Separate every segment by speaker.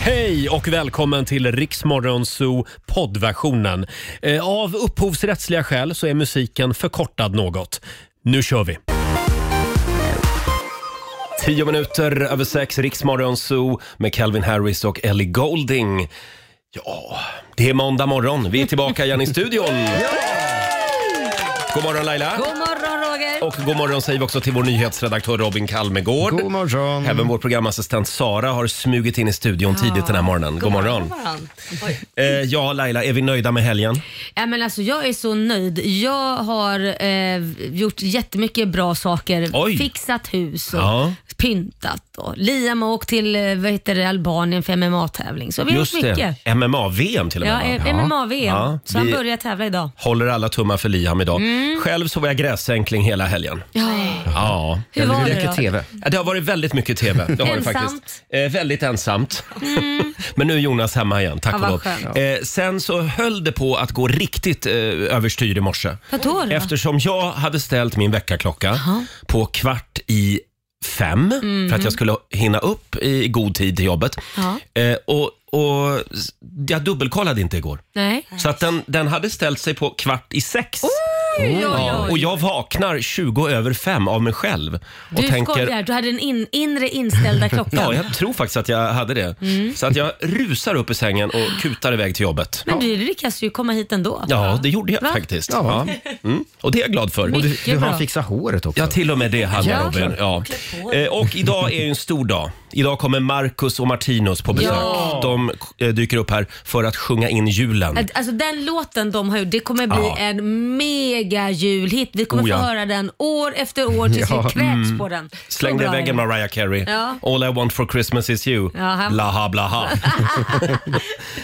Speaker 1: Hej och välkommen till Riksmorgonzoo poddversionen. Eh, Av upphovsrättsliga skäl så är musiken förkortad något. Nu kör vi! Tio minuter över sex, Riksmorgonzoo med Calvin Harris och Ellie Golding. Ja, det är måndag morgon. Vi är tillbaka igen i studion. God morgon Laila!
Speaker 2: God morgon Roger!
Speaker 1: Och god morgon säger vi också till vår nyhetsredaktör Robin Kalmegård.
Speaker 3: God morgon.
Speaker 1: Även vår programassistent Sara har smugit in i studion tidigt den här morgonen. God morgon.
Speaker 2: Oj.
Speaker 1: Eh, ja, Laila, är vi nöjda med helgen?
Speaker 2: Ja, men alltså, jag är så nöjd. Jag har eh, gjort jättemycket bra saker.
Speaker 1: Oj.
Speaker 2: Fixat hus och
Speaker 1: Ja.
Speaker 2: pyntat. Och Liam har åkt till eh, vad heter det, Albanien för MMA-tävling. Så vi har gjort
Speaker 1: Just det.
Speaker 2: mycket.
Speaker 1: MMA-VM till och
Speaker 2: Ja,
Speaker 1: med. va?
Speaker 2: eh, MMA-VM.
Speaker 1: Ja,
Speaker 2: så han
Speaker 1: vi-
Speaker 2: börjar tävla idag.
Speaker 1: Håller alla tummar för Liam idag. Själv så var jag gräsänkling hela helgen. Ja.
Speaker 2: Hur var det
Speaker 3: Mycket
Speaker 2: då?
Speaker 3: TV.
Speaker 1: Ja, det har varit väldigt mycket TV. Det har det
Speaker 2: Ensamt.
Speaker 1: faktiskt. Eh, väldigt ensamt. Men nu är Jonas hemma igen, tack
Speaker 2: Mm. Ja,
Speaker 1: och
Speaker 2: vad
Speaker 1: lov.
Speaker 2: skönt.
Speaker 1: Eh, sen så höll det på att gå riktigt eh, överstyr i morse.
Speaker 2: Vad då? då?
Speaker 1: Eftersom jag hade ställt min väckarklocka på kvart i fem för
Speaker 2: Mm.
Speaker 1: att jag skulle hinna upp i god tid till jobbet.
Speaker 2: Ja.
Speaker 1: Eh, och, och s- jag dubbelkollade inte igår.
Speaker 2: Nej.
Speaker 1: Så att den, den hade ställt sig på kvart i sex.
Speaker 2: Oj,
Speaker 1: Ja,
Speaker 2: oj,
Speaker 1: och
Speaker 2: oj.
Speaker 1: jag vaknar 20 över fem av mig själv. Och
Speaker 2: Du skojar, du hade den in, inre inställda klockan. Mm.
Speaker 1: Ja, jag tror faktiskt att jag hade det. Så att jag rusar upp i sängen och kutar iväg till jobbet.
Speaker 2: Men du lyckas ju komma hit ändå.
Speaker 1: Ja, det gjorde jag
Speaker 2: Va?
Speaker 1: faktiskt. Ja.
Speaker 3: Ja.
Speaker 1: Mm. Och det är jag glad för.
Speaker 3: Och du,
Speaker 2: Mycket
Speaker 3: du
Speaker 2: bra.
Speaker 3: har fixat håret också.
Speaker 1: Ja, till och med det hade jag,
Speaker 2: Ja.
Speaker 1: Robin. Ja. Eh, Och idag är ju en stor dag. Idag kommer Marcus och Martinus på besök.
Speaker 2: Ja.
Speaker 1: De eh, dyker upp här för att sjunga in julen.
Speaker 2: Att- Alltså den låten de har gjort, det kommer bli
Speaker 1: Ja.
Speaker 2: en mega julhit. Vi kommer
Speaker 1: Oh, ja.
Speaker 2: få höra den år efter år tills
Speaker 3: Ja.
Speaker 2: vi kräks på den. Så
Speaker 1: Släng dig
Speaker 2: bra
Speaker 1: Mm. i
Speaker 2: är
Speaker 1: väggen
Speaker 2: den.
Speaker 1: Mariah Carey.
Speaker 2: Ja.
Speaker 1: All I want for Christmas is you.
Speaker 2: Ja, han-
Speaker 1: Blaha blaha.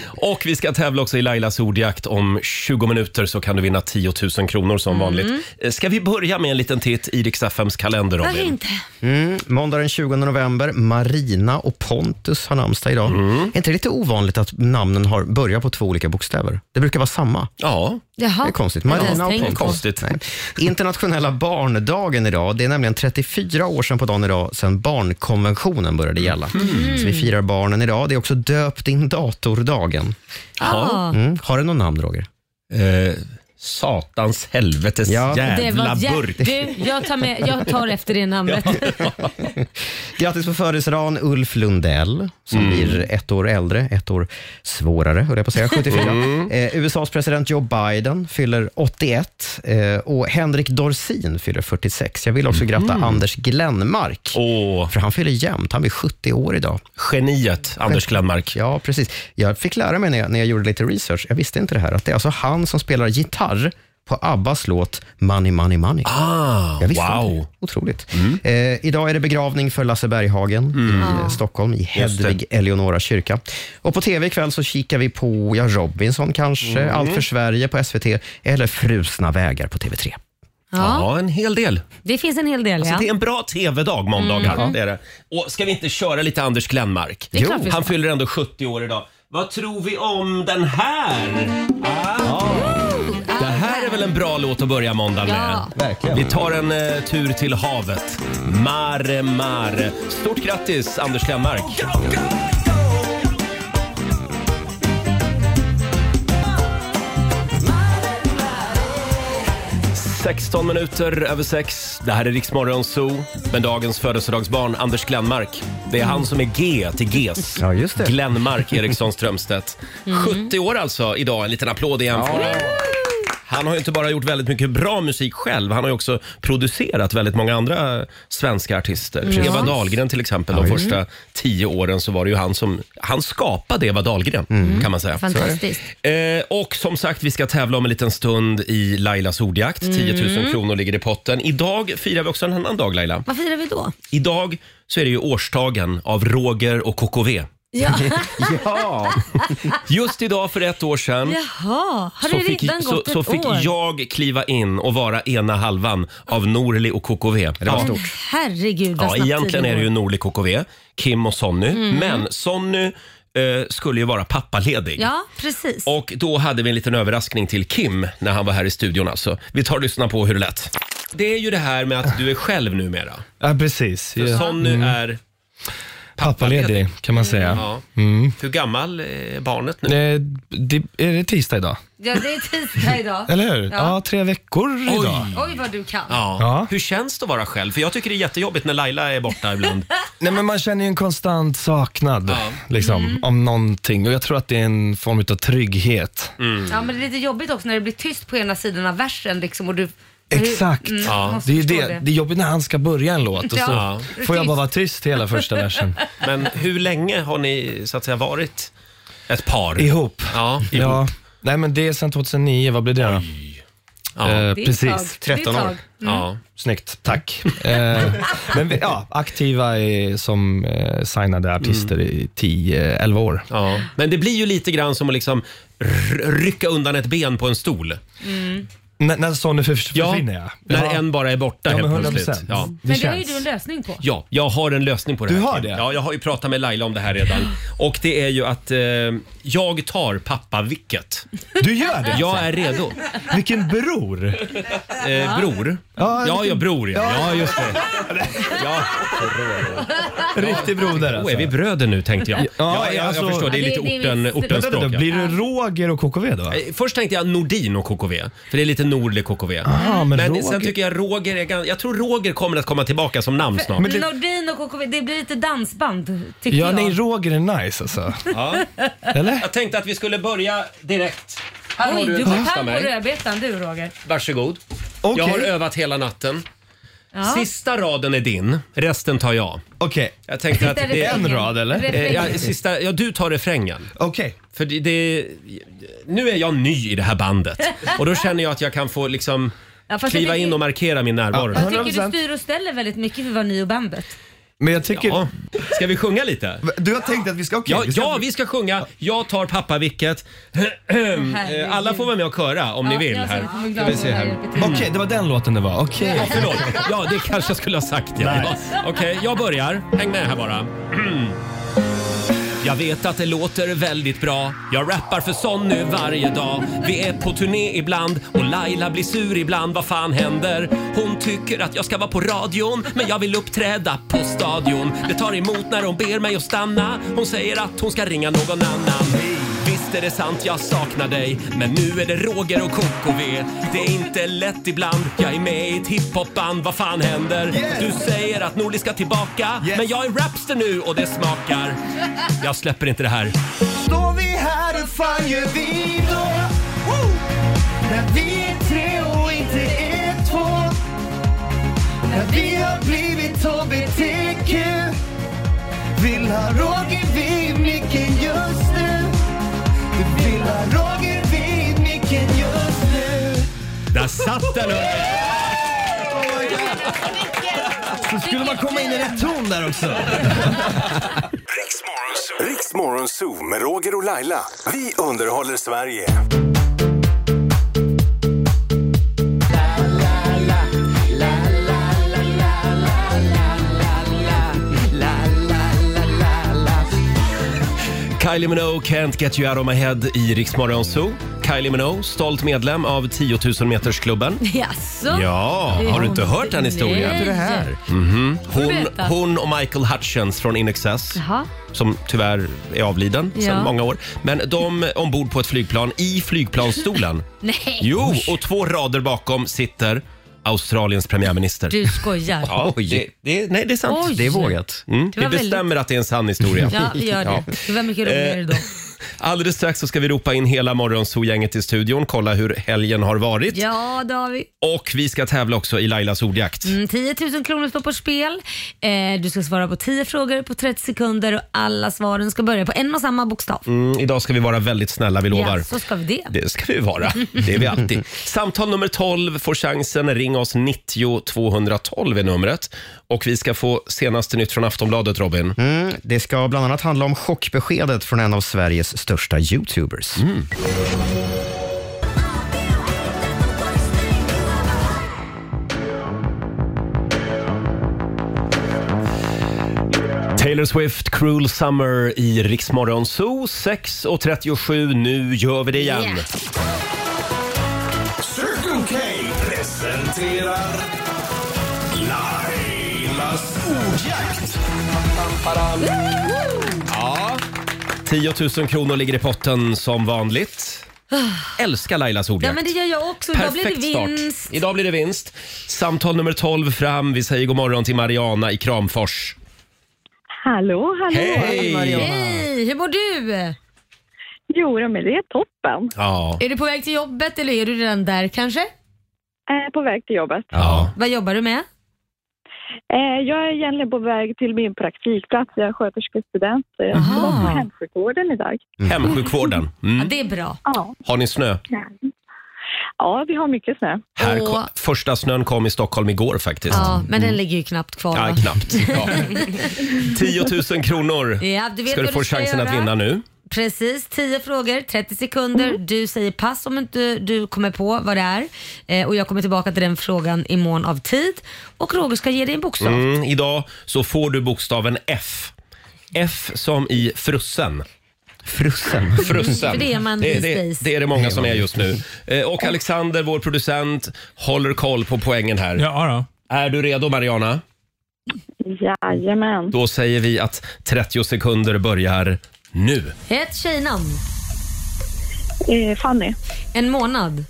Speaker 1: och vi ska tävla också i Lailas ordjakt. Om 20 minuter så kan du vinna 10 000 kronor som
Speaker 2: Mm.
Speaker 1: vanligt. Eh, Ska vi börja med en liten titt i Rix FMs kalender
Speaker 2: Varför
Speaker 1: Robin?
Speaker 2: inte?
Speaker 3: Mm, måndag den 20 november. Marina och Pontus har namnsdag idag.
Speaker 1: Mm.
Speaker 3: Är inte det lite ovanligt att namnen har börjar på två olika bokstäver? Det brukar vara samma.
Speaker 1: Ja,
Speaker 2: Jaha.
Speaker 3: Det är konstigt.
Speaker 2: Det har
Speaker 3: Marina
Speaker 2: jag
Speaker 3: och
Speaker 2: tänkt
Speaker 3: Pontus.
Speaker 2: på.
Speaker 1: konstigt.
Speaker 3: Nej. Internationella barndagen idag. Det är nämligen 34 år sedan på dagen idag sedan barnkonventionen började gälla.
Speaker 1: Mm.
Speaker 3: Så vi firar barnen idag. Det är också döpt in datordagen.
Speaker 2: Ja.
Speaker 3: Mm. Har du någon namn, Roger?
Speaker 1: Eh, satans helvetes
Speaker 3: Ja.
Speaker 2: Det
Speaker 1: jävla
Speaker 2: var jä-
Speaker 1: burk.
Speaker 2: du, jag, tar med, jag tar efter det namnet.
Speaker 3: Grattis på födelsedagen Ulf Lundell, som
Speaker 1: Mm.
Speaker 3: blir ett år äldre, ett år svårare, höll jag på att säga, 74.
Speaker 1: Mm.
Speaker 3: Eh, USAs president Joe Biden fyller 81 eh, och Henrik Dorsin fyller 46. Jag vill också gratta Anders Glenmark,
Speaker 1: Mm. Åh,
Speaker 3: för han fyller jämnt. Han blir 70 år idag.
Speaker 1: geniet Anders Glenmark.
Speaker 3: Ja, precis. Jag fick lära mig när jag, när jag gjorde lite research, jag visste inte det här, att det är alltså han som spelar gitarr på Abbas låt Money, Money, Money.
Speaker 1: Ah,
Speaker 3: Jag visste inte
Speaker 1: wow. Mm.
Speaker 3: det. Otroligt. Eh, idag är det begravning för Lasse Berghagen i eh, Stockholm, i Hedvig Eleonora kyrka. Och på tv ikväll så kikar vi på ja, Robinson kanske,
Speaker 1: Mm.
Speaker 3: Allt för Sverige på SVT, eller Frusna vägar på TV3.
Speaker 2: Ja,
Speaker 1: Ja, en hel del.
Speaker 2: det finns en hel del
Speaker 1: Alltså,
Speaker 2: ja. Mm.
Speaker 1: Det är en bra tv-dag måndagar. Det är det. Och ska vi inte köra lite Anders Glenmark?
Speaker 2: Det är klart vi ska.
Speaker 1: Han fyller ändå 70 år idag. Vad tror vi om den här? Ah. Det här är väl en bra låt att börja måndag med?
Speaker 2: Ja.
Speaker 3: Verkligen.
Speaker 1: Vi tar en eh, tur till havet. Mare, mare. Stort grattis Anders Glenmark. ...16 minuter över sex. Det här är Riksmorgon Zoo. Men dagens födelsedagsbarn, Anders Glenmark. Det är han som är G till Gs.
Speaker 3: Ja, just det.
Speaker 1: Glenmark Eriksson Strömstedt. 70 år alltså idag. En liten applåd igen för honom. Han har ju inte bara gjort väldigt mycket bra musik själv, han har ju också producerat väldigt många andra svenska artister. Eva Dahlgren till exempel, de första tio åren så var det ju han som, han skapade Eva Dahlgren kan man säga.
Speaker 2: Fantastiskt.
Speaker 1: Eh, och som sagt, vi ska tävla om en liten stund i Lailas ordjakt.
Speaker 2: Mm.
Speaker 1: 10 000 kronor ligger i potten. Idag firar vi också en annan dag Laila.
Speaker 2: Vad firar vi då?
Speaker 1: Idag så är det ju årsdagen av Roger och KKV.
Speaker 2: Ja.
Speaker 3: Ja,
Speaker 1: Just idag för ett år sedan
Speaker 2: Jaha, har
Speaker 1: så
Speaker 2: det
Speaker 1: fick,
Speaker 2: redan
Speaker 1: så,
Speaker 2: gått
Speaker 1: så
Speaker 2: ett
Speaker 1: fick
Speaker 2: år?
Speaker 1: jag kliva in och vara ena halvan av Norli och KKV.
Speaker 3: det var
Speaker 1: Ja.
Speaker 3: stort.
Speaker 2: Herregud vad
Speaker 1: Ja,
Speaker 2: snabbt Mm.
Speaker 1: egentligen
Speaker 2: tiden
Speaker 1: är det ju
Speaker 2: går.
Speaker 1: Norli KKV, Kim och Sonny. Men Sonny eh, skulle ju vara pappaledig.
Speaker 2: Ja, precis.
Speaker 1: Och då hade vi en liten överraskning till Kim när han var här i studion alltså. Vi tar och lyssnar på hur det lät. Det är ju det här med att du är själv numera.
Speaker 4: Ja, precis.
Speaker 1: För
Speaker 4: Ja.
Speaker 1: Sonny är...
Speaker 4: Pappaledig kan man säga.
Speaker 1: Mm. Ja. Hur gammal är barnet nu?
Speaker 4: Eh, det, är det tisdag idag?
Speaker 2: Ja, det är tisdag idag.
Speaker 4: Eller hur?
Speaker 2: Ja.
Speaker 4: Ja, tre veckor idag.
Speaker 2: Oj, vad du kan.
Speaker 1: Ja.
Speaker 4: Ja.
Speaker 1: Hur känns det att vara själv? För jag tycker det är jättejobbigt när Laila är borta ibland.
Speaker 4: Nej, men man känner ju en konstant saknad
Speaker 1: Ja.
Speaker 4: liksom,
Speaker 2: Mm.
Speaker 4: om någonting och jag tror att det är en form av trygghet.
Speaker 1: Mm.
Speaker 2: Ja, men det är lite jobbigt också när det blir tyst på ena sidan av versen liksom, och du...
Speaker 4: Exakt.
Speaker 2: Mm,
Speaker 1: Ja,
Speaker 2: måste
Speaker 4: Det är ju
Speaker 2: förstå
Speaker 4: det. det är jobbigt när han ska börja en låt och så
Speaker 2: Ja.
Speaker 4: får jag bara vara tyst hela första versen.
Speaker 1: Men hur länge har ni så att säga varit ett par?
Speaker 4: Ihop.
Speaker 1: Ja, ihop.
Speaker 4: Ja. Nej men det är sedan 2009, vad blir det då?
Speaker 1: Ja.
Speaker 2: Det
Speaker 4: Eh,
Speaker 2: är ett
Speaker 4: precis.
Speaker 2: tag. Mm. Det är ett
Speaker 3: 13 år.
Speaker 2: tag.
Speaker 1: Ja.
Speaker 4: Snyggt, tack. eh, men vi, ja, aktiva i, som eh, signade artister i 10-11 år.
Speaker 1: Mm. Ja. Men det blir ju lite grann som att liksom r- rycka undan ett ben på en stol.
Speaker 4: N- när Sonny förs-
Speaker 1: Ja,
Speaker 4: försvinner ja.
Speaker 1: När
Speaker 4: ja.
Speaker 1: en bara är borta
Speaker 4: Ja, men
Speaker 1: helt
Speaker 4: 100%.
Speaker 1: plötsligt. Ja.
Speaker 4: Det
Speaker 2: Men det har ju
Speaker 4: känns.
Speaker 2: du en lösning på.
Speaker 1: Ja, jag har en lösning på det
Speaker 4: Du
Speaker 1: här.
Speaker 4: har
Speaker 1: Kim.
Speaker 4: det?
Speaker 1: Ja, jag har ju pratat med Laila om det här redan. Och det är ju att eh, jag tar pappavicket.
Speaker 4: Du gör det?
Speaker 1: Jag är redo.
Speaker 4: Vilken bror!
Speaker 1: Eh, bror?
Speaker 4: Ja,
Speaker 1: Ja,
Speaker 4: vilken-
Speaker 1: ja, bror ja. Ja, just det. Ja.
Speaker 4: Riktig broder
Speaker 1: Oh, är vi bröder nu tänkte jag. Ja, ja, jag,
Speaker 4: alltså-
Speaker 1: jag förstår. Det är
Speaker 2: Ja,
Speaker 1: lite
Speaker 2: det- det är
Speaker 1: orten,
Speaker 2: visst-
Speaker 1: ortens
Speaker 4: Vänta,
Speaker 1: språk.
Speaker 4: vänta,
Speaker 1: Ja.
Speaker 4: blir det Roger och KKV då?
Speaker 1: Eh, Först tänkte jag Nordin och KKV, för det är lite nordlig KKV.
Speaker 4: Aha, men Roger-
Speaker 1: sen tycker jag Roger är ganska, Jag tror Roger kommer att komma tillbaka som namn snart.
Speaker 4: Men det-
Speaker 2: Nordin och KKV, det blir lite dansband tycker
Speaker 4: Ja,
Speaker 2: jag.
Speaker 4: nej, Roger är nice alltså.
Speaker 1: Ja.
Speaker 4: Eller?
Speaker 1: Jag tänkte att vi skulle börja direkt. Här
Speaker 2: Oj,
Speaker 1: har du
Speaker 2: du
Speaker 1: en
Speaker 2: går
Speaker 1: text av
Speaker 2: pang på
Speaker 1: mig.
Speaker 2: rödbetan du Roger.
Speaker 1: Varsågod.
Speaker 4: Okej,
Speaker 1: Jag har övat hela natten.
Speaker 2: Ja.
Speaker 1: Sista raden är din, resten tar jag.
Speaker 4: okej.
Speaker 1: Jag tänkte att det...
Speaker 4: en rad, eller?
Speaker 1: Eh,
Speaker 2: Refrängen.
Speaker 1: Ja, sista, ja, du tar refrängen.
Speaker 4: Okej.
Speaker 1: För det, det, nu är jag ny i det här bandet och då känner jag att jag kan få liksom
Speaker 2: Ja, fast
Speaker 1: kliva
Speaker 2: jag tycker-
Speaker 1: in och markera min närvaro.
Speaker 4: Ja.
Speaker 2: Jag tycker du
Speaker 4: 100%.
Speaker 2: styr och ställer väldigt mycket för vad ni och bandet.
Speaker 4: Men jag tycker...
Speaker 1: Ja. Ska vi sjunga lite?
Speaker 4: Du har tänkt att vi ska... Okej.
Speaker 1: Ja,
Speaker 4: vi ska-
Speaker 1: ja, vi ska sjunga Jag tar pappavicket.
Speaker 2: herregud.
Speaker 1: Alla får vara med och köra om ni vill.
Speaker 2: jag
Speaker 1: Här.
Speaker 2: kommer glad om det här hjälper till.
Speaker 4: Okej, det var den låten det var. Okej.
Speaker 1: Ja, förlåt. Ja, det kanske jag skulle ha sagt. Ja. Ja. Okej, jag börjar. Häng med här bara. Jag vet att det låter väldigt bra. Jag rappar för sån nu varje dag. Vi är på turné ibland och Laila blir sur ibland. Vad fan händer? Hon tycker att jag ska vara på radion, men jag vill uppträda på stadion. Det tar emot när hon ber mig att stanna. Hon säger att hon ska ringa någon annan. Visst är det sant, jag saknar dig. Men nu är det Roger och KKV. Det är inte lätt ibland. Jag är med i ett hiphopband. Vad fan händer? Du säger att Norli ska tillbaka. Men jag är rapster nu och det smakar. Jag släpper inte det här.
Speaker 5: Står vi här, hur fan gör vi då? Woo! När vi är tre och inte är två När vi har blivit HBTQ Vill ha Roger vid micken just nu Du vill ha Roger vid micken just nu
Speaker 1: Där satt den! hörni.
Speaker 4: Så skulle man komma in i rätt ton där också.
Speaker 6: Riksmorgon Zoo med Roger och Laila. Vi underhåller Sverige.
Speaker 1: Kylie Minogue, Can't Get You Out of My Head i Rix Morgon Zoo. Kylie Minogue, stolt medlem av 10 000 metersklubben.
Speaker 2: Jaså?
Speaker 1: Ja, har du inte hört den historien? Mhm.
Speaker 2: Nej.
Speaker 3: Det här.
Speaker 1: Hon, hon och Michael Hutchins från In Excess.
Speaker 2: Jaha.
Speaker 1: som tyvärr är avliden
Speaker 2: Ja.
Speaker 1: sedan många år. Men de ombord på ett flygplan i flygplansstolen.
Speaker 2: Nej,
Speaker 1: Jo, och två rader bakom sitter Australiens premiärminister.
Speaker 2: du skojar.
Speaker 1: Ja, det, det, nej, det är sant.
Speaker 2: Oj.
Speaker 3: Det är vågat.
Speaker 1: Mm,
Speaker 2: Det
Speaker 1: vi
Speaker 2: var väldigt-
Speaker 1: bestämmer att det är en sann historia.
Speaker 2: Ja, vi gör det. Det var mycket
Speaker 1: Eh.
Speaker 2: roligare då.
Speaker 1: Alldeles strax så ska vi ropa in hela Morgonzoo-gänget i studion, kolla hur helgen har varit.
Speaker 2: Ja, det har vi.
Speaker 1: Och vi ska tävla också i Lailas ordjakt.
Speaker 2: Mm, 10 000 kronor står på spel. Eh, du ska svara på 10 frågor på 30 sekunder och alla svaren ska börja på en och samma bokstav.
Speaker 1: Mm, idag ska vi vara väldigt snälla, vi lovar.
Speaker 2: Ja, så ska vi det.
Speaker 1: Det ska vi vara. Det är vi alltid. Samtal nummer 12 får chansen. Ring oss 90 212 är numret. Och vi ska få senaste nytt från Aftonbladet, Robin.
Speaker 3: Mm, det ska bland annat handla om chockbeskedet från en av Sveriges största YouTubers.
Speaker 1: Mm. Taylor Swift, Cruel Summer i Riksmorgon Zoo. 6.37, nu gör vi det igen.
Speaker 2: Yeah.
Speaker 6: Circle K presenterar Lailas ordjakt.
Speaker 1: Ja. 10 000 kronor ligger i potten som vanligt. Älskar Lailas ordjakt.
Speaker 2: Ja men det gör jag också. Idag blir det
Speaker 1: Perfekt start.
Speaker 2: vinst.
Speaker 1: Idag blir det vinst. Samtal nummer 12 fram. Vi säger god morgon till Mariana i Kramfors.
Speaker 7: Hallå, hallå!
Speaker 1: Hej!
Speaker 2: Hej, hur mår du?
Speaker 7: Jo, ja, men det är toppen.
Speaker 1: Ja.
Speaker 2: Är du på väg till jobbet eller är du redan där kanske?
Speaker 7: Eh, på väg till jobbet.
Speaker 1: ja.
Speaker 2: Vad jobbar du med?
Speaker 7: Eh, jag är egentligen på väg till min praktikplats. Jag är sköterskestudent. så Jag ska
Speaker 2: Aha.
Speaker 7: vara på hemsjukvården idag.
Speaker 1: Hemsjukvården. Mm.
Speaker 2: Ja, det är bra.
Speaker 7: Ja.
Speaker 1: Har ni snö?
Speaker 7: ja, vi har mycket snö.
Speaker 1: Här
Speaker 2: Åh.
Speaker 1: kom, första snön kom i Stockholm igår faktiskt.
Speaker 2: Ja, men den ligger ju knappt kvar.
Speaker 1: Ja,
Speaker 2: va?
Speaker 1: knappt. Ja. 10 000 kronor
Speaker 2: Ja, du vet
Speaker 1: ska du
Speaker 2: vad
Speaker 1: få
Speaker 2: du ska
Speaker 1: chansen att
Speaker 2: göra.
Speaker 1: vinna nu.
Speaker 2: Precis, 10 frågor, 30 sekunder.
Speaker 7: Mm.
Speaker 2: Du säger pass om inte du kommer på vad det är. Eh, och jag kommer tillbaka till den frågan i mån av tid. Och Roger ska ge dig en bokstav.
Speaker 1: Mm, idag så får du bokstaven F. F som i frussen.
Speaker 3: Frusen.
Speaker 1: Frusen.
Speaker 2: För det är man
Speaker 1: det,
Speaker 2: these
Speaker 1: det,
Speaker 2: days.
Speaker 1: det är det många som är just nu. Eh, Och Alexander, vår producent, håller koll på poängen här.
Speaker 8: Ja, då.
Speaker 1: Är du redo Mariana?
Speaker 7: Jajamän.
Speaker 1: Då säger vi att 30 sekunder börjar nu.
Speaker 2: Ett tjejnamn,
Speaker 7: Eh, Fanny,
Speaker 2: en månad,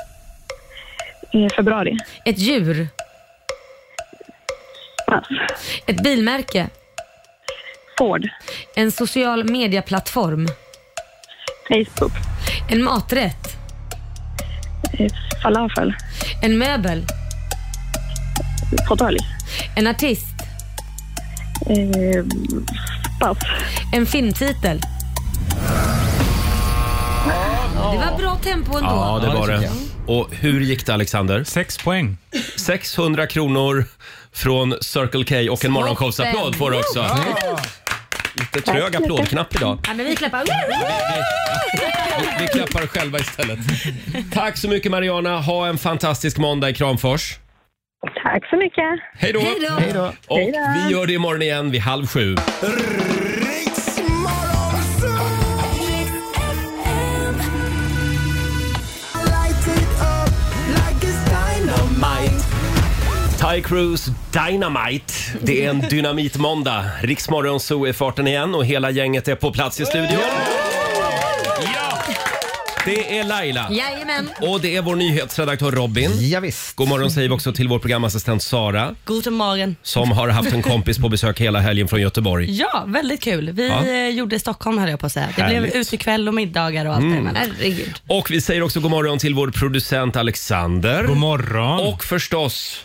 Speaker 7: eh, februari.
Speaker 2: ett djur,
Speaker 7: Pass.
Speaker 2: ett bilmärke,
Speaker 7: Ford,
Speaker 2: en social medieplattform,
Speaker 7: Facebook,
Speaker 2: en maträtt,
Speaker 7: eh, falafel,
Speaker 2: en möbel,
Speaker 7: fåtölj.
Speaker 2: en artist,
Speaker 7: Eh, pass.
Speaker 2: en filmtitel. Det var bra tempo ändå.
Speaker 1: Ja, det
Speaker 8: Ja, det
Speaker 1: var det.
Speaker 8: tycker
Speaker 1: Och hur gick det Alexander?
Speaker 8: Sex poäng.
Speaker 1: 600 kronor från Circle K och en morgonshowsapplåd får du också. Lite trög applådknapp idag.
Speaker 2: Ja, men vi klappar.
Speaker 1: Vi- Vi klappar själva istället. Tack så mycket Mariana. Ha en fantastisk måndag i Kramfors.
Speaker 7: Tack så mycket.
Speaker 1: Hej då!
Speaker 2: Hej då!
Speaker 1: Och vi gör det imorgon igen vid halv sju. Ty Cruz Dynamite. Det är en dynamitmåndag. Riksmorgon Zoo är i farten igen och hela gänget är på plats i studion. Ja! Det är Laila.
Speaker 2: Jajamän.
Speaker 1: Och det är vår nyhetsredaktör Robin.
Speaker 3: Ja, visst.
Speaker 1: God morgon säger vi också till vår programassistent Sara.
Speaker 9: Guten Morgen.
Speaker 1: Som har haft en kompis på besök hela helgen från Göteborg.
Speaker 9: Ja, väldigt kul. Vi
Speaker 1: Ja.
Speaker 9: eh, gjorde Stockholm höll jag på att säga. Det
Speaker 1: Härligt.
Speaker 9: blev utekväll och middagar och allt mm.
Speaker 2: Herregud.
Speaker 1: Och vi säger också god morgon till vår producent Alexander.
Speaker 8: God morgon.
Speaker 1: Och förstås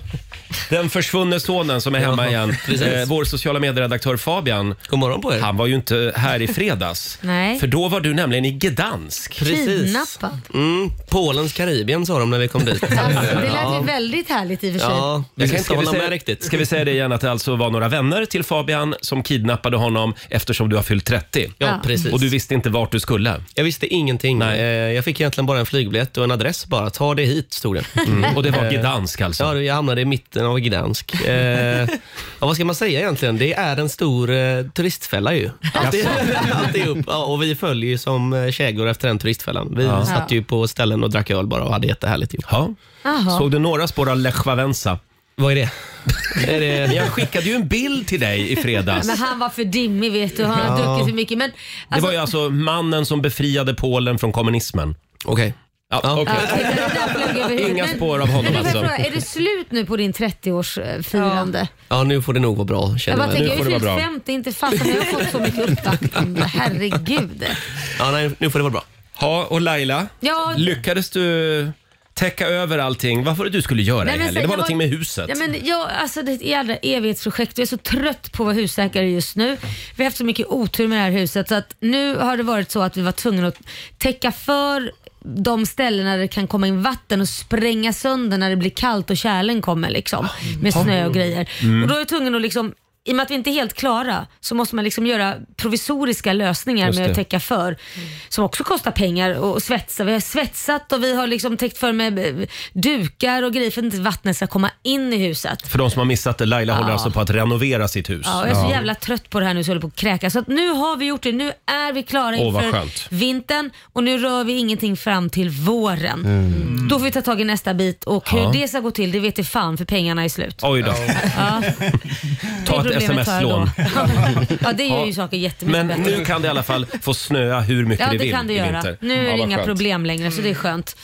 Speaker 1: den försvunne sonen som är hemma igen. Eh, vår sociala medieredaktör Fabian.
Speaker 10: God morgon på er.
Speaker 1: Han var ju inte här i fredags.
Speaker 2: Nej.
Speaker 1: För då var du nämligen i Gdansk.
Speaker 2: Kidnappad.
Speaker 10: Mm, Polens Karibien sa de när vi kom dit.
Speaker 2: Alltså, det lät ju väldigt härligt i och för sig.
Speaker 10: Ja, jag kan inte
Speaker 1: Ska vi
Speaker 10: hålla
Speaker 1: säga-
Speaker 10: med riktigt.
Speaker 1: Ska vi säga det igen att det alltså var några vänner till Fabian som kidnappade honom eftersom du har fyllt 30.
Speaker 2: Ja.
Speaker 10: Ja, precis.
Speaker 1: Och du visste inte vart du skulle.
Speaker 10: Jag visste ingenting. Eh, Jag fick egentligen bara en flygbiljett och en adress bara. Ta det hit, stod det.
Speaker 1: Mm.
Speaker 10: Mm. Eh,
Speaker 1: Och det var Gdansk alltså.
Speaker 10: Ja, jag hamnade i mitten av Gdansk. Eh, ja, vad ska man säga egentligen? Det är en stor eh, turistfälla ju. Allt är, allt är upp. Ja, och vi följer ju som eh, kägor efter den turistfällan. Vi satt ju på ställen och drack öl bara och hade jättehärligt. Ju.
Speaker 1: Ja.
Speaker 2: Jaha.
Speaker 1: Såg du några spår av Lech Wałęsa?
Speaker 10: Vad är det? är det
Speaker 1: Jag skickade ju en bild till dig i fredags.
Speaker 2: Men han var för dimmig vet du. Han har druckit för mycket. Men,
Speaker 1: Det
Speaker 2: alltså,
Speaker 1: var ju alltså mannen som befriade Polen från kommunismen.
Speaker 10: Okej.
Speaker 1: Ja,
Speaker 10: Ja.
Speaker 1: okej.
Speaker 2: Ja, det där flög över huvudet.
Speaker 1: Inga
Speaker 2: Men-
Speaker 1: spår av honom
Speaker 2: men du får
Speaker 1: alltså.
Speaker 2: fråga, Är det slut nu på din 30-årsfirande?
Speaker 10: Ja, nu får det nog vara bra.
Speaker 2: Jag
Speaker 10: Känner
Speaker 2: bara
Speaker 10: jag
Speaker 2: tänker,
Speaker 10: nu.
Speaker 2: jag
Speaker 1: får
Speaker 2: har
Speaker 1: det
Speaker 2: ju
Speaker 1: vara
Speaker 2: fyllt
Speaker 1: bra.
Speaker 2: 50, inte fattar men jag har fått så mycket uppvaktning. Herregud.
Speaker 10: Ja, nej, nu får det vara bra.
Speaker 1: Ja, och Laila,
Speaker 2: Ja.
Speaker 1: lyckades du täcka över allting? Vad var det du skulle göra i
Speaker 2: Nej, men
Speaker 1: helgen?
Speaker 2: sen-
Speaker 1: Det var
Speaker 2: jag
Speaker 1: någonting
Speaker 2: var-
Speaker 1: med huset.
Speaker 2: Ja, men jag, alltså, det är ett jävla evighetsprojekt jag är så trött på att vara husläkare just nu. Vi har haft så mycket otur med det här huset så att nu har det varit så att vi var tvungna att täcka för de ställen där det kan komma in vatten och spränga sönder när det blir kallt och kärlen kommer liksom,
Speaker 1: Ah,
Speaker 2: med snö och grejer.
Speaker 1: Mm.
Speaker 2: Och då är jag tvungen att liksom i och med att vi inte är helt klara så måste man liksom göra provisoriska lösningar
Speaker 1: Just
Speaker 2: med
Speaker 1: det.
Speaker 2: att täcka för. Som också kostar pengar och svetsa. Vi har svetsat och vi har liksom täckt för med eh, dukar och grejer för att inte vattnet ska komma in i huset.
Speaker 1: För de som har missat det, Laila håller
Speaker 2: Ja.
Speaker 1: alltså på att renovera sitt hus.
Speaker 2: Ja, och jag är så jävla trött på det här nu så jag håller på att kräkas. Så att nu har vi gjort det. Nu är vi klara
Speaker 1: Åh, vad
Speaker 2: inför
Speaker 1: skönt.
Speaker 2: vintern och nu rör vi ingenting fram till våren. Då får vi ta tag i nästa bit och hur
Speaker 1: Mm. Ja.
Speaker 2: det ska gå till det vet jag fan för pengarna är slut.
Speaker 1: Oj då.
Speaker 2: Ja.
Speaker 1: Ta
Speaker 2: Det
Speaker 1: ett
Speaker 2: är problemet tar jag då.
Speaker 1: sms-lån.
Speaker 2: ja, det gör ju
Speaker 1: Ja.
Speaker 2: saker jättemycket
Speaker 1: Men
Speaker 2: bättre.
Speaker 1: nu kan det i alla fall få snöa hur mycket
Speaker 2: Ja,
Speaker 1: det
Speaker 2: det
Speaker 1: vill
Speaker 2: kan det
Speaker 1: i
Speaker 2: göra.
Speaker 1: vinter.
Speaker 2: Nu är
Speaker 1: Ja,
Speaker 2: det
Speaker 1: vad
Speaker 2: inga
Speaker 1: skönt.
Speaker 2: problem längre, så det är skönt.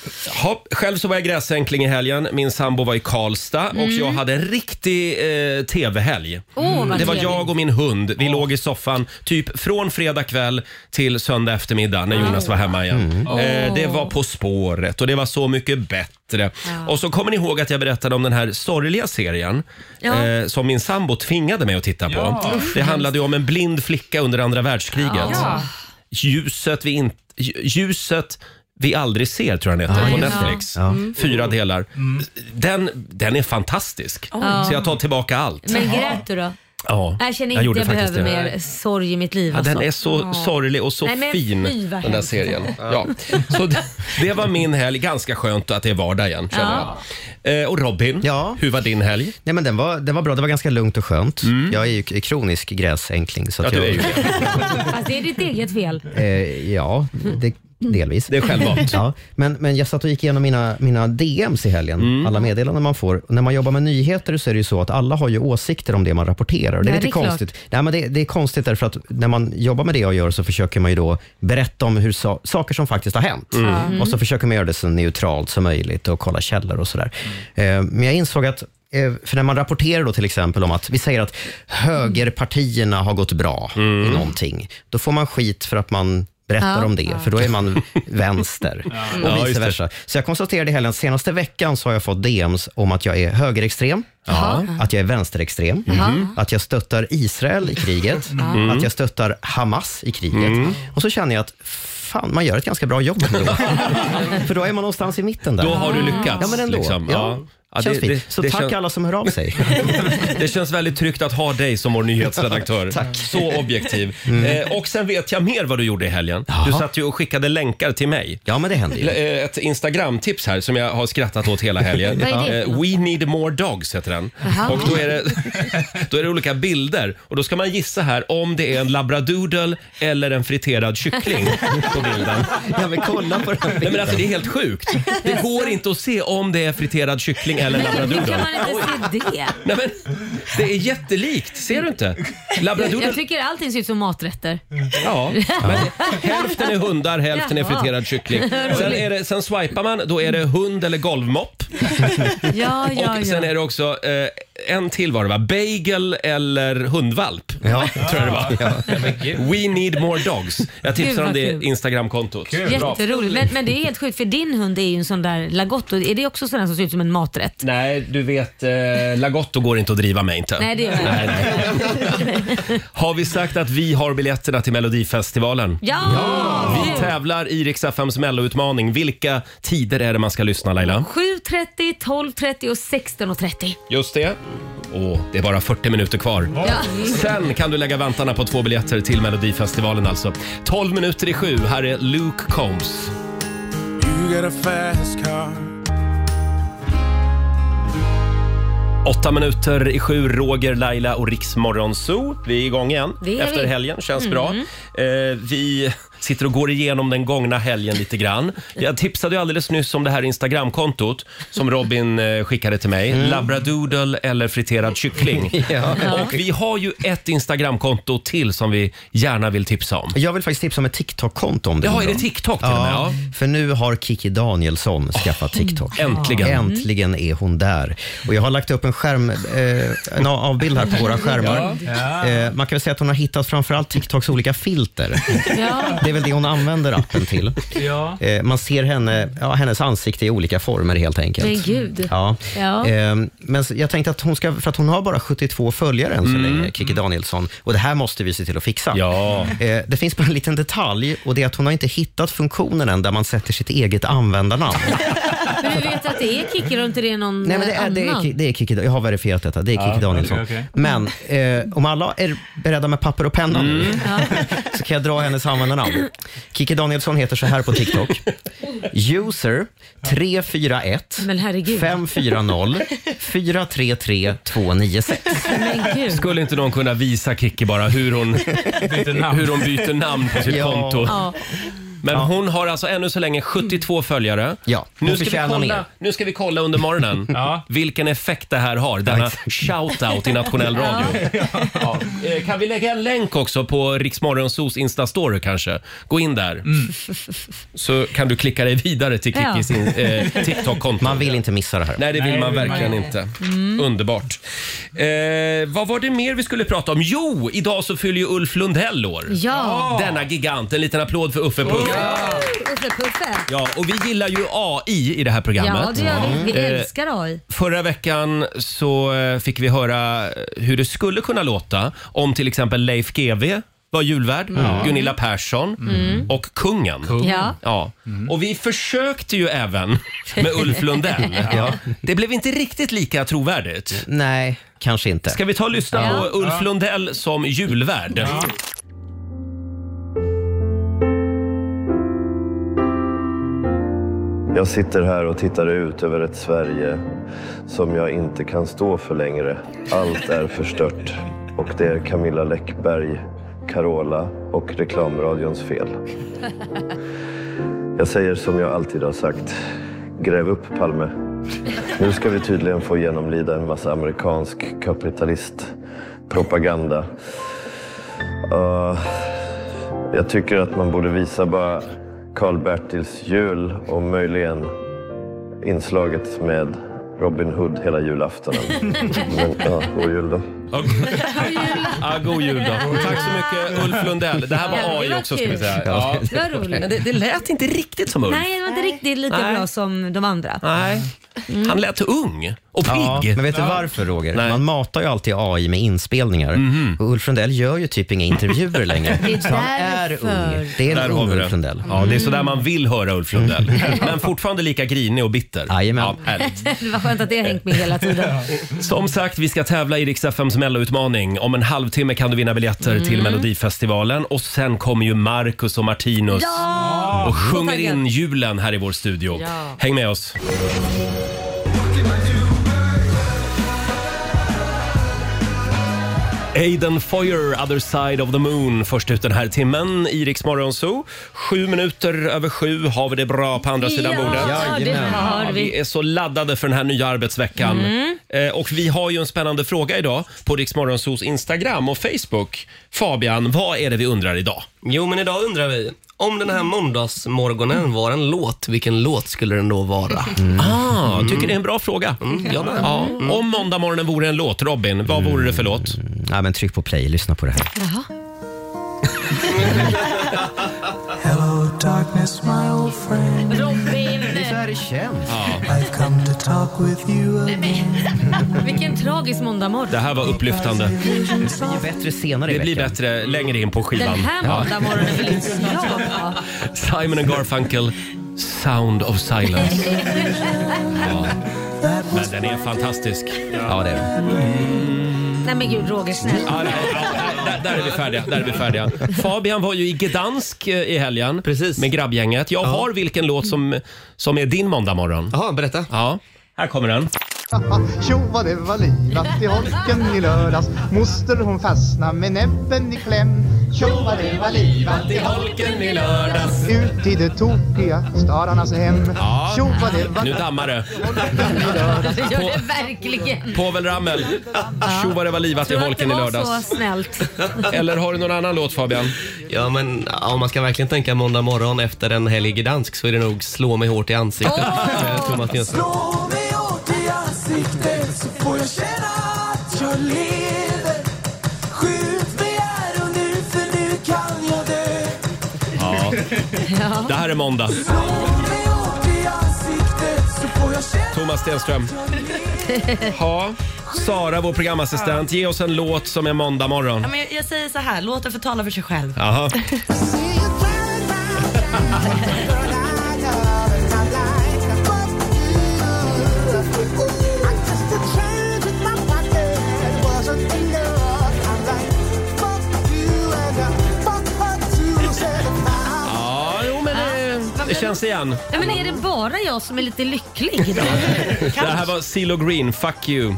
Speaker 1: Hopp, själv så var jag gräsänkling i helgen. Min sambo var i Karlstad och jag hade en riktig eh, TV-helg.
Speaker 2: Mm.
Speaker 1: Mm.
Speaker 2: Åh, vad
Speaker 1: Det var
Speaker 2: trevligt.
Speaker 1: jag och min hund. Vi låg i soffan typ från fredag kväll till söndag eftermiddag när Jonas var hemma igen.
Speaker 2: Mm.
Speaker 1: Eh, det var På spåret och det var Så mycket bättre. Och så kommer ni ihåg att jag berättade om den här sorgliga serien
Speaker 2: Ja.
Speaker 1: eh, som min sambo tvingade mig att titta på. Det handlade ju om en blind flicka under andra världskriget.
Speaker 2: Ja.
Speaker 1: Ljuset vi, in, ljuset vi aldrig ser tror jag den heter på
Speaker 2: just det. Mm.
Speaker 1: Netflix. Fyra delar. Den, den är fantastisk. Så jag tar tillbaka allt.
Speaker 2: Men grät du då?
Speaker 1: Ja,
Speaker 2: Jag känner inte
Speaker 1: gjorde
Speaker 2: jag
Speaker 1: faktiskt
Speaker 2: behöver
Speaker 1: det.
Speaker 2: mer sorg i mitt liv.
Speaker 1: Ja,
Speaker 2: alltså.
Speaker 1: den är så sorglig och så
Speaker 2: Nej, men
Speaker 1: fin,
Speaker 2: fy, vad
Speaker 1: den där
Speaker 2: hemskt.
Speaker 1: serien. Ja. Så det, det var min helg. Ganska skönt att det är vardag igen, känner jag. Eh, och Robin,
Speaker 3: Ja.
Speaker 1: hur var din helg? Mm.
Speaker 3: Nej, men den, var, den var bra, det var ganska lugnt och skönt. Jag är ju k- kronisk gräsänkling. Så
Speaker 1: Ja,
Speaker 3: att
Speaker 1: du är
Speaker 3: jag,
Speaker 1: ju det.
Speaker 2: Fast det är ditt eget fel.
Speaker 3: Eh, ja, det, delvis.
Speaker 1: Det är självvalt.
Speaker 3: Ja, men, men jag satt och gick igenom mina, mina DMs i helgen,
Speaker 1: Mm.
Speaker 3: alla meddelanden man får. När man jobbar med nyheter så är det ju så att alla har ju åsikter om det man rapporterar. Det är
Speaker 2: Ja,
Speaker 3: lite
Speaker 2: det är klart.
Speaker 3: konstigt. Nej, men det, det är konstigt därför att när man jobbar med det jag gör så försöker man ju då berätta om hur sa- saker som faktiskt har hänt.
Speaker 1: Mm.
Speaker 3: Och så försöker man göra det så neutralt som möjligt och kolla källor och sådär.
Speaker 1: Mm.
Speaker 3: Eh, men jag insåg att eh, för när man rapporterar då till exempel om att vi säger att högerpartierna har gått bra
Speaker 1: Mm.
Speaker 3: i någonting, då får man skit för att man berättar om det, för då är man vänster
Speaker 1: Ja,
Speaker 3: och
Speaker 1: just
Speaker 3: vice
Speaker 1: det.
Speaker 3: versa. Så jag konstaterade i helgen, senaste veckan så har jag fått DMs om att jag är högerextrem, att jag är vänsterextrem,
Speaker 1: Mm.
Speaker 3: att jag stöttar Israel i kriget, att jag stöttar Hamas i kriget.
Speaker 1: Mm.
Speaker 3: Och så känner jag att fan, man gör ett ganska bra jobb ändå. för då är man någonstans i mitten där.
Speaker 1: Då
Speaker 2: Ah.
Speaker 1: har du lyckats.
Speaker 3: Ja, men ändå.
Speaker 1: liksom.
Speaker 3: Ja.
Speaker 1: Ja,
Speaker 3: känns
Speaker 1: det,
Speaker 3: fint.
Speaker 1: det,
Speaker 3: så
Speaker 1: det,
Speaker 3: tack
Speaker 1: kän,
Speaker 3: alla som hör av sig.
Speaker 1: det känns väldigt tryggt att ha dig som vår nyhetsredaktör. Så objektiv.
Speaker 3: Mm.
Speaker 1: Eh, och sen vet jag mer vad du gjorde i helgen. Du satt ju och skickade länkar till mig.
Speaker 3: Ja, men det händer ju.
Speaker 1: L- eh, Ett Instagram-tips här som jag har skrattat åt hela helgen.
Speaker 2: Vad är det?
Speaker 1: Eh, We need more dogs heter den. Och då är, det, då är det olika bilder och då ska man gissa här om det är en labradoodle eller en friterad kyckling på bilden.
Speaker 3: Ja, men kolla på den här
Speaker 1: Nej, men alltså, det
Speaker 3: bilden.
Speaker 1: är helt sjukt. Det går inte att se om det är friterad kyckling eller
Speaker 2: Men hur kan
Speaker 1: labradoodle.
Speaker 2: man inte se det?
Speaker 1: Nej, men, det är jättelikt, ser du inte? Labradoodle,
Speaker 2: Jag tycker allting ser ut som maträtter.
Speaker 1: ja. Men hälften är hundar, hälften är
Speaker 2: Jaha.
Speaker 1: friterad kyckling. Sen, är det, sen swipar man, då är det hund eller golvmopp.
Speaker 2: Ja, ja,
Speaker 1: Och sen är
Speaker 2: ja.
Speaker 1: det också eh, en till var det va? Bagel eller hundvalp.
Speaker 3: Ja.
Speaker 1: Tror jag det var. We need more dogs. Jag tipsar
Speaker 2: Gud,
Speaker 1: om
Speaker 2: vad
Speaker 1: det
Speaker 2: kul.
Speaker 1: Instagramkontot.
Speaker 2: Jätteroligt. Men, men det är helt sjukt för din hund är ju en sån där lagotto. Är det också sån där som ser ut som en maträtt?
Speaker 1: Nej, du vet, eh, Lagotto går inte att driva med inte.
Speaker 2: Nej, det gör jag inte.
Speaker 1: Har vi sagt att vi har biljetterna till Melodifestivalen?
Speaker 2: Ja!
Speaker 1: Vi tävlar i Rix FMs Mello-utmaning. Vilka tider är det man ska lyssna Laila?
Speaker 2: 7.30, 12.30 och 16.30.
Speaker 1: Just det. Åh, det är bara 40 minuter kvar.
Speaker 2: Ja.
Speaker 1: Sen kan du lägga vantarna på två biljetter till Melodifestivalen alltså. 12 minuter i sju, här är Luke Combs. Åtta minuter i sju, Roger, Laila och Riksmorgon Zoo. Vi är igång igen
Speaker 2: Det är
Speaker 1: efter
Speaker 2: vi. Mm.
Speaker 1: helgen, känns bra. Eh, vi sitter och går igenom den gångna helgen lite grann. Jag tipsade ju alldeles nyss om det här Instagramkontot som Robin eh, skickade till mig. Labradoodle eller friterad kyckling. Och vi har ju ett Instagramkonto till som vi gärna vill tipsa om.
Speaker 3: Jag vill faktiskt tipsa om ett TikTok-konto om det
Speaker 1: Ja,
Speaker 3: går
Speaker 1: är det
Speaker 3: bra.
Speaker 1: TikTok till och med?
Speaker 3: Ja,
Speaker 1: Ja. Mm.
Speaker 3: för nu har Kiki Danielsson skaffat TikTok. Mm.
Speaker 1: Äntligen.
Speaker 3: Äntligen är hon där. Och jag har lagt upp en skärm, eh, en avbild här på våra skärmar. Eh, man kan väl säga att hon har hittat framförallt TikToks olika filter.
Speaker 2: Ja.
Speaker 3: Det är väl det hon använder appen till. Eh, man ser henne, ja, hennes ansikte i olika former helt enkelt.
Speaker 2: Men gud.
Speaker 3: Ja.
Speaker 2: Ja.
Speaker 3: Eh, men så- jag tänkte att hon ska, för att hon har bara 72 följare än så länge, Kiki Danielsson. Och det här måste vi se till att fixa.
Speaker 1: Ja.
Speaker 3: Eh, Det finns bara en liten detalj och det är att hon har inte hittat funktionen än där man sätter sitt eget användarnamn.
Speaker 2: Men du vet att det är Kikki och inte det är någon
Speaker 3: Nej, men det, är, det, är,
Speaker 2: annan?
Speaker 3: Ki- det är Kiki, jag har verifierat detta. Det är Kiki Danielsson. Men eh, om alla är beredda med papper och penna nu så kan jag dra hennes användarnamn. Kiki Danielsson heter så här på TikTok. User 341
Speaker 2: Men herregud.
Speaker 3: 540 433 296.
Speaker 2: Men gud.
Speaker 1: Skulle inte någon kunna visa Kikki bara hur hon, hur hon byter namn på sitt
Speaker 3: Ja.
Speaker 1: konto?
Speaker 2: Ja.
Speaker 1: Men hon har alltså ännu så länge 72 följare.
Speaker 3: Ja, hon
Speaker 1: Nu ska, vi
Speaker 3: förtjänar
Speaker 1: kolla,
Speaker 3: mer.
Speaker 1: nu ska vi kolla under morgonen vilken effekt det här har, denna shout-out i nationell radio. Ja. Eh, Kan vi lägga en länk också på Riksmorgonsos Insta-story kanske? Gå in där.
Speaker 3: Mm.
Speaker 1: Så kan du klicka dig vidare till
Speaker 2: Ja.
Speaker 1: Kikkis in- eh, TikTok-konto.
Speaker 3: Man vill inte missa det här.
Speaker 1: Nej, det vill man verkligen inte. Underbart. Eh, vad var det mer vi skulle prata om? Jo, idag så fyller ju Ulf Lundell år. Ah.
Speaker 2: Ja.
Speaker 1: Denna gigant. En liten applåd för Uffe Puff.
Speaker 2: Uffe Puffe.
Speaker 1: Ja, och vi gillar ju AI i det här programmet.
Speaker 2: Ja, det gör vi. Vi
Speaker 1: Eh,
Speaker 2: älskar AI.
Speaker 1: Förra veckan så eh, fick vi höra hur det skulle kunna låta om till exempel Leif GW var julvärd,
Speaker 3: Mm.
Speaker 1: Gunilla Persson och kungen.
Speaker 2: Ja.
Speaker 1: Ja.
Speaker 3: Mm.
Speaker 1: Och vi försökte ju även med Ulf Lundell. ja. Det blev inte riktigt lika trovärdigt.
Speaker 3: Nej, kanske inte.
Speaker 1: Ska vi ta och lyssna på Ulf Lundell som julvärd?
Speaker 5: Jag sitter här och tittar ut över ett Sverige som jag inte kan stå för längre. Allt är förstört och det är Camilla Läckberg, Carola och reklamradions fel. Jag säger som jag alltid har sagt. Gräv upp Palme. Nu ska vi tydligen få genomlida en massa amerikansk kapitalistpropaganda. Ah, jag tycker att man borde visa bara Karl-Bertils jul och möjligen inslaget med Robin Hood hela julaftonen. Men, ja, god jul då.
Speaker 1: Ja, ja, god jul då. Tack så mycket Ulf Lundell. Det här
Speaker 2: Ja, det
Speaker 1: var AI
Speaker 2: var
Speaker 1: också
Speaker 2: kul.
Speaker 1: ska vi säga. Ja.
Speaker 2: Det var roligt.
Speaker 1: Men det, det lät inte riktigt som Ulf.
Speaker 2: Nej, det var inte riktigt lika
Speaker 1: Nej.
Speaker 2: bra som de andra. Mm.
Speaker 1: Nej. Han lät ung och
Speaker 3: Ja,
Speaker 1: pigg.
Speaker 3: men vet du varför Roger?
Speaker 1: Nej. Mhm.
Speaker 3: Man matar ju alltid AI med inspelningar. Och Ulf Lundell gör ju typ inga intervjuer längre.
Speaker 2: Det är
Speaker 3: Så han är
Speaker 2: därför.
Speaker 3: ung. Det är
Speaker 1: Där
Speaker 3: en
Speaker 1: har
Speaker 3: ung
Speaker 1: vi
Speaker 3: Ulf
Speaker 1: det.
Speaker 3: Lundell.
Speaker 1: Ja, det är sådär man vill höra Ulf Lundell.
Speaker 2: Mm.
Speaker 1: Men fortfarande lika grinig och bitter.
Speaker 3: Jajamän.
Speaker 1: Ja, härligt.
Speaker 2: Det var skönt att det har hängt med hela tiden.
Speaker 1: Som sagt, vi ska tävla i Rix FMs melloutmaning. Om en halvtimme kan du vinna biljetter
Speaker 2: Mm.
Speaker 1: till Melodifestivalen. Och sen kommer ju Marcus och Martinus
Speaker 2: Ja!
Speaker 1: och sjunger
Speaker 2: taggad.
Speaker 1: in julen här i vår studio.
Speaker 2: Ja.
Speaker 1: Häng med oss. Aiden Foyer, Other Side of the Moon, först ut den här timmen i Rix Morgon Zoo. Sju minuter över sju har vi det bra på andra sidan bordet.
Speaker 2: Ja, det
Speaker 3: Jajamän.
Speaker 2: har
Speaker 1: Ja,
Speaker 2: vi.
Speaker 1: vi är så laddade för den här nya arbetsveckan.
Speaker 2: Mm.
Speaker 1: Eh, och vi har ju en spännande fråga idag på Riksmorgonsos Instagram och Facebook. Fabian, vad är det vi undrar idag?
Speaker 10: Jo, men idag undrar vi. Om den här måndagsmorgonen var en låt, vilken låt skulle den då vara?
Speaker 1: Ah, tycker det är en bra fråga.
Speaker 10: Jag med.
Speaker 1: Ja. Om måndagmorgonen vore en låt, Robin, vad vore det för låt?
Speaker 3: Mm. Ja, men tryck på play, lyssna på det här.
Speaker 5: Hello darkness my old friend
Speaker 2: Robin,
Speaker 3: här det känns.
Speaker 5: I've come to talk with you
Speaker 2: vilken tragisk
Speaker 1: Det
Speaker 2: måndagmorgon.
Speaker 1: här var upplyftande.
Speaker 3: Det blir bättre senare i
Speaker 1: Det blir
Speaker 3: veckan.
Speaker 1: bättre längre in på
Speaker 2: Den
Speaker 1: skivan.
Speaker 2: här måndagmorgonen är väl inte så bra? va?
Speaker 1: Simon and Garfunkel, Sound of Silence. Ja. Men den är fantastisk.
Speaker 3: Ja, det är det.
Speaker 2: Nej men gud Roger, snälla.
Speaker 1: Ja, nej, ja, där, där är vi färdiga. Där är vi färdiga. Fabian var ju i Gdansk eh, i helgen
Speaker 10: Precis.
Speaker 1: med grabbgänget. Jag har vilken låt som, som är din måndagmorgon.
Speaker 10: Jaha, berätta.
Speaker 1: Ja, här kommer den.
Speaker 5: Jo vad det var livat i holken i lördags Moster hon fastnade med näbben i kläm Jo vad det var livat i
Speaker 1: Holken i lördags.
Speaker 5: Ut i det tokiga stararnas hem Jo vad det var
Speaker 1: Nu dammar det.
Speaker 2: Det gör det verkligen.
Speaker 1: Povel Ramel. Tjo vad det var livat i
Speaker 2: Tror att det
Speaker 1: holken i
Speaker 2: var så
Speaker 1: lördags.
Speaker 2: snällt.
Speaker 1: Eller har du någon annan låt Fabian?
Speaker 10: Ja, men ja, om man ska verkligen tänka måndag morgon efter en helg i Gdansk så är det nog slå mig hårt i ansiktet.
Speaker 2: Åh!
Speaker 10: Eh, Thomas Jönsson.
Speaker 5: Slå mig hårt i ansiktet så får jag känna att jag lever Skjut mig här och nu för nu kan jag dö
Speaker 1: Det här är måndag. Thomas Stenström. Ha. Sara, vår programassistent, ge oss en låt som är måndag morgon.
Speaker 9: Ja, men jag, jag säger så här, låt det få tala för sig själv.
Speaker 1: Jaha.
Speaker 5: Fuck you and I fuck her too, said I
Speaker 1: Ja, jo men det, det det känns igen.
Speaker 2: Ja, men är det bara jag som är lite lycklig idag?
Speaker 1: Det här var CeeLo Green, Fuck You.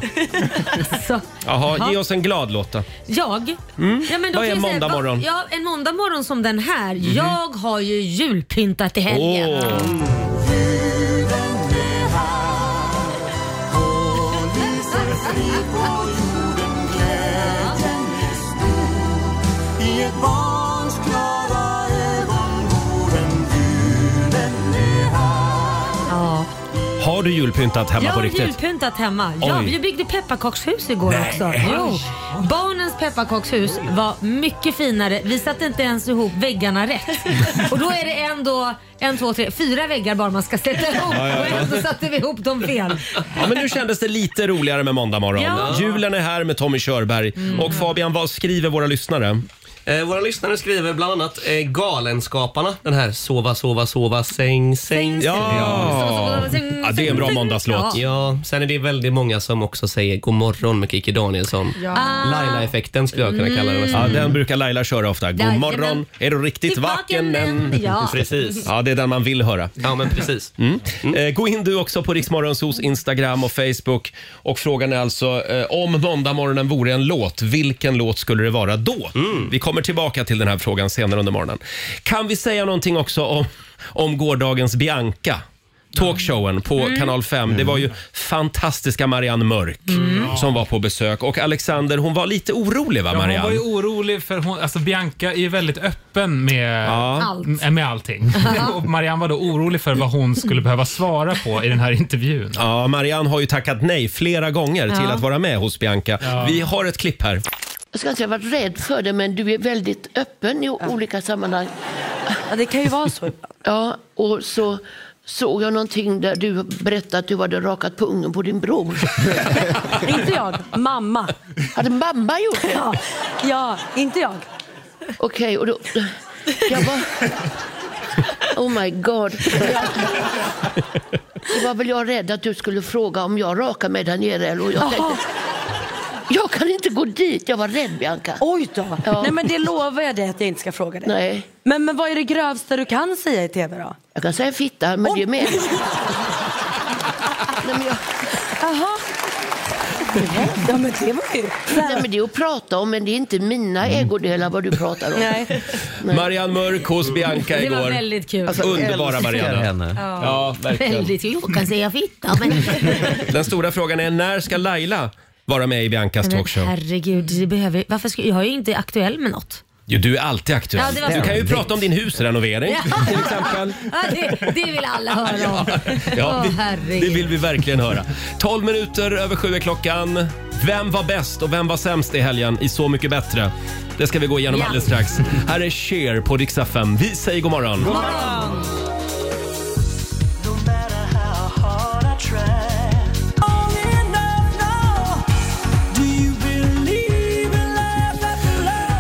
Speaker 2: alltså,
Speaker 1: Jaha,
Speaker 2: Ja.
Speaker 1: ge oss en glad Lotta.
Speaker 2: jag? Ja, men då
Speaker 1: Mm. Vad
Speaker 2: kan jag
Speaker 1: är
Speaker 2: säga,
Speaker 1: måndag
Speaker 2: va-
Speaker 1: morgon? Mhm.
Speaker 2: Ja, en måndag morgon som den här. Jag har ju julpyntat i helgen.
Speaker 1: Åh,
Speaker 2: Ja.
Speaker 1: har du julpyntat hemma
Speaker 2: Jag
Speaker 1: på
Speaker 2: har
Speaker 1: riktigt?
Speaker 2: julpyntat hemma. Ja,
Speaker 1: Oj.
Speaker 2: vi byggde pepparkakshus igår också. Jo. Barnens pepparkakshus var mycket finare. Vi satte inte ens ihop väggarna rätt. Och då är det en, då, en två, tre, fyra väggar bara man ska sätta ihop. Och ändå satte vi ihop dem fel.
Speaker 1: Ja, men nu kändes det lite roligare med måndag morgon.
Speaker 2: Ja. Mm.
Speaker 1: Julen är här med Tommy Körberg. Och Fabian, vad skriver våra lyssnare?
Speaker 10: Eh, våra lyssnare skriver bland annat eh, Galenskaparna. Den här sova, sova, sova, säng, säng.
Speaker 1: Ja. Ja, det är en bra måndagslåt.
Speaker 2: Ja.
Speaker 10: Ja, sen är det väldigt många som också säger god morgon med Kikki Danielsson. Laila-effekten skulle jag kunna
Speaker 2: Mm.
Speaker 10: kalla det.
Speaker 1: Ja,
Speaker 10: nästan.
Speaker 1: den brukar Laila köra ofta. God
Speaker 2: Jajamän.
Speaker 1: morgon, är du riktigt
Speaker 2: Till
Speaker 1: vaken
Speaker 2: vaken
Speaker 1: än?
Speaker 10: Mm.
Speaker 2: än? Ja.
Speaker 10: Precis.
Speaker 1: Ja, det är den man vill höra.
Speaker 10: Ja, men precis.
Speaker 1: Eh, Gå in du också på Riksmorgonsos Instagram och Facebook. Och frågan är alltså, eh, om måndagmorgonen vore en låt, vilken låt skulle det vara då? Vi kommer tillbaka till den här frågan senare under morgonen. Kan vi säga någonting också om, om gårdagens Bianca? Talkshowen på Kanal 5. Det var ju fantastiska Marianne Mörk som var på besök. Och Alexander, hon Mm. var lite orolig va
Speaker 8: Ja,
Speaker 1: Marianne?
Speaker 8: hon var ju orolig för hon, alltså Bianca är ju väldigt öppen med,
Speaker 2: Allt.
Speaker 8: m- med allting. Och Marianne var då orolig för vad hon skulle behöva svara på i den här intervjun.
Speaker 1: Ja, Marianne har ju tackat nej flera gånger till
Speaker 2: Ja.
Speaker 1: att vara med hos Bianca. Vi har ett klipp här.
Speaker 11: Jag ska inte säga att jag varit rädd för det, men du är väldigt öppen i olika sammanhang.
Speaker 12: Ja, det kan ju vara så ibland.
Speaker 11: Ja, och så såg jag någonting där du berättade att du hade rakat pungen på din bror.
Speaker 12: inte jag, mamma.
Speaker 11: Hade mamma gjort det?
Speaker 12: Ja, ja inte jag.
Speaker 11: Okej, och då... Jag var... Oh my god. Jag, då var väl jag rädd att du skulle fråga om jag rakar mig där nere. eller- Och jag tänkte, jag kan inte gå dit. Jag var rädd, Bianca.
Speaker 12: Oj då.
Speaker 11: Ja.
Speaker 12: Nej, men det lovar jag dig att jag inte ska fråga dig.
Speaker 11: Nej,
Speaker 12: Men, men vad är det grövsta du kan säga i TV då?
Speaker 11: jag kan säga fitta, men det är med. Nej, men jag,
Speaker 12: Jaha. Ja, men det var ju... Så
Speaker 11: nej,
Speaker 12: här-
Speaker 11: men det är att prata om, men det är inte mina ägodelar vad du pratar om.
Speaker 12: Nej.
Speaker 1: Marianne Mörk hos Bianca
Speaker 2: Det
Speaker 1: igår.
Speaker 2: var väldigt kul.
Speaker 1: Alltså, Underbara
Speaker 3: Älskar
Speaker 1: Marianne.
Speaker 3: henne.
Speaker 1: Ja, verkligen.
Speaker 2: Väldigt, Alltså, jag kan säga fitta men...
Speaker 1: Den stora frågan är när ska Laila vara med i Biancas
Speaker 2: men
Speaker 1: talkshow?
Speaker 2: herregud, det behöver, varför ska, jag är ju inte aktuell med något.
Speaker 1: Jo, du är alltid aktuell.
Speaker 2: Ja, det var
Speaker 1: du
Speaker 2: så.
Speaker 1: kan ju prata om din husrenovering.
Speaker 2: till exempel. Ja, det, det vill alla höra om.
Speaker 1: Ja,
Speaker 2: Åh,
Speaker 1: det,
Speaker 2: herregud.
Speaker 1: det vill vi verkligen höra. 12 minuter över sju är klockan. Vem var bäst och vem var sämst i helgen i Så mycket bättre? Det ska vi gå igenom
Speaker 2: Ja.
Speaker 1: alldeles strax. Här är Cher på Dix FM. Vi säger god morgon.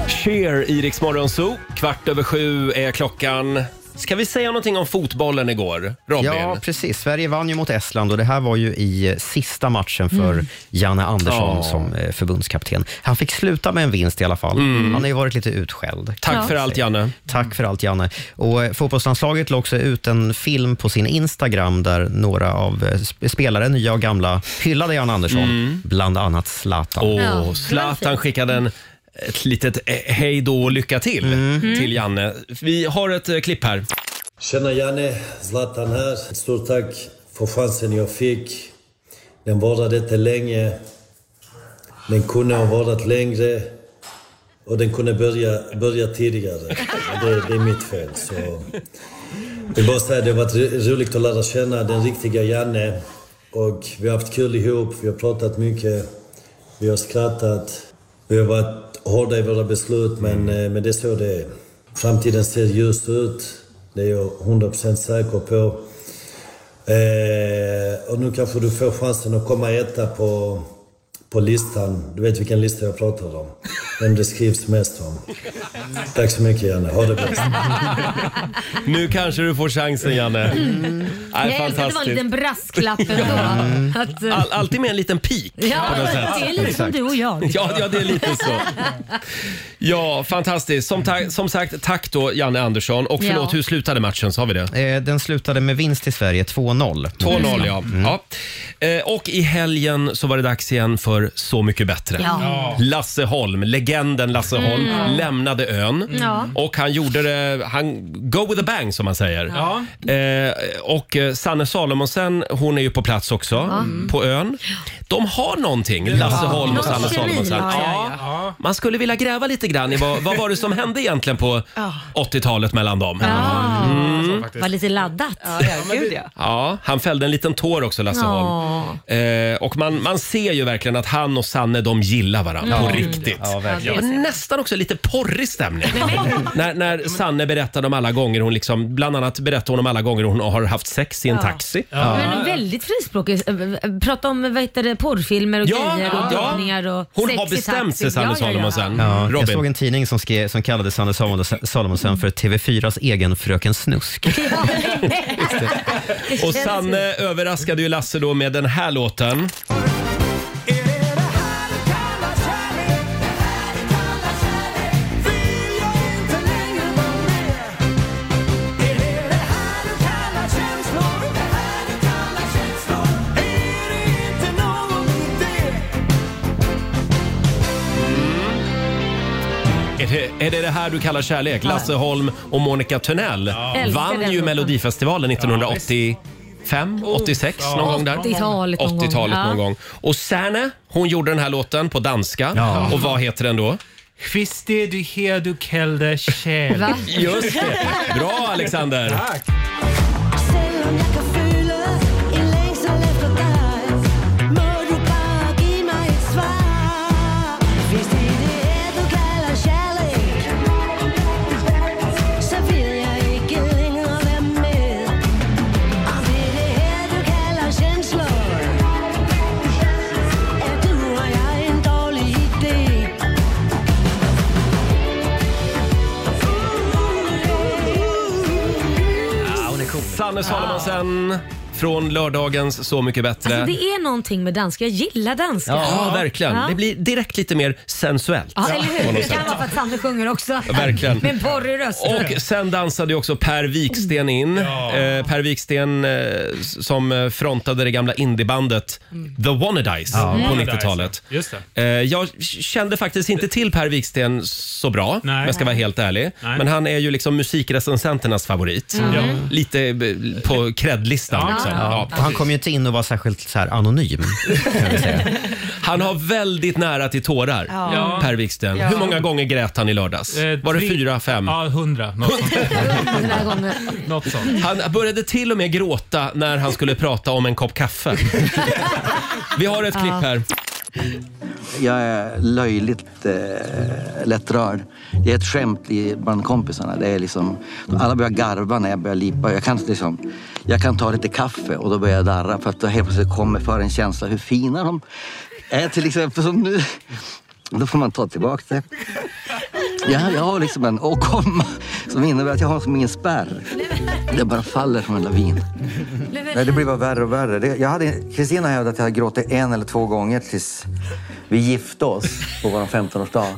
Speaker 1: Cher i Rix Morgon Zoo. Kvart över sju är klockan. Ska vi säga någonting om fotbollen igår, Robin?
Speaker 3: Ja, precis. Sverige vann ju mot Estland och det här var ju i eh, sista matchen för Janne Andersson
Speaker 1: Mm. Ja.
Speaker 3: som eh, förbundskapten. Han fick sluta med en vinst i alla fall. Han har ju varit lite utskälld.
Speaker 1: Mm. Tack
Speaker 2: Ja.
Speaker 1: för allt Janne.
Speaker 3: Tack för allt, Janne. Och eh, Fotbollslandslaget la också ut en film på sin Instagram där några av eh, sp- spelare, nya och gamla, hyllade Janne Andersson, bland annat Zlatan.
Speaker 1: Och
Speaker 2: det var
Speaker 1: Mm. Zlatan
Speaker 2: fint.
Speaker 1: skickade en, ett litet eh, hej då och lycka till
Speaker 2: Mm.
Speaker 1: till Janne. Vi har ett eh, klipp här.
Speaker 11: Tjena Janne, Zlatan här. Stort tack för chansen jag fick. Den varade inte länge. Den kunde ha varat längre och den kunde börja, börja tidigare. Och Det, det är mitt fel. Så. Jag vill bara säga, det har varit ro- roligt att lära känna den riktiga Janne. Och vi har haft kul ihop, vi har pratat mycket, vi har skrattat. Vi har varit hårda i våra beslut, men, eh, men det är så det är. Framtiden ser ljus ut, det är jag 100% säker på. Eh, och nu kanske du får chansen att komma etta på, på listan. Du vet vilken lista jag pratar om. Den det skrivs mest om. Tack så mycket Janne. Ha det bäst.
Speaker 1: Nu kanske du får chansen Janne. Mm. Nej,
Speaker 2: jag älskar att det var en liten brasklapp ändå.
Speaker 1: Mm.
Speaker 2: Att, eh,
Speaker 1: All, alltid med en liten pik
Speaker 2: Ja,
Speaker 1: på något sätt.
Speaker 2: det är lite som du och jag. liksom.
Speaker 1: Ja, ja, det är lite så. Ja, fantastiskt. Som, ta- som sagt, tack då Janne Andersson. Och förlåt,
Speaker 3: Ja.
Speaker 1: hur slutade matchen? Sa vi det?
Speaker 3: Eh, Den slutade med vinst till Sverige, Mm. 2-0.
Speaker 1: 2-0 ja. ja. Eh, Och i helgen så var det dags igen för Så mycket bättre.
Speaker 5: Ja. Ja.
Speaker 1: Lasse Holm, legenden Lasse Holm,
Speaker 5: Mm.
Speaker 1: lämnade ön.
Speaker 5: Ja.
Speaker 1: Och han gjorde det, han go with a bang som man säger.
Speaker 5: Ja.
Speaker 1: Eh, och eh, Sanne Salomonsen, hon är ju på plats också
Speaker 5: Mm.
Speaker 1: på ön. De har någonting, Lasse
Speaker 5: Ja.
Speaker 1: Holm och
Speaker 5: Någon kemi
Speaker 1: Sanne Salomonsen.
Speaker 5: har jag,
Speaker 1: Man skulle vilja gräva lite grann i vad, vad var det som hände egentligen på
Speaker 2: Ja.
Speaker 1: 80-talet mellan dem.
Speaker 2: Ja.
Speaker 1: Mm.
Speaker 2: Var lite laddat. Ja, ja, gud, ja.
Speaker 1: Ja, han fällde en liten tår också, Lasse Holm. Eh, och man, man ser ju verkligen att han och Sanne, de gillar varandra
Speaker 5: Ja.
Speaker 1: på
Speaker 5: Mm.
Speaker 1: riktigt.
Speaker 5: Ja, verkligen.
Speaker 1: Det var nästan också lite porrig stämning. när, när Sanne berättade om alla gånger hon liksom, bland annat berättade hon om alla gånger hon har haft sex i en
Speaker 2: Ja.
Speaker 1: taxi.
Speaker 2: Men väldigt frispråkig. Äh, Prata om vad heter det, porrfilmer och
Speaker 1: Ja,
Speaker 2: grejer
Speaker 1: ja.
Speaker 2: och dragningar och
Speaker 1: Hon
Speaker 2: sex
Speaker 1: har
Speaker 2: i
Speaker 1: bestämt
Speaker 2: taxi.
Speaker 1: sig, Sanne
Speaker 2: Ja, ja, ja.
Speaker 1: Salomonsen.
Speaker 3: Ja, jag
Speaker 1: Robin.
Speaker 3: såg en tidning som, skrev, som kallade Sanne Salomons- Salomonsen för TV4s egen Fröken Snusk.
Speaker 1: Och Sanne överraskade ju Lasse då med den här låten. Är det, är det det här du kallar kärlek? Lasse Holm och Monica Törnell
Speaker 2: Älskar den
Speaker 1: vann ju
Speaker 2: låten.
Speaker 1: Melodifestivalen 1985, 86
Speaker 2: Ja,
Speaker 1: någon gång där.
Speaker 2: 80-talet någon gång.
Speaker 1: 80-talet någon
Speaker 2: Ja.
Speaker 1: gång. Och Särne, hon gjorde den här låten på danska.
Speaker 8: Ja.
Speaker 1: Och vad heter den då?
Speaker 8: Christer du her du kälde kjell.
Speaker 2: Va?
Speaker 1: Just det. Bra Alexander! Ja, hon är cool. Sanne Salomonsen från lördagens Så mycket bättre.
Speaker 2: Alltså, det är någonting med danska. Jag gillar danska.
Speaker 1: Ja, verkligen.
Speaker 2: Ja.
Speaker 1: Det blir direkt lite mer sensuellt.
Speaker 2: Ja, eller
Speaker 1: på
Speaker 2: hur?
Speaker 1: något
Speaker 2: Det kan
Speaker 1: sätt.
Speaker 2: vara för att Sanne sjunger också.
Speaker 1: Ja, verkligen.
Speaker 2: Med en porrig röst.
Speaker 1: Och sen dansade ju också Per Viksten in. Eh, per Viksten eh, s- som eh, frontade det gamla indiebandet
Speaker 8: Mm.
Speaker 1: The Wannadies
Speaker 8: Ja,
Speaker 1: på
Speaker 8: Wannadies,
Speaker 1: 90-talet.
Speaker 8: ja. Just det.
Speaker 1: Eh, jag k- kände faktiskt inte till Per Viksten så bra, om jag ska vara helt ärlig.
Speaker 8: Nej.
Speaker 1: Men han är ju liksom musikrecensenternas favorit.
Speaker 8: Mm. Ja.
Speaker 1: Lite eh, på cred-listan.
Speaker 3: Ja,
Speaker 1: liksom.
Speaker 3: ja. Och han kom ju inte in och var särskilt så här anonym.
Speaker 1: Han har väldigt nära till tårar,
Speaker 8: Ja.
Speaker 1: Per Viksten.
Speaker 8: Ja.
Speaker 1: Hur många gånger grät han i lördags?
Speaker 8: Eh,
Speaker 1: Var det
Speaker 8: tre-
Speaker 1: fyra, fem?
Speaker 8: Ja, hundra.
Speaker 2: Hundra gånger.
Speaker 8: Något sånt.
Speaker 1: Han började till och med gråta när han skulle prata om en kopp kaffe. Vi har ett
Speaker 2: Ja.
Speaker 1: klipp här.
Speaker 13: Jag är löjligt eh, lättrörd. Det är ett skämt i, bland kompisarna. Det är liksom, alla börjar garva när jag börjar lipa. Jag kan, liksom, jag kan ta lite kaffe och då börjar jag darra för att då helt plötsligt kommer för en känsla hur fina de är till exempel som nu. Då får man ta tillbaka det. Jag, jag har liksom en åkomma som innebär att jag har som ingen spärr. Det bara faller som en lavin.
Speaker 11: Nej, det blir bara värre och värre. Det, jag hade, Kristina hävdade att jag hade gråtit en eller två gånger tills vi gifte oss på vår 15-årsdag.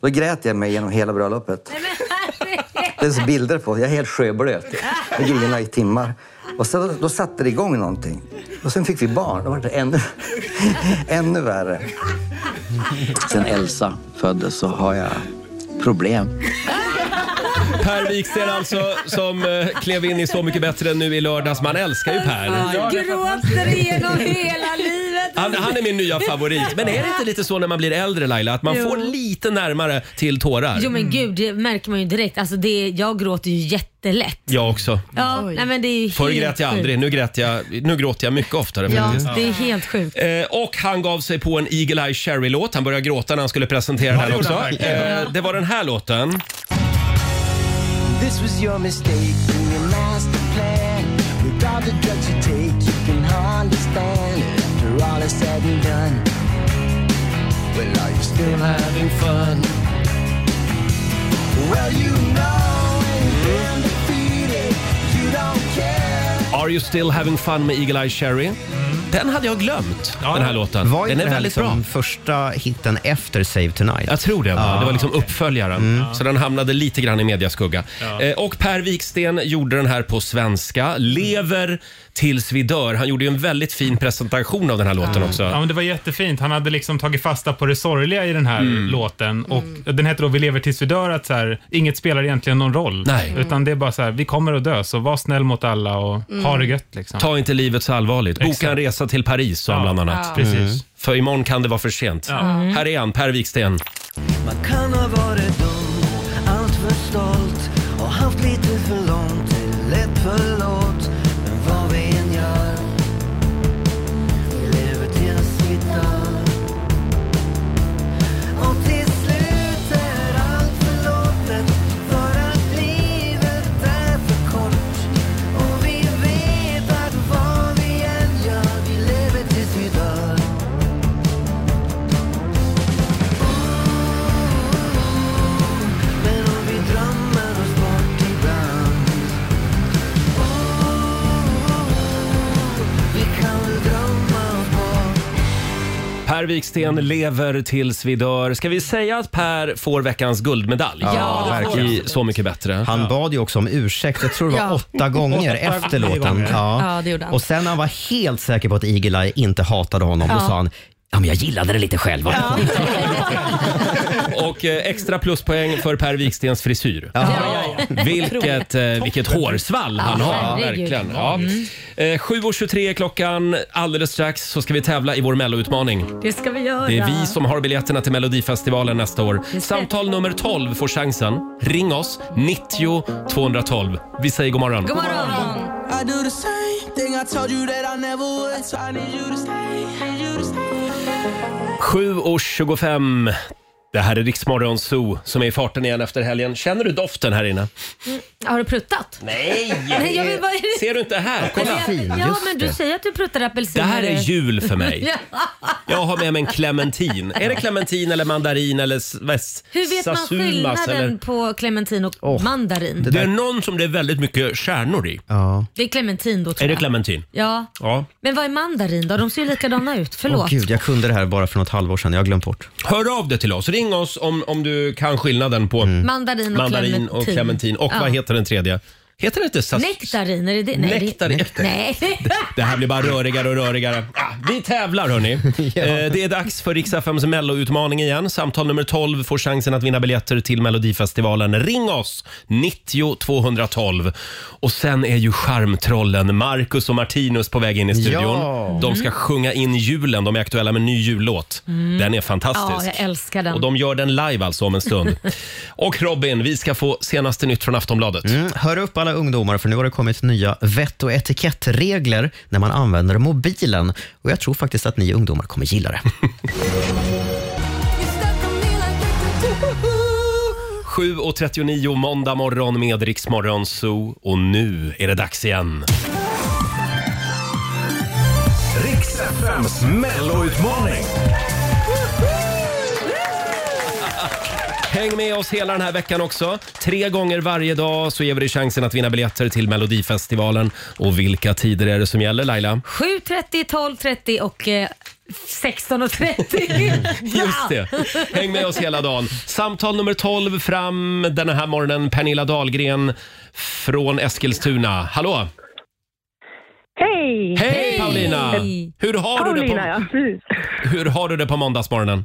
Speaker 11: Då grät jag mig genom hela bröllopet. Det finns bilder på. Jag är helt sjöblöt. Jag grinade i timmar. Och så, då satte det igång någonting. Och sen fick vi barn. Då var det ännu, ännu värre.
Speaker 13: Sen Elsa föddes så har jag problem.
Speaker 1: Per Wiksten alltså, som eh, klev in i Så mycket bättre nu i lördags. Man älskar ju
Speaker 2: Ah,
Speaker 1: Per.
Speaker 2: Gråter genom hela livet.
Speaker 1: Han, han är min nya favorit. Men är det inte lite så när man blir äldre Laila, att man
Speaker 2: Jo.
Speaker 1: får lite närmare till tårar?
Speaker 2: Jo men gud, det märker man ju direkt. Alltså, det, jag gråter ju jättelätt.
Speaker 1: Jag också.
Speaker 2: Ja, nej, men det är ju
Speaker 1: Förr
Speaker 2: helt
Speaker 1: grät jag
Speaker 2: sjukt.
Speaker 1: aldrig, nu, grät jag, nu gråter jag mycket oftare
Speaker 2: Ja,
Speaker 1: faktiskt.
Speaker 2: det är helt sjukt.
Speaker 1: Eh, och han gav sig på en Eagle Eye Cherry-låt. Han började gråta när han skulle presentera den
Speaker 5: gjorde
Speaker 1: också.
Speaker 5: han verkligen.
Speaker 1: Eh, det var den här låten.
Speaker 5: This was your mistake in your master plan. With all the drugs you take, you can hardly stand it. After all is said and done, But are you still having fun? Well, you know when you've been defeated, you don't care.
Speaker 1: Are you still having fun med Eagle-Eye Cherry? Den hade jag glömt, den här låten.
Speaker 3: Var
Speaker 1: den
Speaker 3: inte
Speaker 1: är
Speaker 3: det här
Speaker 1: väldigt
Speaker 3: liksom
Speaker 1: bra.
Speaker 3: första hitten efter Save Tonight?
Speaker 1: Jag tror det.
Speaker 3: Ja. Mm.
Speaker 1: Det var liksom uppföljaren. Så den hamnade lite grann i mediaskugga. Eh, Och Per Wiksten gjorde den här på svenska. Lever tills vi dör. Han gjorde ju en väldigt fin presentation av den här låten också.
Speaker 8: Ja, men det var jättefint. Han hade liksom tagit fasta på det sorgliga i den här
Speaker 1: Mm.
Speaker 8: låten. Och
Speaker 2: Mm.
Speaker 8: Den heter då Vi lever tills vi dör, att så här, inget spelar egentligen någon roll.
Speaker 2: Mm.
Speaker 1: Nej.
Speaker 8: Utan det är bara så här, vi kommer att dö, så var snäll mot alla och
Speaker 1: Mm.
Speaker 8: ha det gött. Liksom.
Speaker 1: Ta inte livet så allvarligt. Boka
Speaker 8: Exakt.
Speaker 1: en resa till Paris, sa han
Speaker 8: Ja,
Speaker 1: bland annat.
Speaker 8: ja. precis.
Speaker 1: Mm. För imorgon kan det vara för sent.
Speaker 8: Ja. Mm.
Speaker 1: Här är han, Per Wiksten.
Speaker 5: Man kan ha varit dum, allt för stolt och haft lite för långt till lätt förlåt. Men vad vi än gör, vi lever tills vi dör. Och till slut är allt förlåtet för att livet är för kort. Och vi vet att vad vi än gör, vi lever tills vi dör. Men om vi drömmer oss bort ibland oh, Vi kan väl drömma oss bort
Speaker 1: Per Wiksten
Speaker 3: Mm.
Speaker 1: lever tills vi dör. Ska vi säga att Per får veckans guldmedalj?
Speaker 3: Ja, Ja, det får verkligen.
Speaker 1: I Så mycket bättre.
Speaker 3: Han bad ju också om ursäkt, jag tror det var
Speaker 1: Ja.
Speaker 3: åtta gånger
Speaker 1: Åtta
Speaker 3: efter
Speaker 1: gånger.
Speaker 3: låten.
Speaker 1: Ja, det gjorde han.
Speaker 3: Och sen när han var helt säker på att Eagle-Eye inte hatade honom,
Speaker 1: Ja.
Speaker 3: då sa han Ja, men jag gillade det lite själv.
Speaker 1: Och eh, extra pluspoäng för Per Wikstens frisyr. Vilket, eh, vilket hårsvall han
Speaker 5: Ja,
Speaker 1: har.
Speaker 5: herregud. Mm.
Speaker 1: Verkligen. Ja. Eh, 7.23 är klockan. Alldeles strax så ska vi tävla i vår melloutmaning.
Speaker 2: Det ska vi göra.
Speaker 1: Det är vi som har biljetterna till Melodifestivalen nästa år.
Speaker 2: det.
Speaker 1: Samtal nummer 12 får chansen. Ring oss, 90 212. Vi säger god morgon.
Speaker 5: God morgon! I do the same thing I told you that I never would So I need you to stay, need you to stay
Speaker 1: 7.25. Det här är Riksmorgon Zoo som är i farten igen efter helgen. Känner du doften här inne?
Speaker 2: Mm, Har du pruttat?
Speaker 1: Nej!
Speaker 2: Nej jag vill bara...
Speaker 1: eh, Ser du inte här? Kolla!
Speaker 2: Ja, men du säger att du pruttar apelsiner.
Speaker 1: Det här är jul för mig.
Speaker 2: Ja.
Speaker 1: Jag har med mig en clementin. Är det clementin eller mandarin eller s- vad s-
Speaker 2: Hur vet man
Speaker 1: sasumas
Speaker 2: skillnaden
Speaker 1: eller-
Speaker 2: på clementin och mandarin?
Speaker 1: Det,
Speaker 2: Det,
Speaker 1: är någon som det är väldigt mycket stjärnor i.
Speaker 2: är clementin då tror
Speaker 1: Är det
Speaker 2: jag.
Speaker 1: clementin?
Speaker 2: Ja.
Speaker 1: Ja.
Speaker 2: Men vad är mandarin då? De ser ju likadana ut. Förlåt.
Speaker 3: Åh gud, jag kunde det här bara för något halvår sedan. Jag har glömt bort.
Speaker 1: Hör av dig till oss. Ring oss om, om du kan skillnaden på
Speaker 3: Mm.
Speaker 2: Mandarin och
Speaker 1: mandarin och
Speaker 2: clementin.
Speaker 1: clementin. Och vad
Speaker 2: Ja.
Speaker 1: heter den tredje? Heter det inte sas-
Speaker 2: Nektarin, är det det? Nej,
Speaker 1: Nektarin.
Speaker 2: Det... Nej.
Speaker 1: Det här blir bara rörigare och rörigare. Ah, vi tävlar hörni. eh, det är dags för Rix FMs Mello-utmaning igen. Samtal nummer 12 får chansen att vinna biljetter till Melodifestivalen. Ring oss! 90 212. Och sen är ju charmtrollen Marcus och Martinus på väg in i studion.
Speaker 5: Ja.
Speaker 1: De ska
Speaker 2: Mm.
Speaker 1: sjunga in julen. De är aktuella med en ny jullåt.
Speaker 2: Mm.
Speaker 1: Den är fantastisk.
Speaker 2: Ja, jag älskar den.
Speaker 1: Och de gör den live alltså om en stund. och Robin, vi ska få senaste nytt från Aftonbladet.
Speaker 3: Mm, hör upp alla ungdomar, för nu har det kommit nya vett och etikettregler när man använder mobilen. Och jag tror faktiskt att ni ungdomar kommer gilla det.
Speaker 1: 7.39 måndag morgon med Rix Morgon Zoo och nu är det dags igen.
Speaker 5: Riks FMs melloutmaning
Speaker 1: Häng med oss hela den här veckan också. Tre gånger varje dag så ger vi dig chansen att vinna biljetter till Melodifestivalen. Och vilka tider är det som gäller Laila?
Speaker 2: 7.30, 12.30 och eh, 16.30.
Speaker 1: Just det. Häng med oss hela dagen. Samtal nummer 12 fram den här morgonen. Pernilla Dahlgren från Eskilstuna. Hallå!
Speaker 14: Hej!
Speaker 1: Hej Paulina! Hur har, du det
Speaker 14: Paulina,
Speaker 1: på,
Speaker 14: ja. Precis.
Speaker 1: hur har du det på måndagsmorgonen?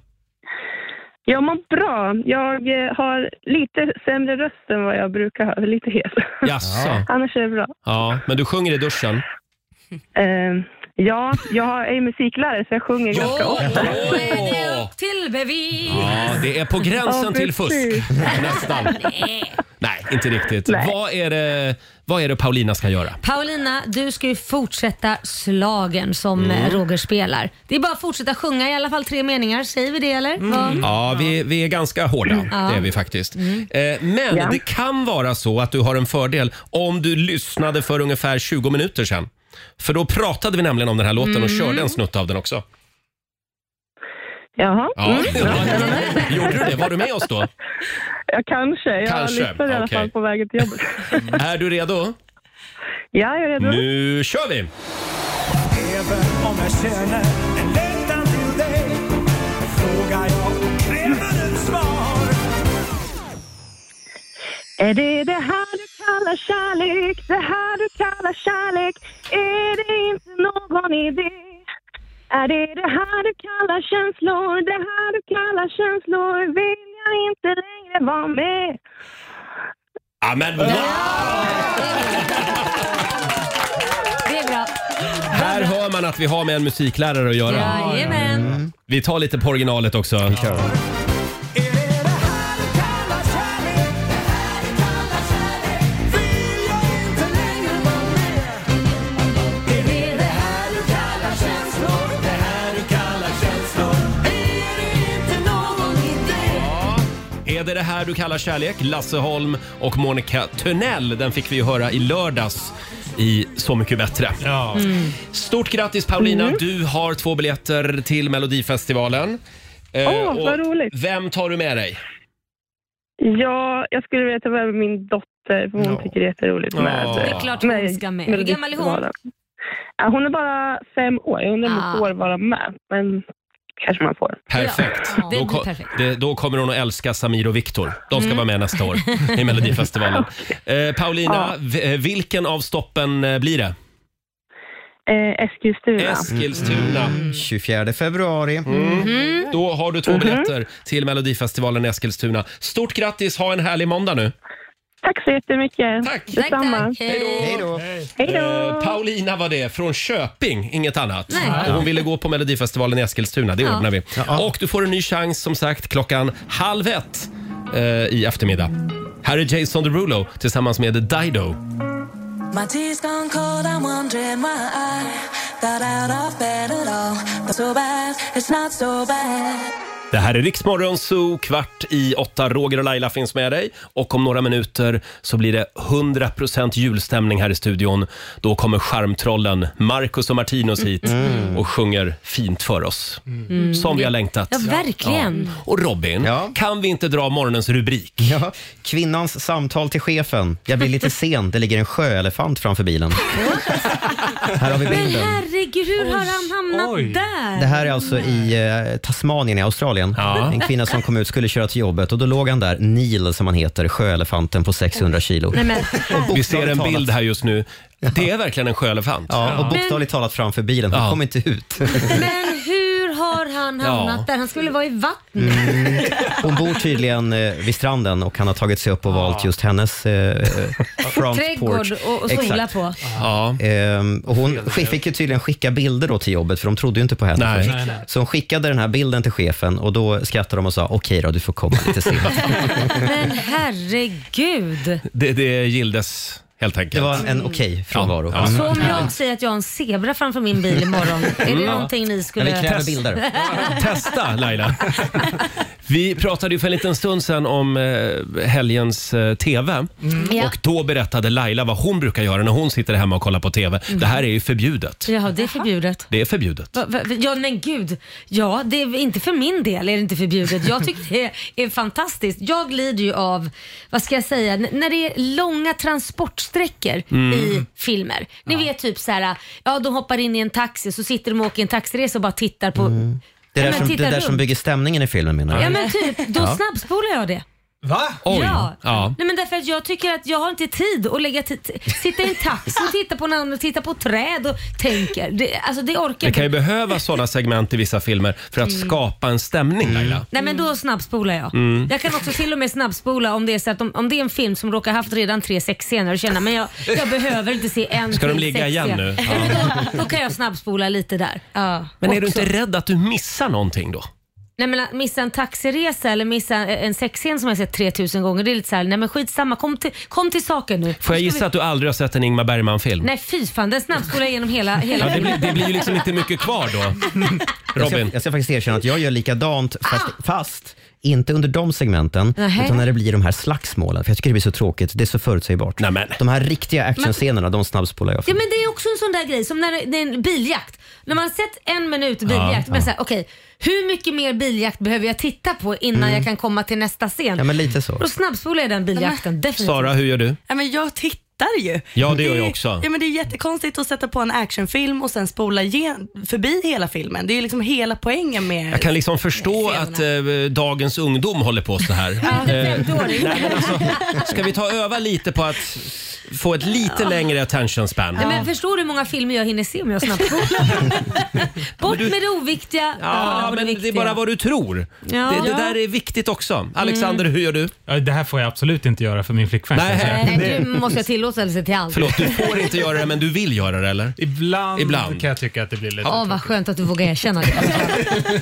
Speaker 14: Jag mår bra. Jag eh, har lite sämre röst än vad jag brukar ha. Lite hes.
Speaker 1: Jaså?
Speaker 14: Annars är det bra.
Speaker 1: Ja, men du sjunger i duschen?
Speaker 14: Eh, ja, jag är ju musiklärare så jag sjunger ganska ofta.
Speaker 1: Åh!
Speaker 2: Till bevis!
Speaker 1: Ja, det är på gränsen
Speaker 14: Ja,
Speaker 1: till fusk.
Speaker 14: precis.
Speaker 1: Nästan.
Speaker 2: Nej.
Speaker 1: Nej, inte riktigt.
Speaker 2: Nej.
Speaker 1: Vad, är det, vad är det Paulina ska göra?
Speaker 2: Paulina, du ska ju fortsätta slagen som
Speaker 1: Mm.
Speaker 2: eh, Roger spelar. Det är bara att fortsätta sjunga i alla fall tre meningar. Säger vi det eller?
Speaker 1: Mm.
Speaker 2: Mm. Ja.
Speaker 1: Ja, vi, vi är ganska hårda.
Speaker 2: Ja.
Speaker 1: Det är vi faktiskt.
Speaker 2: Mm.
Speaker 1: Eh, Men
Speaker 2: Ja.
Speaker 1: det kan vara så att du har en fördel om du lyssnade för ungefär 20 minuter sedan. För då pratade vi nämligen om den här låten och
Speaker 14: Mm.
Speaker 1: körde en snutt av den också.
Speaker 14: Jaha. Mm.
Speaker 1: Ja. Gjorde du det? Var du med oss då?
Speaker 14: Ja, kanske. Jag
Speaker 1: Kanske,
Speaker 14: lyssnar i alla
Speaker 1: okej.
Speaker 14: fall på vägen till jobbet.
Speaker 1: Är du redo?
Speaker 14: Ja, jag är redo.
Speaker 1: Nu kör vi!
Speaker 5: Även om jag känner en längtan till dig Frågar jag och kräver ett svar
Speaker 14: Är det det här du kallar kärlek? Det här du kallar kärlek? Är det inte någon idé? Är det det här du kallar känslor? Det här du kallar känslor? Vill jag inte längre vara med?
Speaker 1: Ja, men wow!
Speaker 2: Det är bra.
Speaker 1: Här hör man att vi har med en musiklärare att göra.
Speaker 2: Jajamän.
Speaker 1: Vi tar lite på originalet också.
Speaker 5: Är det det här du kallar känslor? Det här du kallar känslor? Är det inte någon idé?
Speaker 1: Är det det här du kallar kärlek? Lasse Holm och Monica Törnell. Den fick vi ju höra i lördags i Så mycket bättre.
Speaker 5: Mm.
Speaker 1: Stort grattis Paulina,
Speaker 5: Mm.
Speaker 1: du har två biljetter till Melodifestivalen. Eh,
Speaker 14: Åh, vad
Speaker 1: och
Speaker 14: roligt.
Speaker 1: Vem tar du med dig?
Speaker 14: Ja, jag skulle vilja ta med min dotter för hon tycker det är jätteroligt
Speaker 1: Ja.
Speaker 14: med eh,
Speaker 1: Det är klart
Speaker 2: hon
Speaker 14: med
Speaker 2: ska med. Hur gammal är hon?
Speaker 14: Melodifestivalen. Ja, hon är bara fem år. Jag undrar om hon
Speaker 2: Ah.
Speaker 14: får vara med, men kanske man får.
Speaker 1: Perfekt.
Speaker 14: Ja, det
Speaker 1: Då,
Speaker 14: blir
Speaker 1: ko-
Speaker 14: perfekt.
Speaker 1: Det, då kommer hon att älska Samir och Viktor. De ska
Speaker 14: Mm.
Speaker 1: vara med nästa år i Melodifestivalen. Eh, Paulina,
Speaker 14: Ja.
Speaker 1: v- eh, vilken av stoppen eh, blir det?
Speaker 14: Eh, Eskilstuna. Mm-hmm.
Speaker 1: Eskilstuna.
Speaker 3: 24 februari.
Speaker 1: Mm. Då har du två biljetter till Melodifestivalen i Eskilstuna. Stort grattis, ha en härlig måndag nu.
Speaker 14: Tack så jättemycket.
Speaker 1: Tack.
Speaker 14: Detsamma.
Speaker 1: Tack, tack. Hej
Speaker 3: då.
Speaker 14: Hej då.
Speaker 1: Eh, Paulina var det, från Köping, inget annat.
Speaker 14: Nej.
Speaker 1: Och hon ville gå på Melodifestivalen i Eskilstuna, det
Speaker 14: Ja.
Speaker 1: ordnar vi. Och du får en ny chans som sagt klockan halv ett eh, i eftermiddag. Här är Jason Derulo tillsammans med Dido.
Speaker 5: My tea's gone cold, I'm wondering why I got out of bed at all. Not so bad, it's not so bad.
Speaker 1: Det här är Riksmorgon Zoo, kvart i åtta. Roger och Laila finns med dig. Och om några minuter så blir det 100% julstämning här i studion. Då kommer charmtrollen Marcus och Martinus hit och sjunger fint för oss.
Speaker 2: Mm.
Speaker 1: Som vi har längtat.
Speaker 2: Ja, verkligen.
Speaker 1: Ja. Och Robin, kan vi inte dra morgonens rubrik?
Speaker 3: Ja, kvinnans samtal till chefen. Jag blir lite sen, det ligger en sjöelefant framför bilen. Här har vi
Speaker 2: Men
Speaker 3: bilden.
Speaker 2: herregud, hur har han hamnat där?
Speaker 3: Det här är alltså i eh, Tasmanien i Australien. En kvinna som kom ut skulle köra till jobbet och då låg han där, Neil som han heter, sjöelefanten på 600 kilo.
Speaker 2: Nej, men,
Speaker 1: Vi ser en bild här just nu. Det är verkligen en sjöelefant.
Speaker 3: Ja, och bokstavligt talat framför bilen. Hon kom inte ut.
Speaker 2: men hur har han hamnat där? Han skulle vara i vattnet.
Speaker 1: Mm.
Speaker 3: Mm. Hon bor tydligen eh, vid stranden och han har tagit sig upp och valt just hennes eh, front
Speaker 2: Trädgård
Speaker 3: porch.
Speaker 2: och, och
Speaker 3: Exakt.
Speaker 2: sola på.
Speaker 3: Ehm, och hon sk- fick ju tydligen skicka bilder då till jobbet, för de trodde ju inte på henne
Speaker 1: Nej.
Speaker 3: först.
Speaker 1: Nej, nej.
Speaker 3: Så hon skickade den här bilden till chefen och då skrattade de och sa okej då, du får komma lite sent.
Speaker 2: Men herregud.
Speaker 1: Det, det gildes helt enkelt. Det
Speaker 3: var en okej frånvaro.
Speaker 1: Ja.
Speaker 2: Så om
Speaker 1: Ja.
Speaker 2: jag säger att jag har en zebra framför min bil imorgon, är det
Speaker 1: Mm.
Speaker 2: någonting ni skulle...
Speaker 1: Ja, vi kräver bilder. Testa Laila. Vi pratade ju för en liten stund sedan om eh, helgens eh, TV.
Speaker 2: Mm. Ja.
Speaker 1: Och då berättade Laila vad hon brukar göra när hon sitter hemma och kollar på TV.
Speaker 2: Mm.
Speaker 1: Det här är ju förbjudet.
Speaker 2: Jaha, det är förbjudet.
Speaker 1: Det är förbjudet.
Speaker 2: Va, va, ja men gud, ja det är inte för min del är det inte förbjudet. Jag tycker det är fantastiskt. Jag lider ju av, vad ska jag säga, n- när det är långa transportsträckor
Speaker 5: Mm.
Speaker 2: i filmer. Ni vet typ så här, ja de hoppar in i en taxi så sitter de och åker i en taxiresa och bara tittar på...
Speaker 3: Mm. Det
Speaker 2: Ja,
Speaker 3: där,
Speaker 2: men
Speaker 3: som, det
Speaker 2: titta
Speaker 3: där
Speaker 2: runt.
Speaker 3: som bygger stämningen i filmen menar
Speaker 2: Ja men typ, då
Speaker 3: Ja.
Speaker 2: snabbspolar jag det.
Speaker 3: Va? Oj.
Speaker 2: Ja.
Speaker 3: Ja.
Speaker 2: Nej, men därför att jag tycker att jag har inte tid att lägga tid, sitta i en taxi och titta på en annan och titta på träd och tänker. Det, alltså det orkar
Speaker 1: Det kan ju
Speaker 2: inte.
Speaker 1: behövas sådana segment i vissa filmer för att
Speaker 2: Mm.
Speaker 1: skapa en stämning Laila.
Speaker 2: Nej men då snabbspolar jag.
Speaker 1: Mm.
Speaker 2: Jag kan också till och med snabbspola om det är så att om, om det är en film som råkar haft redan tre sexscener och känna men jag, jag behöver inte se en
Speaker 1: Ska de
Speaker 2: till
Speaker 1: ligga igen
Speaker 2: sexscen.
Speaker 1: nu?
Speaker 2: Nej, men Då, då kan jag snabbspola lite där. Ja,
Speaker 1: Men är du
Speaker 2: också.
Speaker 1: inte rädd att du missar någonting då?
Speaker 2: Nej men att missa en taxiresa eller missa en sexscen som jag sett 3000 gånger det är lite såhär, nej men skitsamma kom till, kom till saken nu.
Speaker 1: Får jag
Speaker 2: Nu ska
Speaker 1: gissa att du aldrig har sett en Ingmar Bergman-film?
Speaker 2: Nej fy fan, den snabbspolar jag igenom hela, hela
Speaker 1: Ja, det, blir,
Speaker 2: filmen.
Speaker 1: det blir ju liksom inte mycket kvar då.
Speaker 3: Jag ska,
Speaker 1: Robin.
Speaker 3: jag ska faktiskt erkänna att jag gör likadant fast, fast inte under de segmenten,
Speaker 2: Nähä.
Speaker 3: utan när det blir de här slagsmålen. För jag tycker det blir så tråkigt. Det är så förutsägbart. De här riktiga actionscenerna, de snabbspolar jag
Speaker 2: Ja
Speaker 3: för.
Speaker 2: men det är också en sån där grej som när det- det är en biljakt. När man sett en minut biljakt,
Speaker 3: Ja,
Speaker 2: men
Speaker 3: ja.
Speaker 2: så här, okej, hur mycket mer biljakt behöver jag titta på innan
Speaker 3: Mm.
Speaker 2: jag kan komma till nästa scen?
Speaker 3: Ja, men lite så.
Speaker 2: Då snabbspolar jag den biljakten, definitivt.
Speaker 1: Sara, hur gör du?
Speaker 9: Ja, men jag tittar ju.
Speaker 1: Ja, det gör jag
Speaker 9: är-
Speaker 1: också.
Speaker 2: Mm.
Speaker 9: Ja, men det är jättekonstigt att sätta på en actionfilm och sen spola igen, förbi hela filmen. Det är ju liksom hela poängen med...
Speaker 1: Jag kan liksom förstå att eh, dagens ungdom håller på så här. Eh, nej, men alltså, ska vi ta öva lite på att få ett lite längre attention span?
Speaker 2: Nej, men förstår du hur många filmer jag hinner se om jag snabbspolar? Bort med det oviktiga,
Speaker 1: Ja,
Speaker 2: behåll
Speaker 1: men det är
Speaker 2: viktiga.
Speaker 1: bara vad du tror.
Speaker 2: Ja.
Speaker 1: Det, det
Speaker 2: Ja.
Speaker 1: där är viktigt också. Alexander,
Speaker 2: Mm.
Speaker 1: hur gör du?
Speaker 8: Det här får jag absolut inte göra för min flickvän. kan jag säga.
Speaker 2: Nej, du måste ha tillåtelse till allt.
Speaker 1: Förlåt, du får inte göra det men du vill göra det eller?
Speaker 8: Ibland,
Speaker 1: Ibland.
Speaker 8: kan jag tycka att det blir lite...
Speaker 2: Åh, vad skönt att du vågar erkänna det.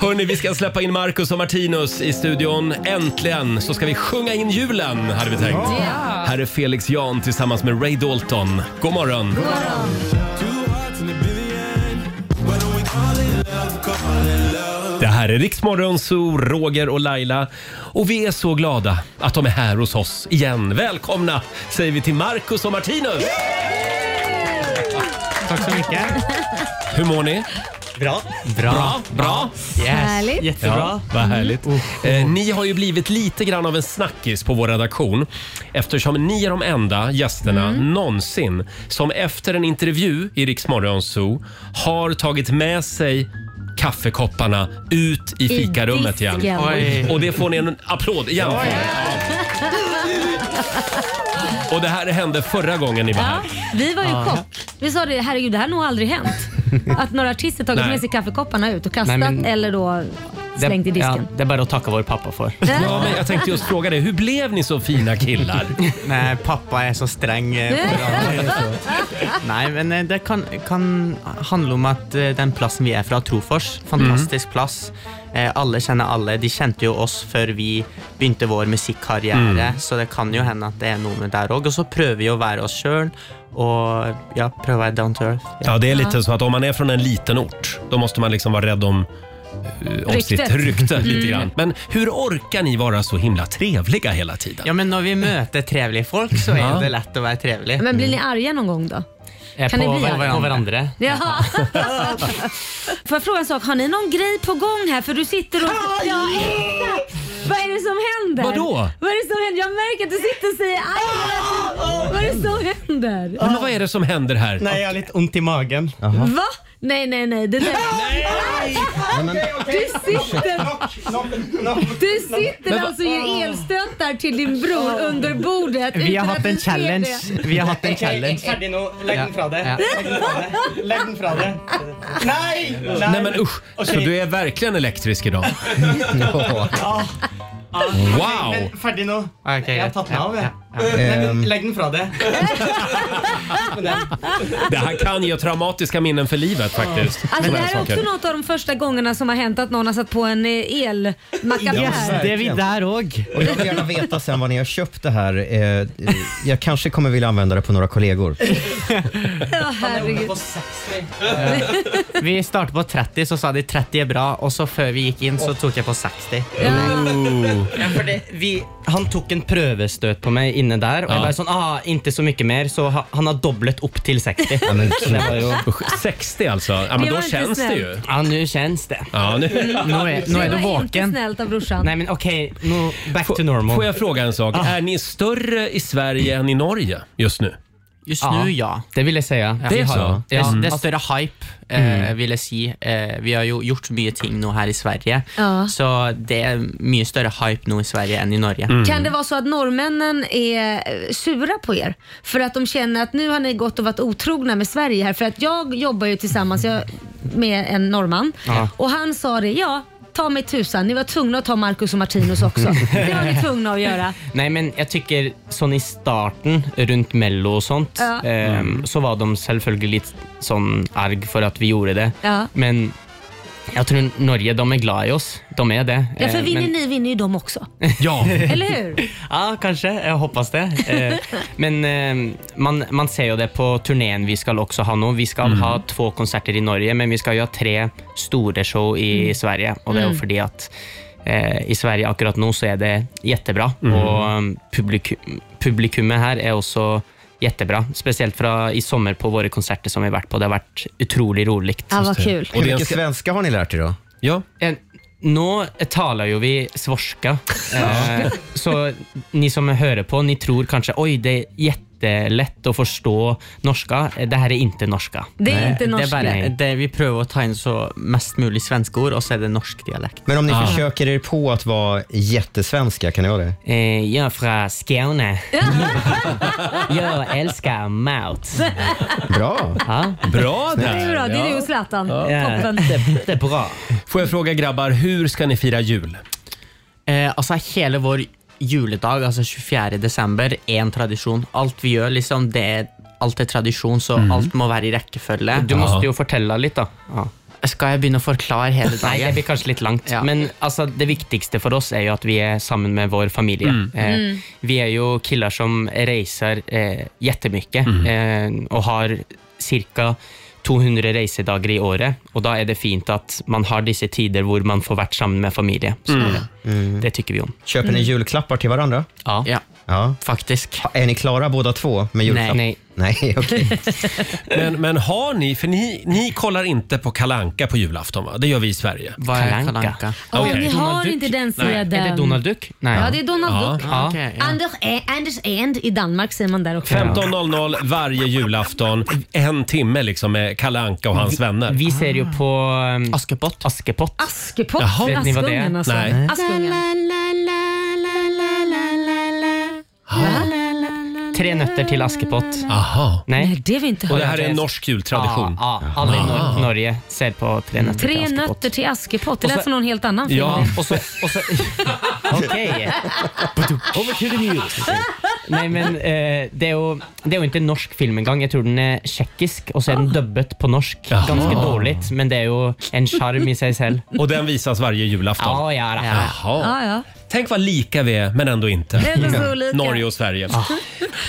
Speaker 1: Hörni, vi ska släppa in Marcus och Martinus i studion. Äntligen så ska vi sjunga in julen, hade vi tänkt.
Speaker 5: Ja.
Speaker 1: Här är Felix Jan tillsammans med Ray Dalton. God morgon! Det här är Riksmorgon, så Roger och Laila. Och vi är så glada att de är här hos oss igen. Välkomna säger vi till Marcus och Martinus!
Speaker 5: Tack så mycket.
Speaker 1: Hur mår ni?
Speaker 15: Bra.
Speaker 1: Bra. Bra.
Speaker 15: Yes. Härligt. Jättebra.
Speaker 1: Ja, vad härligt. Eh, ni har ju blivit lite grann av en snackis på vår redaktion eftersom ni är de enda gästerna någonsin som efter en intervju i Rix Morgon Zoo har tagit med sig kaffekopparna ut
Speaker 5: I
Speaker 1: i fikarummet igen.
Speaker 5: disken. Oj.
Speaker 1: Och det får ni en applåd igen för. Och det här hände förra gången ni var
Speaker 2: Ja,
Speaker 1: här.
Speaker 2: vi var ju
Speaker 1: Ja.
Speaker 2: chock. Vi sa det, herregud det här har nog aldrig hänt. Att några artister tagit
Speaker 15: Nej.
Speaker 2: med sig kaffekopparna ut och kastat
Speaker 15: Nej, men-
Speaker 2: eller då slängt i disken.
Speaker 15: Ja, det är bara att tacka vår pappa för.
Speaker 1: Ja, men jag tänkte just fråga dig, hur blev ni så fina killar?
Speaker 15: Nej, pappa är så sträng. eh, på det. Nej, men eh, det kan, kan handla om att eh, den platsen vi är från, Trofors, fantastisk plats. Eh, Alla känner alla. De kände ju oss för vi begynte vår musikkarriere,
Speaker 5: Mm.
Speaker 15: så det kan ju hända att det är något med där också. Och så prövar vi att vara oss själva och ja, pröva att vara down to earth.
Speaker 1: Ja, det är lite så att om man är från en liten ort, då måste man liksom vara rädd om, eh, om
Speaker 15: Ryktet.
Speaker 1: sitt rykte lite
Speaker 15: Mm.
Speaker 1: grann. Men hur orkar ni vara så himla trevliga hela tiden?
Speaker 15: Ja, men när vi möter trevliga folk så
Speaker 1: Ja.
Speaker 15: är det lätt att vara trevlig.
Speaker 2: Men blir ni arga någon gång då?
Speaker 15: Eh,
Speaker 2: kan ni
Speaker 15: på,
Speaker 2: bli arga?
Speaker 15: på varandra.
Speaker 2: Ja. Får jag fråga en sak? Har ni någon grej på gång här? För du sitter och... Ja, exakt! Vad är det som händer?
Speaker 1: Vadå?
Speaker 2: Vad är det som händer? Jag märker att du sitter och säger aj. vad- Vad är det som händer?
Speaker 1: Nej, men vad är det som händer här?
Speaker 15: Nej, jag har lite ont i magen.
Speaker 2: Va? Nej, nej, nej. Det där... Du sitter... Du sitter
Speaker 15: Men va-
Speaker 2: alltså och ger elstötar till din bror under bordet
Speaker 15: Vi har
Speaker 2: utan
Speaker 15: haft
Speaker 2: att du
Speaker 15: en
Speaker 2: ser
Speaker 15: challenge.
Speaker 2: det.
Speaker 15: Vi har haft en challenge. Legg den fra deg. Legg den fra deg. Nei!
Speaker 1: Nej men usch,
Speaker 15: Okej.
Speaker 1: så du är verkligen elektrisk idag. Wow.
Speaker 15: Men ferdig nå. jeg har tatt den av, jeg. Nei, men
Speaker 1: Ehm.
Speaker 15: legg den fra deg.
Speaker 1: Det här kan ge traumatiska minnen för livet faktiskt.
Speaker 2: Alltså,
Speaker 1: Såna
Speaker 2: det
Speaker 1: här
Speaker 2: här är också
Speaker 1: saker.
Speaker 2: något av de första gångerna som har hänt att någon har satt på en eh, elmackapjär.
Speaker 15: där òg.
Speaker 3: Och jag vill gärna veta sen vad ni har köpt det här. Eh, eh, Jag kanske kommer vilja använda det på några kollegor.
Speaker 2: Ja, herregud.
Speaker 15: Vi startet på 30, så sa de 30 er bra. Og så før vi gikk inn, så tok jeg på 60. Ja, for det, vi, han tok en prøvestøt på meg inne der, og jeg
Speaker 1: Ja.
Speaker 15: bare sånn ah, Ikke så mye mer, så ha, han har doblet opp til 60.
Speaker 1: Ja, men
Speaker 15: Så det var jo-
Speaker 1: Usch, 60 alltså, ja,
Speaker 15: Det
Speaker 1: men
Speaker 15: var
Speaker 1: då
Speaker 15: inte
Speaker 1: känns det ju.
Speaker 15: snällt. Ja, nu känns det.
Speaker 1: Ja, nu.
Speaker 15: Nå er, nå er du
Speaker 2: Mm. var
Speaker 15: våken.
Speaker 2: inte snällt av brorsan.
Speaker 15: Nei, men OK, nå back to normal.
Speaker 1: Får jag fråga en sak?
Speaker 15: Ah.
Speaker 1: Är ni större i Sverige än i Norge just nu?
Speaker 15: Just nu, ja. Det vill jag säga.
Speaker 1: Det är
Speaker 15: Vi har-
Speaker 1: så?
Speaker 15: Det,
Speaker 1: Mm.
Speaker 15: det är större hype, eh, vill jag säga. Eh, vi har ju gjort mycket ting nu här i Sverige,
Speaker 2: Ja.
Speaker 15: så det är mycket större hype nu i Sverige än i Norge.
Speaker 1: Mm.
Speaker 2: Kan det vara så att norrmännen är eh, sura på er? För att de känner att nu har ni gått och varit otrogna med Sverige här. För att jag jobbar ju tillsammans jag, med en norrman
Speaker 5: Ja.
Speaker 2: och han sa det, ja ta mig tusan, ni var tvungna att ta Marcus och Martinus också. Det var ni tvungna att göra.
Speaker 15: Nej, men jag tycker sån i starten, runt Mello och sånt,
Speaker 2: Ja.
Speaker 15: eh, så var de självklart lite sån arg för att vi gjorde det.
Speaker 2: Ja.
Speaker 15: Men jag tror Norge, de är glada i oss. De är det.
Speaker 2: Ja, för
Speaker 15: Eh,
Speaker 2: vinner
Speaker 15: men-
Speaker 2: ni vinner ju de också.
Speaker 1: Ja.
Speaker 2: Eller hur?
Speaker 15: Ja, kanskje. Jeg hoppas det. Eh, Men eh, man, man ser jo det på turneen vi skal også ha nå. Vi skal
Speaker 2: Mm.
Speaker 5: Mhm.
Speaker 15: ha två konserter i Norge, men vi skal jo ha tre store show i Sverige. Og det er
Speaker 5: Mm.
Speaker 15: jo fordi at eh, eh, i Sverige akkurat nu så är det jättebra.
Speaker 16: Mm.
Speaker 15: Och um, publik, publikummet här är också jättebra. Speciellt fra, i sommar på våra konserter som vi varit på. Det har varit otroligt roligt.
Speaker 2: Ja, vad kul.
Speaker 15: Och
Speaker 3: Hur mycket svenska har ni lärt er då?
Speaker 1: Ja.
Speaker 15: Nå talar ju vi svorska. Eh, så ni som hör på, ni tror kanske oj det är jättelätt att förstå norska. Eh, Det här är inte norska.
Speaker 2: Det är inte
Speaker 15: Det
Speaker 2: norska.
Speaker 15: är bara,
Speaker 2: Nej.
Speaker 15: det vi prövar att ta in så mest möjligt svenska ord och så är det norsk dialekt.
Speaker 3: Men om ni
Speaker 15: Ja.
Speaker 3: försöker er på att vara jättesvenska, kan ni vara det?
Speaker 15: Eh, jag är från Skåne. jag älskar mat.
Speaker 3: Bra.
Speaker 15: Ja.
Speaker 1: Bra
Speaker 2: Det
Speaker 1: där.
Speaker 2: är bra, det är du och Zlatan. Toppen.
Speaker 15: Det, det är bra.
Speaker 1: Får jag fråga grabbar, hur ska ni fira jul?
Speaker 15: Eh,
Speaker 16: altså, hele vår
Speaker 15: juledag, alltså altså 24. desember, er en tradisjon. Alt vi gjør, liksom, det er, alt er tradisjon, så
Speaker 1: Mm.
Speaker 16: Mhm.
Speaker 15: alt må være i rekkefølge.
Speaker 16: Du måste ju
Speaker 15: fortelle litt, da. Skal jeg begynne å forklare hele dagen? Nei, det blir kanskje litt langt.
Speaker 16: Ja.
Speaker 15: Men altså, det viktigste for oss er jo at vi er sammen med vår familie.
Speaker 16: Mm.
Speaker 15: Eh,
Speaker 16: Mm.
Speaker 15: Vi er jo killar som reiser eh, jättemycket
Speaker 1: Mhm.
Speaker 15: eh, och har cirka 200 reisedagar i året. Och då är det fint att man har dessa tider hvor man får vara sammen med familjen. Så
Speaker 3: Mm.
Speaker 15: det, det tycker vi om. Mm.
Speaker 3: Köper ni julklappar till varandra?
Speaker 15: Ja.
Speaker 3: ja.
Speaker 15: Faktiskt.
Speaker 3: Är ni klara båda två med julklapp?
Speaker 1: Nej.
Speaker 3: Nej, okej.
Speaker 1: Men, men har ni, för ni, ni kollar inte på Kalanka på julafton va? Det gör vi i Sverige.
Speaker 15: Vad är Kalle Anka?
Speaker 2: Åh,
Speaker 1: Okej.
Speaker 2: ni har inte den
Speaker 1: Nej.
Speaker 2: sidan.
Speaker 15: Duck?
Speaker 2: Ja, det är Donald Duck.
Speaker 1: Ja.
Speaker 2: Anders, eh, Anders End i Danmark säger man där också.
Speaker 1: 15.00 varje julafton. En timme liksom med Kalle Anka och hans vänner.
Speaker 15: Vi ser ju på um, Askepott. Askepott.
Speaker 2: Askepott?
Speaker 1: Jaha.
Speaker 15: Vet ni vad det är?
Speaker 2: Askungen alltså.
Speaker 15: Nej.
Speaker 2: Askungen.
Speaker 15: Tre nätter till Askepott.
Speaker 1: Aha.
Speaker 15: Nej.
Speaker 2: det vi inte
Speaker 1: Och det här är en norsk jultradition.
Speaker 15: Ja, ja. alla i
Speaker 1: Ah.
Speaker 15: Nor- Norge ser på Tre nätter till
Speaker 2: Tre
Speaker 15: Askepott.
Speaker 2: nötter till Askepott. Det
Speaker 15: Och
Speaker 2: lät
Speaker 15: så-
Speaker 2: som någon helt annan film.
Speaker 15: Ja, och så... Och så Okej. Over to the news. Nej, men eh, det, är ju, det är ju inte en norsk film en gång. Jag tror den är tjeckisk och så är den dubbet på norsk. Ganska dåligt, men det är ju en charm i sig själv.
Speaker 1: Och den visas varje julafton?
Speaker 15: Ja, ja, ja.
Speaker 1: Jaha.
Speaker 2: Ja, ja.
Speaker 1: Tänk vad lika vi är, men ändå inte. Mm.
Speaker 2: Det är väl så olika.
Speaker 1: Norge och Sverige.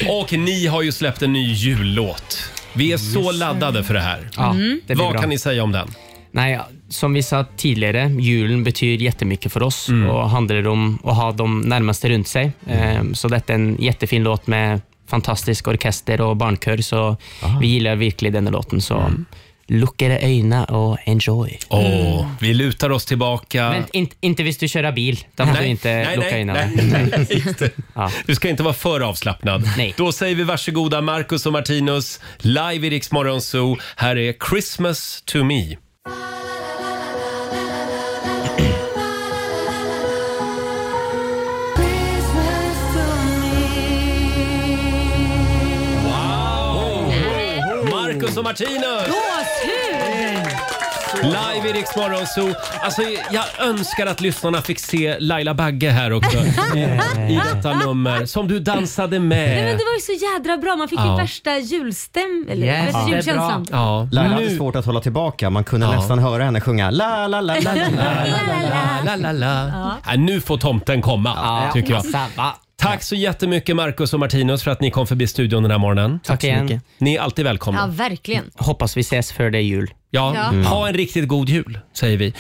Speaker 1: Och ni har ju släppt en ny jullåt. Vi är så laddade för det här.
Speaker 15: Ja, Mm. det blir
Speaker 1: Vad
Speaker 15: bra.
Speaker 1: kan ni säga om den?
Speaker 15: Nej, som vi sa tidigare, julen betyder jättemycket för oss
Speaker 1: Mm.
Speaker 15: och handlar om att ha de närmaste runt sig. Ehm, Så detta är en jättefin låt med fantastisk orkester och barnkör, så
Speaker 1: Ah.
Speaker 15: vi gillar verkligen den här låten. Så look era ögonen och enjoy.
Speaker 1: Mm. Åh, vi lutar oss tillbaka.
Speaker 15: Mm. Men inte, inte visst du köra bil. Då får du inte
Speaker 1: nej,
Speaker 15: locka
Speaker 1: nej,
Speaker 15: in
Speaker 1: nej, nej, inte. Du ska inte vara för avslappnad. Då säger vi varsågoda Marcus och Martinus, live i Rix Morgon Zoo. Här är Christmas to me. Marcus och Martinus! Live i Rix Morgon Zoo. Alltså, jag önskar att lyssnarna fick se Laila Bagge här också i, i detta nummer som du
Speaker 2: Nej,
Speaker 1: dansade
Speaker 2: men
Speaker 1: med.
Speaker 2: det var ju så jädra bra. Man fick
Speaker 1: Eh. Ja.
Speaker 2: ju värsta julstäm... Eller värsta julkänslan.
Speaker 1: Ja.
Speaker 3: Laila hade svårt att hålla tillbaka. Man kunde nästan höra henne sjunga la la la la la la
Speaker 1: la la la. Ja, nu får tomten komma,
Speaker 3: Ja.
Speaker 1: tycker jag.
Speaker 15: Samma.
Speaker 1: Tack så jättemycket Marcus och Martinus för att ni kom förbi studion den här morgonen.
Speaker 15: Tack så igen. mycket.
Speaker 1: Ni är alltid välkomna.
Speaker 2: Ja, verkligen.
Speaker 15: Hoppas vi ses före det är jul.
Speaker 1: Ja,
Speaker 2: Ja. Mm.
Speaker 1: ha en riktigt god jul säger vi.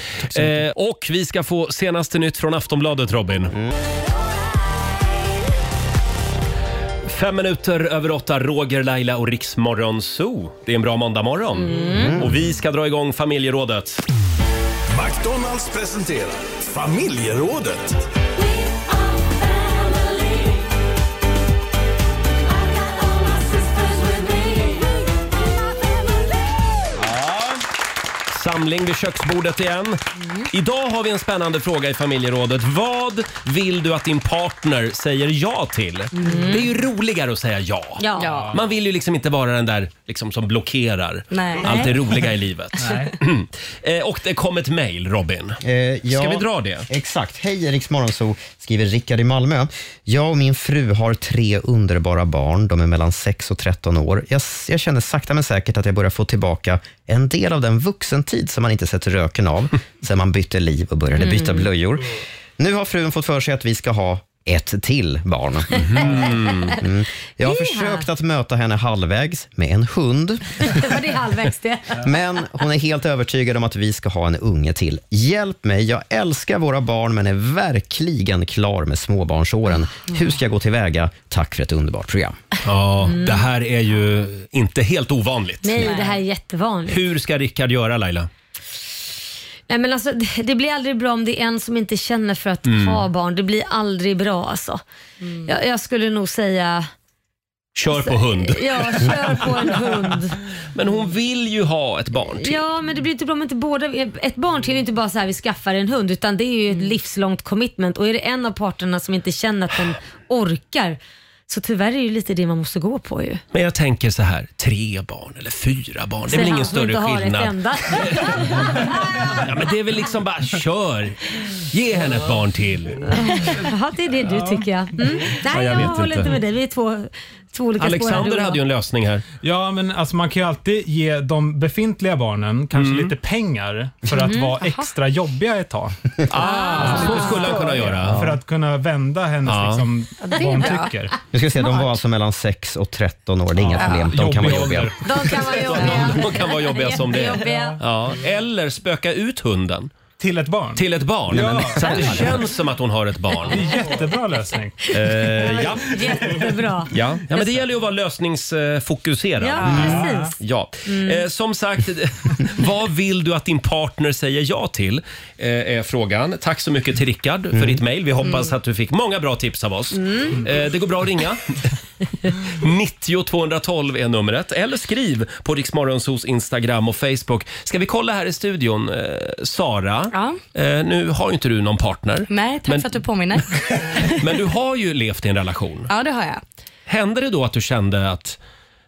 Speaker 1: Eh, och vi ska få senaste nytt från Aftonbladet Robin.
Speaker 15: Mm.
Speaker 1: Fem minuter över åtta, Roger, Laila och Riksmorgon Zoo. Det är en bra måndagmorgon.
Speaker 2: Mm.
Speaker 1: Och vi ska dra igång familjerådet.
Speaker 6: McDonalds presenterar Familjerådet.
Speaker 1: Samling vid köksbordet igen. Idag har vi en spännande fråga i familjerådet. Vad vill du att din partner säger ja till? Det är ju roligare att säga ja.
Speaker 2: Ja. Mm. Ja.
Speaker 1: Man vill ju liksom inte vara den där liksom som blockerar
Speaker 2: Nej.
Speaker 1: allt det
Speaker 2: Nej.
Speaker 1: roliga i livet. Eh, Och det kom ett mejl, Robin. Ska vi dra det?
Speaker 3: Eh, Exakt. Hej Riks Morgonzoo, skriver Rickard i Malmö. Jag och min fru har tre underbara barn. De är mellan 6 och 13 år. Jag, jag känner sakta men säkert att jag börjar få tillbaka en del av den vuxentid som man inte sett röken av sen man bytte liv och började byta
Speaker 16: Mm.
Speaker 3: blöjor. Nu har frun fått för sig att vi ska ha ett till barn.
Speaker 1: Mhm.
Speaker 3: Mm. Jag har försökt att möta henne halvvägs med en hund.
Speaker 2: Var det halvvägs det?
Speaker 3: Men hon är helt övertygad om att vi ska ha en unge till. Hjälp mig, jag älskar våra barn men är verkligen klar med småbarnsåren. Hur ska jag gå tillväga? Tack för ett underbart program.
Speaker 1: Ja, det här är ju inte helt ovanligt.
Speaker 2: Mm. Nej, det här är jättevanligt.
Speaker 1: Hur ska Rickard göra Laila?
Speaker 2: Nej, men alltså, det- det blir aldrig bra om det är en som inte känner för att
Speaker 1: Mm.
Speaker 2: ha barn. Det blir aldrig bra alltså. Jag, jag skulle nog säga...
Speaker 1: Kör på hund.
Speaker 2: Ja, kör på en hund.
Speaker 1: Men hon vill ju ha ett barn till.
Speaker 2: Ja, men det blir inte bra om inte båda... Ett barn till är inte bara så här vi skaffar en hund, utan det är ju
Speaker 1: Mm.
Speaker 2: ett livslångt commitment. Och är det en av parterna som inte känner att den orkar, så tyvärr är det ju lite det man måste gå på ju.
Speaker 1: Men jag tänker så här, tre barn eller fyra barn, det är
Speaker 2: Sen
Speaker 1: väl
Speaker 2: han
Speaker 1: ingen
Speaker 2: som inte
Speaker 1: större
Speaker 2: har ett
Speaker 1: skillnad.
Speaker 2: enda.
Speaker 1: Ja, men det är väl liksom bara kör. Ge henne ett barn till.
Speaker 2: Jaha, det är det du tycker jag. Mm.
Speaker 1: jag
Speaker 2: Nej, jag,
Speaker 1: vet
Speaker 2: håller
Speaker 1: inte.
Speaker 2: inte med dig. Vi är två, två olika spår. här, du
Speaker 8: Alexander
Speaker 2: och jag.
Speaker 8: hade ju
Speaker 1: en lösning här.
Speaker 8: Ja, men alltså man kan ju alltid ge de befintliga barnen kanske
Speaker 1: Mm.
Speaker 8: lite pengar för att
Speaker 2: Mm.
Speaker 1: Mhm,
Speaker 8: vara
Speaker 1: aha.
Speaker 8: extra jobbiga ett tag.
Speaker 1: Ah, så skulle han kunna göra. Ah.
Speaker 8: För att kunna vända hennes
Speaker 1: Ja.
Speaker 8: liksom,
Speaker 1: Ja,
Speaker 2: det är
Speaker 8: vad hon
Speaker 2: bra.
Speaker 8: tycker.
Speaker 3: Nu ska vi se, de var alltså mellan 6 och 13 år. Det är inga
Speaker 1: Ja.
Speaker 3: problem. De kan vara
Speaker 1: Jobbig
Speaker 3: jobbiga.
Speaker 1: ålder.
Speaker 2: De kan vara jobbiga.
Speaker 1: De kan vara jobbiga som det är.
Speaker 2: Jättejobbiga.
Speaker 1: Ja. Eller spöka ut hunden.
Speaker 8: Till ett barn?
Speaker 1: Till ett barn.
Speaker 8: Ja. Nej, men-
Speaker 1: Så att det känns som att hon har ett barn.
Speaker 8: Det är en jättebra lösning.
Speaker 1: Eh, ja.
Speaker 2: Jättebra.
Speaker 1: Ja. ja, men det gäller ju att vara lösningsfokuserad.
Speaker 2: Ja, Mm. precis.
Speaker 1: Ja. Eh, som sagt, vad vill du att din partner säger ja till? Eh, är frågan. Tack så mycket till Rickard för ditt mejl. Vi hoppas att du fick många bra tips av oss.
Speaker 5: Mm.
Speaker 1: Eh, det går bra att ringa. 90 212 är numret. Eller skriv på Riksmorgonsos Instagram och Facebook. Ska vi kolla här i studion, eh, Sara? Eh, nu har ju inte du någon partner.
Speaker 9: Nej, tack
Speaker 1: Men-
Speaker 9: för att du påminner.
Speaker 1: Men du har ju levt i en relation.
Speaker 9: Ja, det har jag.
Speaker 1: Hände det då att du kände att,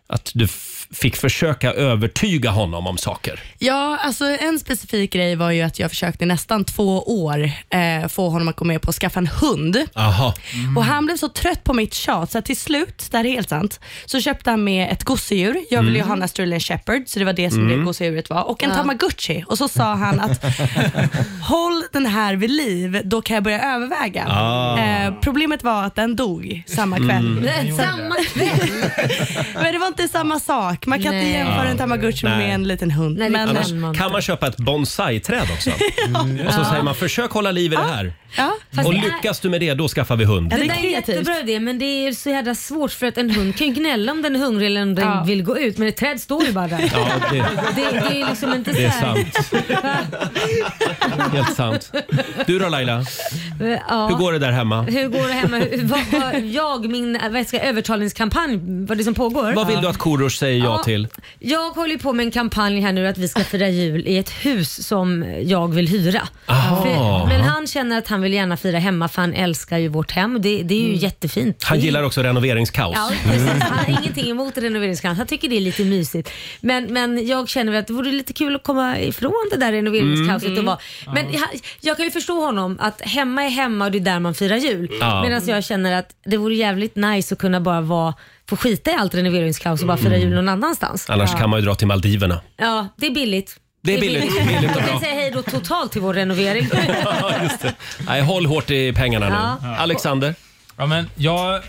Speaker 1: att du f- fick försöka övertyga honom om saker?
Speaker 9: Ja, alltså en specifik grej var ju att jag försökte i nästan två år eh, få honom att gå med på att skaffa en hund.
Speaker 1: Aha.
Speaker 9: Och Han blev så trött på mitt tjat så att till slut, det här är helt sant, så köpte han med ett gosedjur. Jag ville ju
Speaker 16: Mm.
Speaker 9: ha en Australian shepherd, så det var det som
Speaker 16: Mm.
Speaker 9: det gosedjuret var. Och en
Speaker 16: Ja.
Speaker 9: tamagotchi. Och så sa han att håll den här vid liv, då kan jag börja överväga.
Speaker 16: Ah.
Speaker 9: Eh, problemet var att den dog samma kväll.
Speaker 16: Mm.
Speaker 2: Nej, samma kväll?
Speaker 9: Men det var inte samma sak. Man kan
Speaker 2: Nej.
Speaker 9: inte jämföra
Speaker 1: Ja.
Speaker 9: en tamagotchi
Speaker 1: Nej.
Speaker 9: med en liten hund.
Speaker 2: Nej, det
Speaker 9: men,
Speaker 1: Annars kan man köpa ett bonsai-träd också. Och så säger man försök hålla liv i det här.
Speaker 9: Ja.
Speaker 2: Fast
Speaker 1: Och
Speaker 2: det är-
Speaker 1: lyckas du med det, då skaffar vi hund.
Speaker 2: Det, där är jättebra idé, men det är så jävla svårt för att en hund kan ju gnälla om den är hungrig eller om den vill gå ut, men ett träd står ju bara där.
Speaker 1: Ja, det-
Speaker 2: det, det är liksom inte
Speaker 1: Det är
Speaker 2: så här-
Speaker 1: sant. Helt sant. Du då Laila?
Speaker 2: Ja.
Speaker 1: Hur går det där hemma?
Speaker 2: Hur går det hemma? Hur- Vad, vad, jag, min vad ska, jag säga, övertalningskampanj, vad det som pågår.
Speaker 1: Vad vill du att Korosh säger ja,
Speaker 2: Ja.
Speaker 1: till?
Speaker 2: Jag håller ju på med en kampanj här nu att vi ska fira jul i ett hus som jag vill hyra.
Speaker 1: Aha.
Speaker 2: För, men han känner att han vill gärna fira hemma för han älskar ju vårt hem. Det, det är ju jättefint.
Speaker 1: Mm. Han
Speaker 2: Det är-
Speaker 1: gillar också renoveringskaos.
Speaker 2: Ja, precis. Han har ingenting emot renoveringskran. Han tycker det är lite mysigt. Men, men jag känner väl att det vore lite kul att komma ifrån det där renoveringskaoset.
Speaker 16: Mm.
Speaker 2: Och vara. Men jag, jag kan ju förstå honom att hemma är hemma och det är där man firar jul.
Speaker 16: Ja.
Speaker 2: Medan jag känner att det vore jävligt nice att kunna bara vara, få skita i allt renoveringskaos och bara fira
Speaker 1: Mm.
Speaker 2: jul någon annanstans.
Speaker 1: Annars
Speaker 2: ja.
Speaker 1: kan man ju dra till Maldiverna.
Speaker 2: Ja, det är billigt.
Speaker 1: Det är billigt. Billigt och
Speaker 2: Jag
Speaker 1: bra.
Speaker 2: kan säga hej då totalt till vår renovering.
Speaker 1: Nej, håll hårt i pengarna nu.
Speaker 2: Ja.
Speaker 1: Alexander?
Speaker 8: Ja, men jag,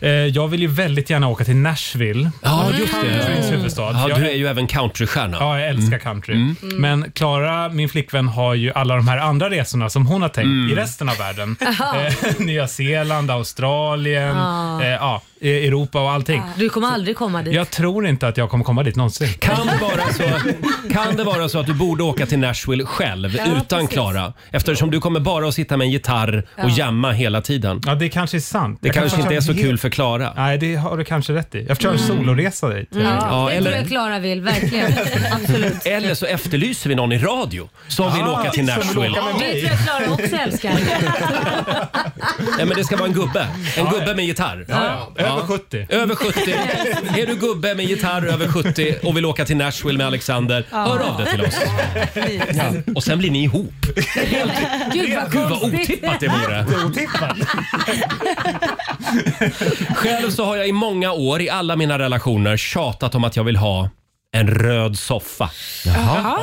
Speaker 8: eh, jag vill ju väldigt gärna åka till Nashville.
Speaker 1: Ja, just det.
Speaker 8: Countryns huvudstad.
Speaker 1: Ja,
Speaker 8: Jag-
Speaker 1: du är ju även countrystjärna. Mm.
Speaker 8: Ja, jag älskar country. Men Klara, min flickvän, har ju alla de här andra resorna som hon har tänkt
Speaker 1: Mm.
Speaker 8: i resten av världen.
Speaker 2: Jaha.
Speaker 8: Eh, Nya Zeeland, Australien,
Speaker 2: Ah.
Speaker 8: eh, ja, eh, Europa och allting.
Speaker 2: Du kommer aldrig komma dit.
Speaker 8: Jag tror inte att jag kommer komma dit någonsin.
Speaker 1: Kan det, vara så, kan det vara så att du borde åka till Nashville själv
Speaker 8: Ja,
Speaker 1: utan
Speaker 8: precis.
Speaker 1: Klara? Eftersom du kommer bara att sitta med en gitarr och
Speaker 8: Ja.
Speaker 1: jamma hela tiden.
Speaker 8: Ja, det kanske är sant.
Speaker 1: Det
Speaker 8: Jag
Speaker 1: kanske inte är så
Speaker 8: har-
Speaker 1: kul för Klara.
Speaker 8: Nej, det har du kanske rätt i. Jag försöker mm. soloresa dit.
Speaker 2: Ja,
Speaker 1: Ja,
Speaker 2: det tror jag
Speaker 1: eller,
Speaker 2: Klara vill, verkligen. Absolut.
Speaker 1: eller så efterlyser vi någon i radio som vill
Speaker 8: Ah,
Speaker 1: åka till
Speaker 8: som vill
Speaker 1: Nashville.
Speaker 8: åka med
Speaker 2: Det
Speaker 8: mig.
Speaker 2: tror jag Klara också älskar.
Speaker 1: Ja, men det ska vara en gubbe. En gubbe med gitarr.
Speaker 8: Ja, ja. Över 70.
Speaker 1: Över 70. Är du gubbe med gitarr över 70 och vill åka till Nashville med Alexander,
Speaker 2: Ja.
Speaker 1: hör av dig till oss. Ja. Och sen blir ni ihop.
Speaker 2: Gud vad
Speaker 1: Gud vad
Speaker 2: konstigt.
Speaker 1: otippat det vore.
Speaker 8: Otippat.
Speaker 1: Själv så har jag i många år i alla mina relationer tjatat om att jag vill ha en röd soffa.
Speaker 5: Jaha.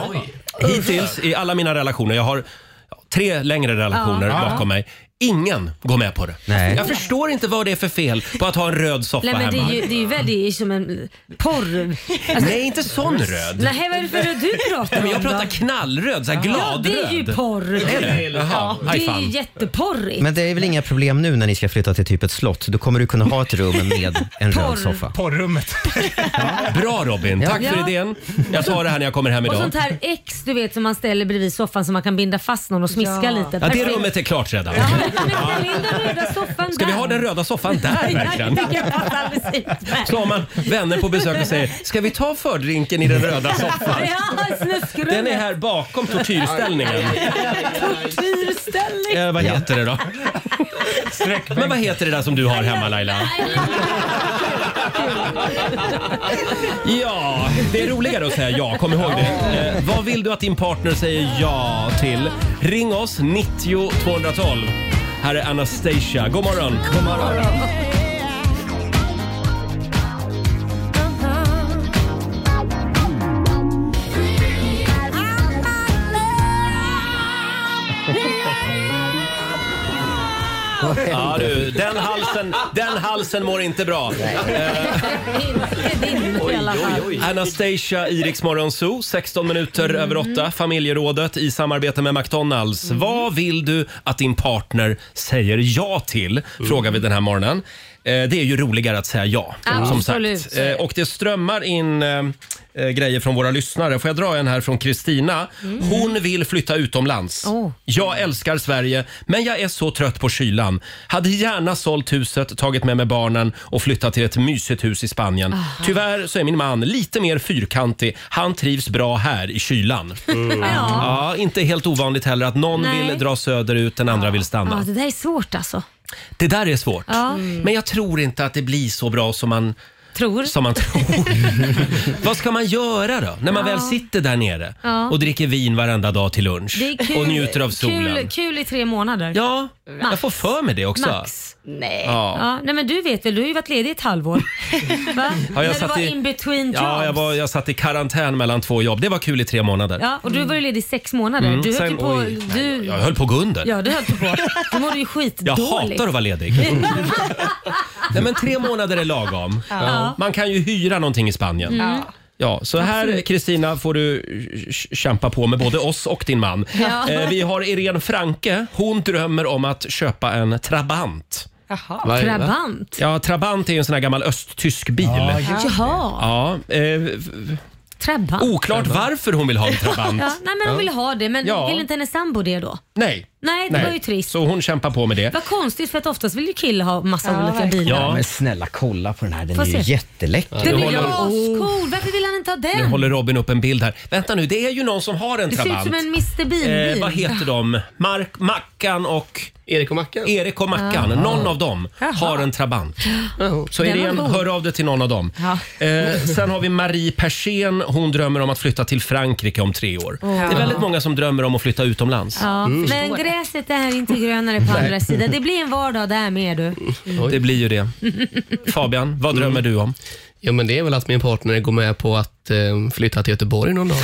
Speaker 1: Hittills i alla mina relationer, jag har ja, tre längre relationer
Speaker 5: Ja.
Speaker 1: bakom mig, Ingen går med på det.
Speaker 3: Nej.
Speaker 1: Jag förstår inte vad det är för fel på att ha en röd soffa
Speaker 2: Nej, men det
Speaker 1: hemma.
Speaker 2: är ju, det är ju väldigt som en porr... Alltså-
Speaker 1: Nej, inte sån röd.
Speaker 2: Nej, vad är det för röd du pratar
Speaker 1: Nej,
Speaker 2: om
Speaker 1: men jag
Speaker 2: då?
Speaker 1: pratar knallröd, såhär
Speaker 2: Ja,
Speaker 1: gladröd.
Speaker 2: det är ju porr.
Speaker 1: Är det? Jaha,
Speaker 2: ja,
Speaker 1: aj
Speaker 2: det är
Speaker 1: fan.
Speaker 2: ju jätteporrigt.
Speaker 3: Men det är väl inga problem nu när ni ska flytta till typ ett slott? Då kommer du kunna ha ett rum med en
Speaker 2: Porr.
Speaker 3: röd soffa.
Speaker 1: Porrummet. Bra Robin,
Speaker 2: Ja.
Speaker 1: tack för
Speaker 2: Ja.
Speaker 1: idén. Jag tar det här när jag kommer hem
Speaker 2: Och
Speaker 1: idag.
Speaker 2: sånt här ex du vet som man ställer bredvid soffan så man kan binda fast någon och smiska lite.
Speaker 1: Ja, det
Speaker 2: Perfekt.
Speaker 1: rummet är klart redan.
Speaker 2: Ställ in den röda soffan
Speaker 1: Ska vi
Speaker 2: där.
Speaker 1: ha den röda soffan där verkligen?
Speaker 2: Det kan passa alldeles utmärkt.
Speaker 1: Så har man vänner på besök och säger “Ska vi ta fördrinken i den röda soffan?”
Speaker 2: Ja, snuskrummet.
Speaker 1: Den är här bakom tortyrställningen.
Speaker 2: Tortyrställning.
Speaker 1: Eh, vad heter det då? Men vad heter det där som du har hemma Laila? Ja, det är roligare att säga ja, kom ihåg det. Eh, vad vill du att din partner säger ja till? Ring oss, 90 212. Här är Anastasia, god morgon. God morgon. Ja du, den halsen, den halsen mår inte bra. Eh,
Speaker 2: Inte din i alla fall.
Speaker 1: Anastasia i Rix Morgon Zoo, 16 minuter över 8. Familjerådet i samarbete med McDonalds. Vad vill du att din partner säger ja till? Frågar vi den här morgonen. Eh, Det är ju roligare att säga ja. Som
Speaker 2: Absolut.
Speaker 1: sagt. Eh, Och det strömmar in eh, eh, grejer från våra lyssnare. Får jag dra en här från Kristina?
Speaker 2: Mm.
Speaker 1: Hon vill flytta utomlands.
Speaker 2: Oh.
Speaker 1: Jag älskar Sverige, men jag är så trött på kylan. Hade gärna sålt huset, tagit med mig barnen och flyttat till ett mysigt hus i Spanien.
Speaker 2: Aha.
Speaker 1: Tyvärr så är min man lite mer fyrkantig. Han trivs bra här i kylan.
Speaker 2: Ja.
Speaker 1: Ja, inte helt ovanligt heller att någon
Speaker 2: Nej.
Speaker 1: vill dra söderut, den andra vill stanna.
Speaker 2: Ja, det där är svårt alltså.
Speaker 1: Det där är svårt.
Speaker 2: Ja.
Speaker 1: Men jag tror inte att det blir så bra som man
Speaker 2: Tror.
Speaker 1: Som man tror. Vad ska man göra då? När man
Speaker 2: Ja.
Speaker 1: väl sitter där nere
Speaker 2: Ja.
Speaker 1: och dricker vin varenda dag till lunch
Speaker 2: Det är kul,
Speaker 1: och njuter av solen.
Speaker 2: Kul, kul i tre månader.
Speaker 1: Ja, Jag får för mig det också.
Speaker 2: Max. Nej.
Speaker 1: Ja.
Speaker 2: Ja. nej men du vet väl, du har ju varit ledig i ett halvår. Va?
Speaker 1: Ja, jag
Speaker 2: När du
Speaker 1: satt
Speaker 2: var
Speaker 1: i-
Speaker 2: in between jobs.
Speaker 1: Ja, jag, var, jag satt i karantän mellan två jobb. Det var kul i tre månader.
Speaker 2: Ja, och du var ju ledig i sex månader.
Speaker 1: Mm,
Speaker 2: Du höll
Speaker 1: sen-
Speaker 2: ju på...
Speaker 1: oj.
Speaker 2: du,
Speaker 1: Jag höll på att gå under.
Speaker 2: Ja, du höll ju på. Du mådde ju
Speaker 1: Jag
Speaker 2: skitdåligt.
Speaker 1: hatar att vara ledig. Nej, men tre månader är lagom.
Speaker 2: Ja.
Speaker 1: Man kan ju hyra någonting i Spanien.
Speaker 2: Mm.
Speaker 1: Ja, så här
Speaker 2: Absolut.
Speaker 1: Kristina får du eh, kämpa på med både oss och din man.
Speaker 5: Ja.
Speaker 1: Eh, Vi har Irene Franke. Hon drömmer om att köpa en Trabant. Vad är det?
Speaker 2: Trabant.
Speaker 1: Ja, Trabant är ju en sån här gammal östtysk bil.
Speaker 2: Ja, just det. Jaha.
Speaker 1: Ja, eh, v-
Speaker 2: Trabant.
Speaker 1: oklart varför hon vill ha en Trabant.
Speaker 2: Ja, nej men hon ville ha det, men
Speaker 1: Ja.
Speaker 2: vill inte hennes sambo det då?
Speaker 1: Nej.
Speaker 2: Nej, det var ju trist.
Speaker 1: Så hon kämpar på med det.
Speaker 2: Vad konstigt för att oftast vill ju killar ha massa olika bilar.
Speaker 3: Ja, men snälla kolla på den här. Den
Speaker 2: Får
Speaker 3: är ju
Speaker 2: se.
Speaker 3: jätteläcker.
Speaker 2: Den är ju
Speaker 1: håller-
Speaker 2: ascool. Varför vill han inte ha
Speaker 1: Nu
Speaker 2: den?
Speaker 1: håller Robin upp en bild här. Vänta nu, det är ju någon som har en
Speaker 2: Det ser ut
Speaker 1: Trabant.
Speaker 2: som en Mr Bean-bil.
Speaker 1: Eh, vad heter de? Mark, Mackan och... Erik och Mackan. Erik och Mackan.
Speaker 2: Ah.
Speaker 1: Någon av dem har en Trabant. Så
Speaker 2: Den var
Speaker 1: Irene,
Speaker 2: god.
Speaker 1: hör av dig till någon av dem. Eh, sen har vi Marie Persén. Hon drömmer om att flytta till Frankrike om tre år.
Speaker 2: Ja.
Speaker 1: Det är väldigt många som drömmer om att flytta utomlands.
Speaker 2: Ja,
Speaker 1: Mm.
Speaker 2: men gräset är inte grönare på
Speaker 1: Nej.
Speaker 2: andra sidan. Det blir en vardag där med du.
Speaker 1: Det blir ju det. Fabian, vad drömmer du om?
Speaker 10: Ja, Mm. men det är väl att min partner går med på att eh, flytta till Göteborg någon dag.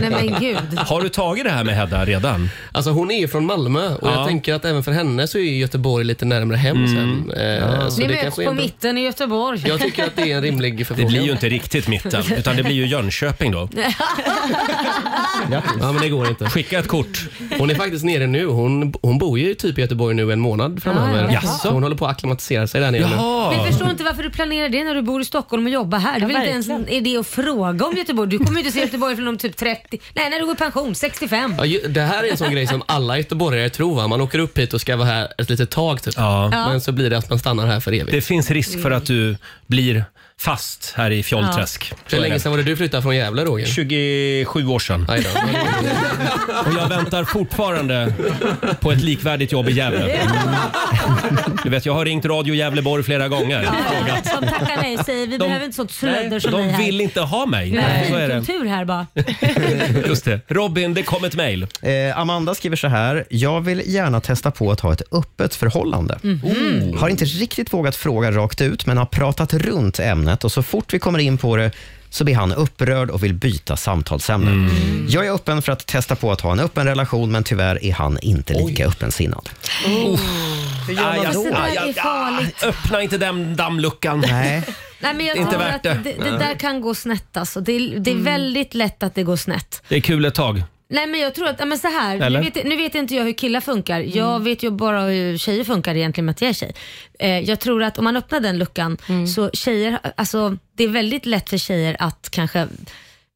Speaker 2: Nej men gud.
Speaker 1: Har du tagit det här med Hedda redan?
Speaker 10: Alltså hon är ju från Malmö och
Speaker 1: Ja. Mm.
Speaker 10: jag tänker att även för henne så är ju Göteborg lite närmare hem sen. Eh, så
Speaker 2: Ni
Speaker 10: det
Speaker 2: möts
Speaker 10: kanske är
Speaker 2: på
Speaker 10: en bra-
Speaker 2: mitten i Göteborg.
Speaker 10: Jag tycker att det är en rimlig
Speaker 1: Det
Speaker 10: förfrågan.
Speaker 1: blir ju inte riktigt mitten, utan det blir ju Jönköping då.
Speaker 10: Ja, men det går inte.
Speaker 1: Skicka ett kort.
Speaker 10: Hon är faktiskt nere nu. Hon, hon bor ju typ i Göteborg nu en månad framöver.
Speaker 2: Ah, jaha.
Speaker 10: Så Hon håller på att acklimatisera sig där nere
Speaker 2: Men jag
Speaker 10: nu.
Speaker 2: förstår inte varför du planerar det när du bor i Stockholm och jobbar här. Det
Speaker 9: Ja,
Speaker 2: är väl inte ens en idé att fråga om Göteborg. Du kommer ju inte se Göteborg förrän om typ 30, nej när du går i pension, 65.
Speaker 10: Ja, ju- det här är en sån grej som alla göteborgare tror. Va? Man åker upp hit och ska vara här ett litet tag, typ.
Speaker 2: Ja.
Speaker 10: men så blir det att man stannar här för evigt.
Speaker 1: Det finns risk för att du blir fast här i Fjollträsk.
Speaker 10: Ja. Hur länge sedan var det du flyttade från Gävle, Roger?
Speaker 1: 27 år sedan. Och jag väntar fortfarande på ett likvärdigt jobb i Gävle. Du vet, jag har ringt Radio Gävleborg flera gånger.
Speaker 2: Ja, som tackar nej säger vi
Speaker 1: De-
Speaker 2: behöver inte sånt slödder
Speaker 1: Nej,
Speaker 2: som ni
Speaker 1: de
Speaker 2: här.
Speaker 1: vill inte ha mig.
Speaker 2: Nej,
Speaker 1: Så är det.
Speaker 2: kultur här bara.
Speaker 1: Just det. Robin, det kom ett mejl.
Speaker 3: Eh, Amanda skriver så här. Jag vill gärna testa på att ha ett öppet förhållande.
Speaker 1: Mm.
Speaker 3: Har inte riktigt vågat fråga rakt ut, men har pratat runt ämnet och så fort vi kommer in på det så blir han upprörd och vill byta samtalsämne.
Speaker 1: Mm.
Speaker 3: Jag är öppen för att testa på att ha en öppen relation, men tyvärr är han inte lika öppensinnad.
Speaker 1: Hur
Speaker 2: gör man då? Det där är farligt.
Speaker 1: Öppna inte den dammluckan.
Speaker 3: Nej.
Speaker 2: Nej, men jag
Speaker 1: Inte
Speaker 2: tror
Speaker 1: värt
Speaker 2: att
Speaker 1: det.
Speaker 2: det. Det, där kan gå snett alltså. Det, är-
Speaker 5: Mm.
Speaker 2: det är väldigt lätt att det går snett.
Speaker 1: Det är kul ett tag.
Speaker 2: Nej men jag tror att, ja, men så här,
Speaker 1: Eller?
Speaker 2: nu vet, nu vet inte jag hur killar funkar.
Speaker 5: Mm.
Speaker 2: Jag vet ju bara hur tjejer funkar egentligen med att jag är tjej. Eh, jag tror att om man öppnar den luckan
Speaker 5: Mm.
Speaker 2: så tjejer, alltså det är väldigt lätt för tjejer att kanske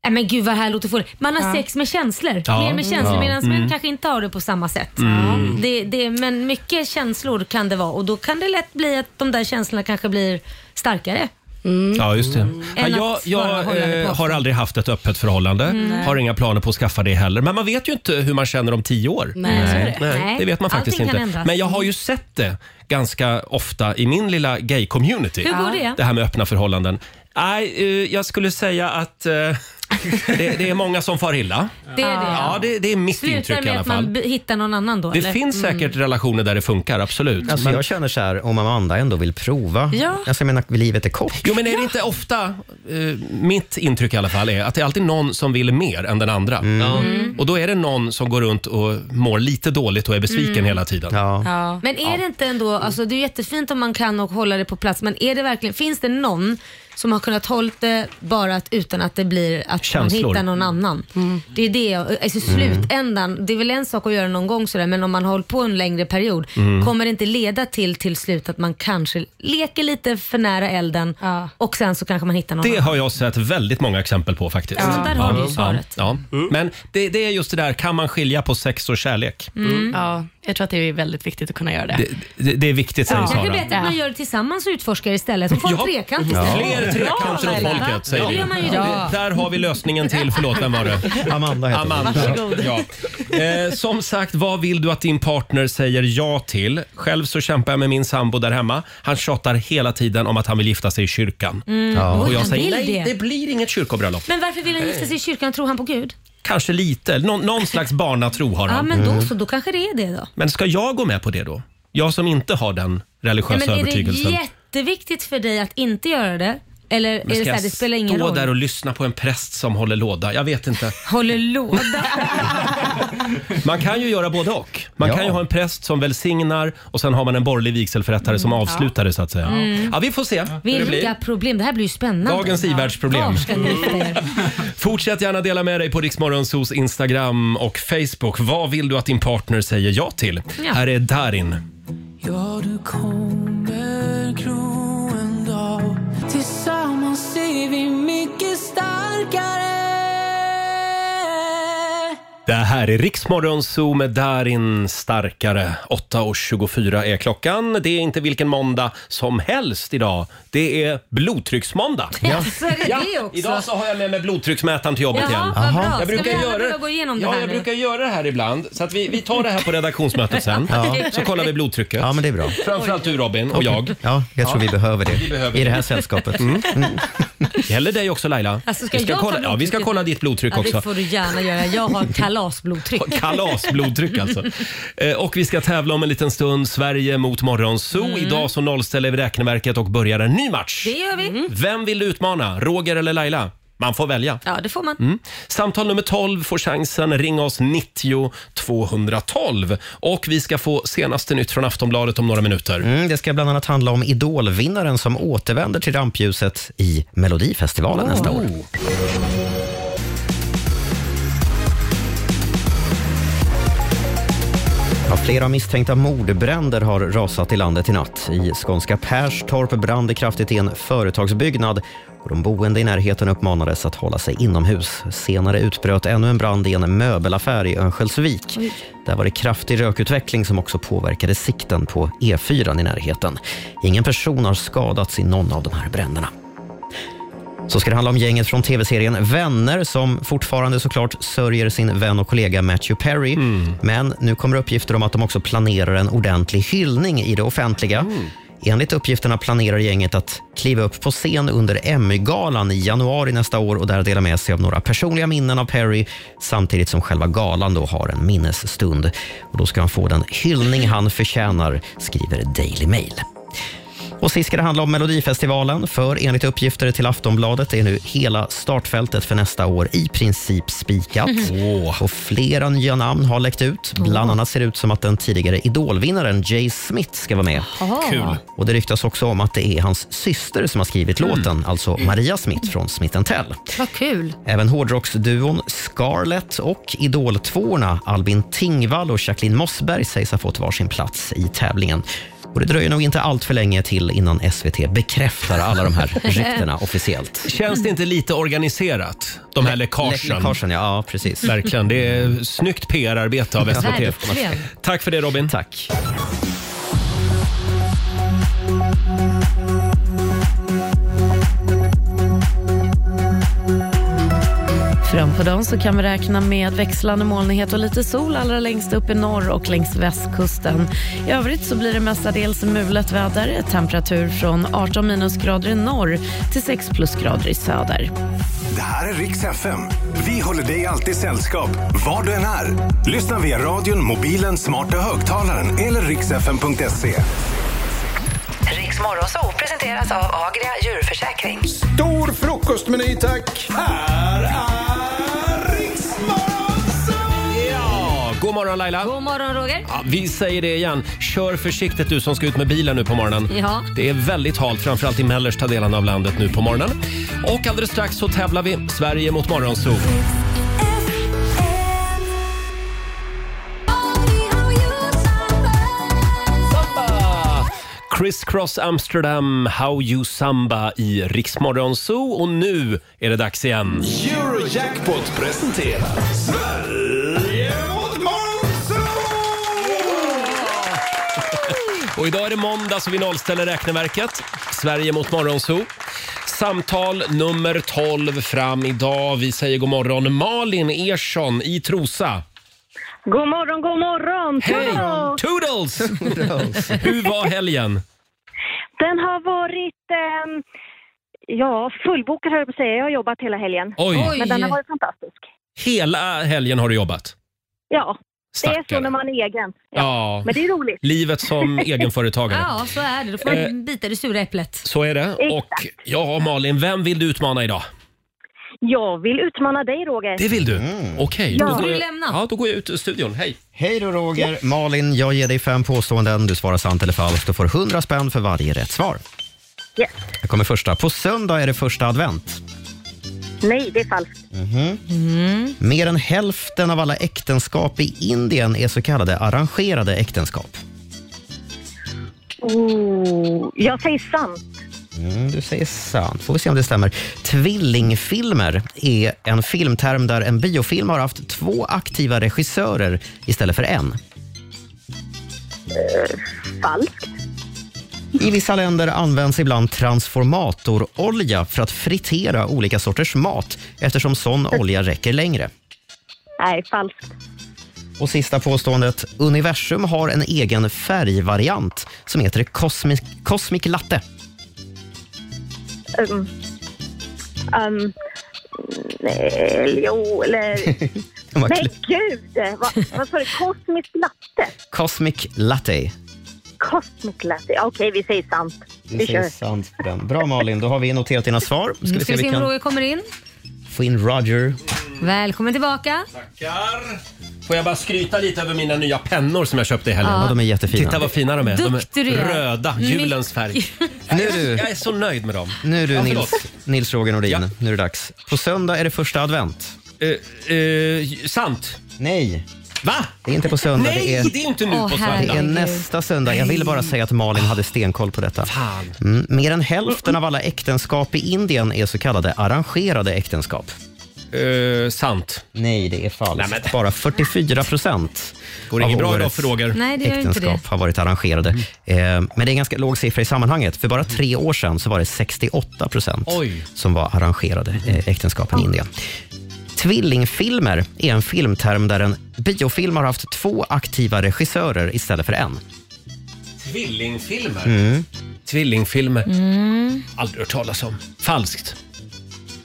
Speaker 2: Nej men gud vad det här låter fånigt. Man har sex med känslor.
Speaker 5: Ja.
Speaker 2: Mer med känslor
Speaker 5: Ja.
Speaker 2: medan män
Speaker 5: Mm.
Speaker 2: kanske inte har det på samma sätt.
Speaker 5: Mm.
Speaker 2: Det, det, men mycket känslor kan det vara och då kan det lätt bli att de där känslorna kanske blir starkare.
Speaker 5: Mm.
Speaker 1: Ja, just det. Ja,
Speaker 2: Än
Speaker 1: jag
Speaker 2: att bara hålla det
Speaker 1: jag
Speaker 2: på
Speaker 1: eh, har
Speaker 2: avstånd.
Speaker 1: aldrig haft ett öppet förhållande.
Speaker 2: Mm.
Speaker 1: Har inga planer på att skaffa det heller. Men man vet ju inte hur man känner om tio år.
Speaker 5: Nej, så är det. Nej.
Speaker 1: Det vet man faktiskt
Speaker 5: Allting kan
Speaker 1: inte.
Speaker 5: ändras.
Speaker 1: Men jag har ju sett det ganska ofta i min lilla gay-community.
Speaker 5: Hur går det?
Speaker 1: Det här med öppna förhållanden. Nej, eh, jag skulle säga att eh, det, det är många som far illa.
Speaker 2: Det är det,
Speaker 1: Ja, det, det är mitt
Speaker 2: Slutar
Speaker 1: intryck i
Speaker 2: med
Speaker 1: alla
Speaker 2: att man
Speaker 1: fall.
Speaker 2: b- hittar någon annan då?
Speaker 1: Det
Speaker 2: eller?
Speaker 1: finns
Speaker 2: Mm.
Speaker 1: säkert relationer där det funkar, absolut.
Speaker 3: Alltså,
Speaker 1: Men-
Speaker 3: jag känner så här, om Amanda ändå vill prova.
Speaker 2: Ja.
Speaker 3: Alltså, jag menar, livet är kort.
Speaker 1: Jo, men är det inte ofta, eh, mitt intryck i alla fall, är att det är alltid någon som vill mer än den andra. Ja. Och då är det någon som går runt och mår lite dåligt och är besviken
Speaker 2: Mm.
Speaker 1: hela tiden.
Speaker 2: Ja. Men är det inte ändå, alltså det är jättefint om man kan och hålla det på plats, men är det verkligen, finns det någon som har kunnat hålla det bara att, utan att det blir att
Speaker 1: Känslor. Mm.
Speaker 2: man hittar någon annan?
Speaker 9: Mm.
Speaker 2: Det är det, jag- alltså slutändan, det är väl en sak att göra någon gång sådär, men om man har hållit på en längre period,
Speaker 5: Mm.
Speaker 2: kommer det inte leda till till slut att man kanske leker lite för nära elden och sen så kanske man hittar någon
Speaker 1: Det
Speaker 2: annan?
Speaker 1: har jag sett väldigt många exempel på faktiskt.
Speaker 2: Ja, där har du ju svaret.
Speaker 1: Ja. Men det, det är just det där, kan man skilja på sex och kärlek?
Speaker 9: Mm. Ja, jag tror att det är väldigt viktigt att kunna göra det.
Speaker 1: Det, det, det är viktigt säger
Speaker 2: Jag kan
Speaker 1: Sara.
Speaker 2: berätta att man gör det tillsammans och utforskar istället. Hon får en
Speaker 1: Ja.
Speaker 2: trekant
Speaker 1: Ja.
Speaker 2: istället.
Speaker 1: Fler trekanter åt
Speaker 2: Laila.
Speaker 1: folket, säger
Speaker 2: Det
Speaker 1: vi.
Speaker 2: gör man ju
Speaker 1: Ja.
Speaker 2: då.
Speaker 1: Där har vi lösningen till, förlåt, vem var det?
Speaker 3: Amanda heter hon.
Speaker 1: Amanda.
Speaker 3: Varsågod.
Speaker 1: Ja. Eh, som sagt, vad vill du att din partner säger ja till? Själv så kämpar jag med min sambo där hemma. Han tjatar hela tiden om att han vill gifta sig i kyrkan.
Speaker 2: Mm. Ja.
Speaker 1: Och
Speaker 2: Oj,
Speaker 1: jag
Speaker 2: han
Speaker 1: säger
Speaker 2: vill
Speaker 1: nej,
Speaker 2: det."
Speaker 1: det blir inget kyrkobröllop.
Speaker 2: Men varför vill han gifta sig i kyrkan? Tror han på Gud?
Speaker 1: Kanske lite, någon, någon slags barnatro har han.
Speaker 2: Ja, men
Speaker 3: Mm.
Speaker 2: då så. Då kanske det är det då.
Speaker 1: Men ska jag gå med på det då? Jag som inte har den religiösa
Speaker 2: Nej, men är det
Speaker 1: övertygelsen.
Speaker 2: jätteviktigt för dig att inte göra det? Eller är
Speaker 1: Men
Speaker 2: det så
Speaker 1: ska
Speaker 2: här,
Speaker 1: jag
Speaker 2: det spelar ingen
Speaker 1: stå
Speaker 2: roll?
Speaker 1: där och lyssna på en präst som håller låda? Jag vet inte.
Speaker 2: Håller låda?
Speaker 1: Man kan ju göra både och. Man kan ju ha en präst som välsignar och sen har man en borgerlig vigselförrättare som avslutar det så att säga.
Speaker 2: Mm.
Speaker 1: Ja, vi får se hur det
Speaker 2: Vilka
Speaker 1: blir.
Speaker 2: problem. Det här blir ju spännande.
Speaker 1: Dagens
Speaker 2: Var
Speaker 1: i-världsproblem.
Speaker 2: ska ni gifta er?
Speaker 1: Fortsätt gärna dela med dig på Riksmorgonsos Instagram och Facebook. Vad vill du att din partner säger ja till?
Speaker 5: Ja.
Speaker 1: Här är Darin.
Speaker 5: Ja, du kommer gro en dag Tillsammans är vi mycket starkare
Speaker 1: Det här är Riksmorgon Zoo med Darin Starkare. 8.24 är klockan. Det är inte vilken måndag som helst idag. Det är blodtrycksmåndag.
Speaker 2: Så är det det också.
Speaker 1: Mm. Idag så har jag med mig blodtrycksmätaren till jobbet
Speaker 2: Jaha, vad
Speaker 1: igen.
Speaker 2: bra. Ska
Speaker 1: Jag brukar
Speaker 2: vi alla
Speaker 1: göra
Speaker 2: behöva gå igenom det
Speaker 1: ja,
Speaker 2: här
Speaker 1: jag
Speaker 2: nu?
Speaker 1: brukar göra det här ibland. Så att vi, vi tar det här på redaktionsmötet sen.
Speaker 3: Ja.
Speaker 1: Så kollar vi blodtrycket.
Speaker 3: Ja, men det är bra.
Speaker 1: Framförallt du Robin och jag.
Speaker 3: Ja, jag tror
Speaker 1: Ja.
Speaker 3: vi behöver det.
Speaker 1: Vi behöver
Speaker 3: I det här sällskapet.
Speaker 1: Mm. Gäller dig också Laila.
Speaker 2: Alltså, ska
Speaker 1: vi, ska
Speaker 2: jag ta
Speaker 1: kolla, ja, vi ska
Speaker 2: blodtrycket?
Speaker 1: kolla ditt blodtryck
Speaker 2: Ja,
Speaker 1: också.
Speaker 2: det får du gärna göra. Jag har kalasblodtryck.
Speaker 1: Kalasblodtryck alltså. Eh, Och vi ska tävla om en liten stund. Sverige mot Morgonzoo.
Speaker 2: Mm.
Speaker 1: Idag så nollställer vi räkneverket och börjar en ny match.
Speaker 2: Det gör vi.
Speaker 1: Vem vill du utmana? Roger eller Laila? Man får välja.
Speaker 2: Ja, det får man.
Speaker 1: Mm. Samtal nummer 12 får chansen. Ring oss 90 212. Och vi ska få senaste nytt från Aftonbladet om några minuter.
Speaker 3: Mm, det ska bland annat handla om idolvinnaren som återvänder till rampljuset i Melodifestivalen nästa
Speaker 1: Oh.
Speaker 3: år. Ja, flera misstänkta mordbränder har rasat i landet i natt. I skånska Perstorp brann det kraftigt i en företagsbyggnad och de boende i närheten uppmanades att hålla sig inomhus. Senare utbröt ännu en brand i en möbelaffär i Örnsköldsvik. Där var det kraftig rökutveckling som också påverkade sikten på E4 i närheten. Ingen person har skadats i någon av de här bränderna. Så ska det handla om gänget från tv-serien Vänner som fortfarande såklart sörjer sin vän och kollega Matthew Perry. Men nu kommer uppgifter om att de också planerar en ordentlig hyllning i det offentliga. Enligt uppgifterna planerar gänget att kliva upp på scen under Emmy-galan i januari nästa år och där dela med sig av några personliga minnen av Perry samtidigt som själva galan då har en minnesstund. Och då ska han få den hyllning han förtjänar, skriver Daily Mail. Och sist ska det handla om Melodifestivalen, för enligt uppgifter till Aftonbladet är nu hela startfältet för nästa år i princip spikat. Och flera nya namn har läckt ut. Bland annat ser det ut som att den tidigare idolvinnaren Jay Smith ska vara med.
Speaker 5: Jaha. Kul.
Speaker 3: Och det ryktas också om att det är hans syster som har skrivit
Speaker 2: Mm.
Speaker 3: låten, alltså Maria Smith från Smith Tell.
Speaker 2: Vad kul.
Speaker 3: Även hårdrocksduon Scarlett och idol Albin Tingvall och Jacqueline Mossberg sägs ha fått varsin plats i tävlingen. Och det dröjer nog inte allt för länge till innan SVT bekräftar alla de här ryktena officiellt.
Speaker 1: Känns det inte lite organiserat? De här läckagen.
Speaker 3: läckagen, ja, precis.
Speaker 1: Verkligen. Det är snyggt PR-arbete av SVT.
Speaker 5: Verkligen.
Speaker 1: Tack för det Robin.
Speaker 3: Tack.
Speaker 16: Fram på dagen så kan vi räkna med växlande molnighet och lite sol allra längst upp i norr och längs västkusten. I övrigt så blir det mestadels mulet väder, temperatur från 18 minusgrader i norr till 6 plusgrader i söder.
Speaker 6: Det här är Rix FM. Vi håller dig alltid sällskap, var du än är. Lyssna via radion, mobilen, smarta högtalaren eller rixfm.se.
Speaker 17: Riksmorgonzoo presenteras av Agria djurförsäkring.
Speaker 5: Stor frukostmeny tack! Här är
Speaker 1: Ja, god morgon Laila.
Speaker 2: God morgon Roger.
Speaker 1: Ja, vi säger det igen. Kör försiktigt du som ska ut med bilen nu på morgonen.
Speaker 2: Ja.
Speaker 1: Det är väldigt halt, framförallt i mellersta delen av landet nu på morgonen. Och alldeles strax så tävlar vi Sverige mot Morgonzoo. Criss Cross Amsterdam, How You Samba i Rix Morgonzoo. Och nu är det dags igen.
Speaker 5: Eurojackpot presenterar Sverige mot
Speaker 1: Och idag är det måndag så vi nollställer räkneverket. Sverige mot Morgonzoo. Samtal nummer 12 fram idag. Vi säger god morgon Malin Ersson i Trosa.
Speaker 14: God morgon, god morgon!
Speaker 1: Hej!
Speaker 14: Toodles!
Speaker 1: Toodles! Hur var helgen?
Speaker 14: Den har varit ehm, ja, fullbokad höll jag på att säga. Jag har jobbat hela helgen.
Speaker 1: Oj.
Speaker 14: Men den har varit fantastisk.
Speaker 1: Hela helgen har du jobbat.
Speaker 14: Ja, det är
Speaker 1: Stackare.
Speaker 14: så när man är egen.
Speaker 1: Ja.
Speaker 14: Men det är roligt.
Speaker 1: Livet som egenföretagare.
Speaker 2: Ja, så är det. Då får
Speaker 1: Eh.
Speaker 2: man bita i det sura äpplet.
Speaker 1: Så är det. Och ja, Malin, vem vill du utmana idag?
Speaker 14: Jag vill utmana dig Roger.
Speaker 1: Det vill du? Okej.
Speaker 14: Ja.
Speaker 1: då
Speaker 14: Då
Speaker 1: går
Speaker 14: får du
Speaker 1: jag-
Speaker 14: lämna.
Speaker 1: Ja, då går jag ut ur studion. Hej!
Speaker 3: Mm. Hej då Roger! Malin, jag ger dig fem påståenden. Du svarar sant eller falskt och får 100 spänn för varje rätt svar.
Speaker 14: Yes.
Speaker 3: Här kommer första. På söndag är det första advent.
Speaker 14: Nej, det är falskt.
Speaker 15: Mm-hmm.
Speaker 3: Mhm.
Speaker 15: Mm.
Speaker 3: Mer än hälften av alla äktenskap i Indien är så kallade arrangerade äktenskap.
Speaker 14: Oh, jag säger sant.
Speaker 3: Mm, du säger sant. Får vi se om det stämmer. Tvillingfilmer är en filmterm där en biofilm har haft två aktiva regissörer istället för en.
Speaker 14: Falskt.
Speaker 3: I vissa länder används ibland transformatorolja för att fritera olika sorters mat eftersom sån olja räcker längre.
Speaker 14: Nej, falskt.
Speaker 3: Och sista påståendet. Universum har en egen färgvariant som heter Cosmic, Cosmic Latte.
Speaker 14: Um, um, nej, jo, eller...
Speaker 3: Vad
Speaker 14: Men
Speaker 3: kul.
Speaker 14: gud! Vad, vad sa du? Kosmisk latte?
Speaker 3: Cosmic Latte.
Speaker 14: Cosmic latte. Okej, vi säger sant. Vi
Speaker 3: Du
Speaker 14: kör.
Speaker 3: säger sant på den. Bra Malin, då har vi noterat dina svar. Mm, Ska vi se om vi
Speaker 2: om
Speaker 3: kan
Speaker 2: Roger kommer in.
Speaker 3: få in Roger.
Speaker 2: Välkommen tillbaka.
Speaker 1: Tackar! Får jag bara skryta lite över mina nya pennor som jag köpte i helgen?
Speaker 2: Ja. Ja, de är
Speaker 3: jättefina.
Speaker 1: Titta vad fina de är. De
Speaker 2: Duktig du
Speaker 1: är
Speaker 2: är.
Speaker 1: röda, julens färg.
Speaker 3: Nu är du-
Speaker 1: Jag är så nöjd med dem.
Speaker 3: Nu är du
Speaker 1: Ja, förlåt.
Speaker 3: Nils, Nils Roger Nordin. Nu är det dags. På söndag är det första advent.
Speaker 1: Eh, sant.
Speaker 3: Nej.
Speaker 1: Va?
Speaker 3: Det är inte på söndag.
Speaker 1: Nej,
Speaker 3: det är,
Speaker 1: det är inte nu Åh, på söndag.
Speaker 3: Det är
Speaker 1: herregud.
Speaker 3: nästa söndag. Jag ville bara säga att Malin hade stenkoll på detta. Mm, mer än hälften av alla äktenskap i Indien är så kallade arrangerade äktenskap.
Speaker 1: Eh, sant.
Speaker 3: Nej, det är falskt. Bara 44 procent
Speaker 1: Går det inget bra idag för Roger? Mm.
Speaker 2: Nej, det gör inte
Speaker 3: äktenskap
Speaker 2: det.
Speaker 3: har varit arrangerade. Eh, men det är en ganska låg siffra i sammanhanget. För bara tre år sedan så var det 68 procent
Speaker 1: Oj. Mm.
Speaker 3: som var arrangerade eh, äktenskapen i Indien. Tvillingfilmer är en filmterm där en biofilm har haft två aktiva regissörer istället för en.
Speaker 1: Tvillingfilmer?
Speaker 3: Mm.
Speaker 1: Tvillingfilmer.
Speaker 2: Mm.
Speaker 1: Aldrig hört talas om. Falskt.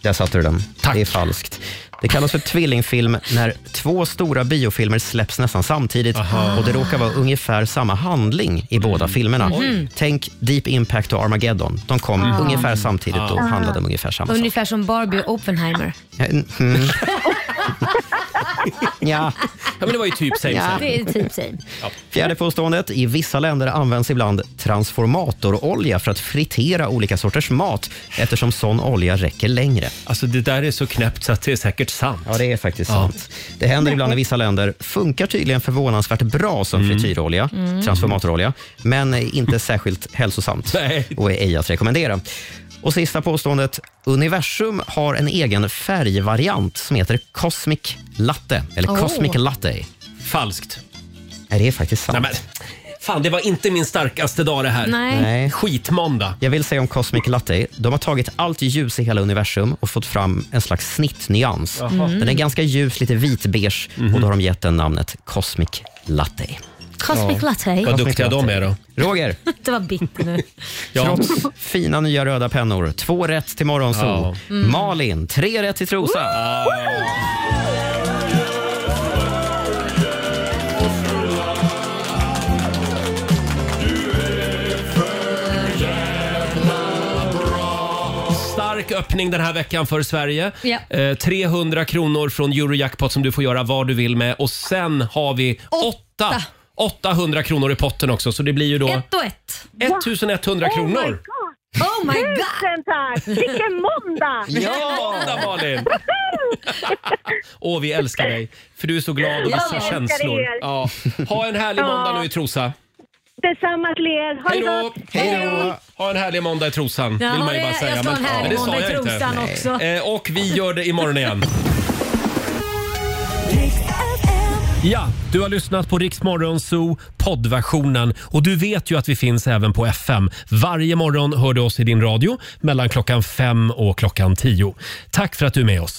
Speaker 3: Där satte du den. Tack. Det är falskt. Det kallas för tvillingfilm när två stora biofilmer släpps nästan samtidigt och det råkar vara ungefär samma handling i
Speaker 1: Mm.
Speaker 3: båda filmerna.
Speaker 2: Mhm.
Speaker 3: Tänk Deep Impact och Armageddon. De kom
Speaker 1: Mm.
Speaker 2: Ah.
Speaker 3: ungefär samtidigt och
Speaker 2: Ah.
Speaker 3: handlade om ungefär samma sak.
Speaker 2: Ungefär som Barbie och Oppenheimer.
Speaker 3: Mm. ja.
Speaker 1: men det var ju typ same, same.
Speaker 2: Det är typ same.
Speaker 3: Fjärde påståendet. I vissa länder används ibland transformatorolja för att fritera olika sorters mat eftersom sån olja räcker längre.
Speaker 1: Alltså det där är så knäppt så att det är säkert sant.
Speaker 3: Ja, det är faktiskt
Speaker 1: Ja.
Speaker 3: sant. Det händer ibland i vissa länder. Funkar tydligen förvånansvärt bra som frityrolja,
Speaker 1: Mm.
Speaker 3: transformatorolja, men är inte särskilt hälsosamt och är ej att rekommendera. Och sista påståendet. Universum har en egen färgvariant som heter Cosmic Latte, eller
Speaker 1: Oh.
Speaker 3: Cosmic Latte.
Speaker 1: Falskt.
Speaker 3: Nej, det är faktiskt sant.
Speaker 1: Nej, Fan, det var inte min starkaste dag det här. Skitmåndag.
Speaker 3: Jag vill säga om Cosmic Latte. De har tagit allt ljus i hela universum och fått fram en slags snittnyans.
Speaker 1: Jaha. Mhm. Mm.
Speaker 3: Den är ganska ljus, lite vitbeige och då har de gett den namnet Cosmic Latte.
Speaker 2: Cosmic Latte.
Speaker 3: Cosmic Latte.
Speaker 1: de är då.
Speaker 3: Roger,
Speaker 2: Det var bitter nu.
Speaker 3: trots fina nya röda pennor, två rätt till Morgonzoo.
Speaker 1: Ja. Ah.
Speaker 2: Mm.
Speaker 3: Malin, tre rätt till Trosa.
Speaker 1: Stark öppning den här veckan för Sverige.
Speaker 2: Ja.
Speaker 1: Eh, 300 kronor från Eurojackpot som du får göra vad du vill med. Och sen har vi åtta, 800 kronor i potten också, så det blir ju då
Speaker 2: Ett och ett.
Speaker 1: 1100 kronor.
Speaker 2: Oh my god!
Speaker 14: Tusen tack! Vilken måndag!
Speaker 1: Ja, där, Malin! Åh, vi älskar dig, för du är så glad och
Speaker 14: Jag
Speaker 1: visar
Speaker 14: älskar
Speaker 1: känslor.
Speaker 14: er.
Speaker 1: Ja. Ha en härlig
Speaker 14: Ja.
Speaker 1: måndag nu i Trosa.
Speaker 14: Detsamma till er. Ha det gott!
Speaker 1: Ha en härlig måndag i trosan,
Speaker 14: Ja,
Speaker 1: vill man ju
Speaker 14: det-
Speaker 1: bara säga.
Speaker 14: jag ska ha en härlig
Speaker 1: men det sa
Speaker 14: måndag i
Speaker 1: jag inte.
Speaker 14: trosan
Speaker 1: Nej.
Speaker 14: också.
Speaker 1: Eh, Och vi gör det imorgon igen. Ja, du har lyssnat på Riksmorgon Zoo poddversionen och du vet ju att vi finns även på FM. Varje morgon hör du oss i din radio mellan klockan fem och klockan tio. Tack för att du är med oss.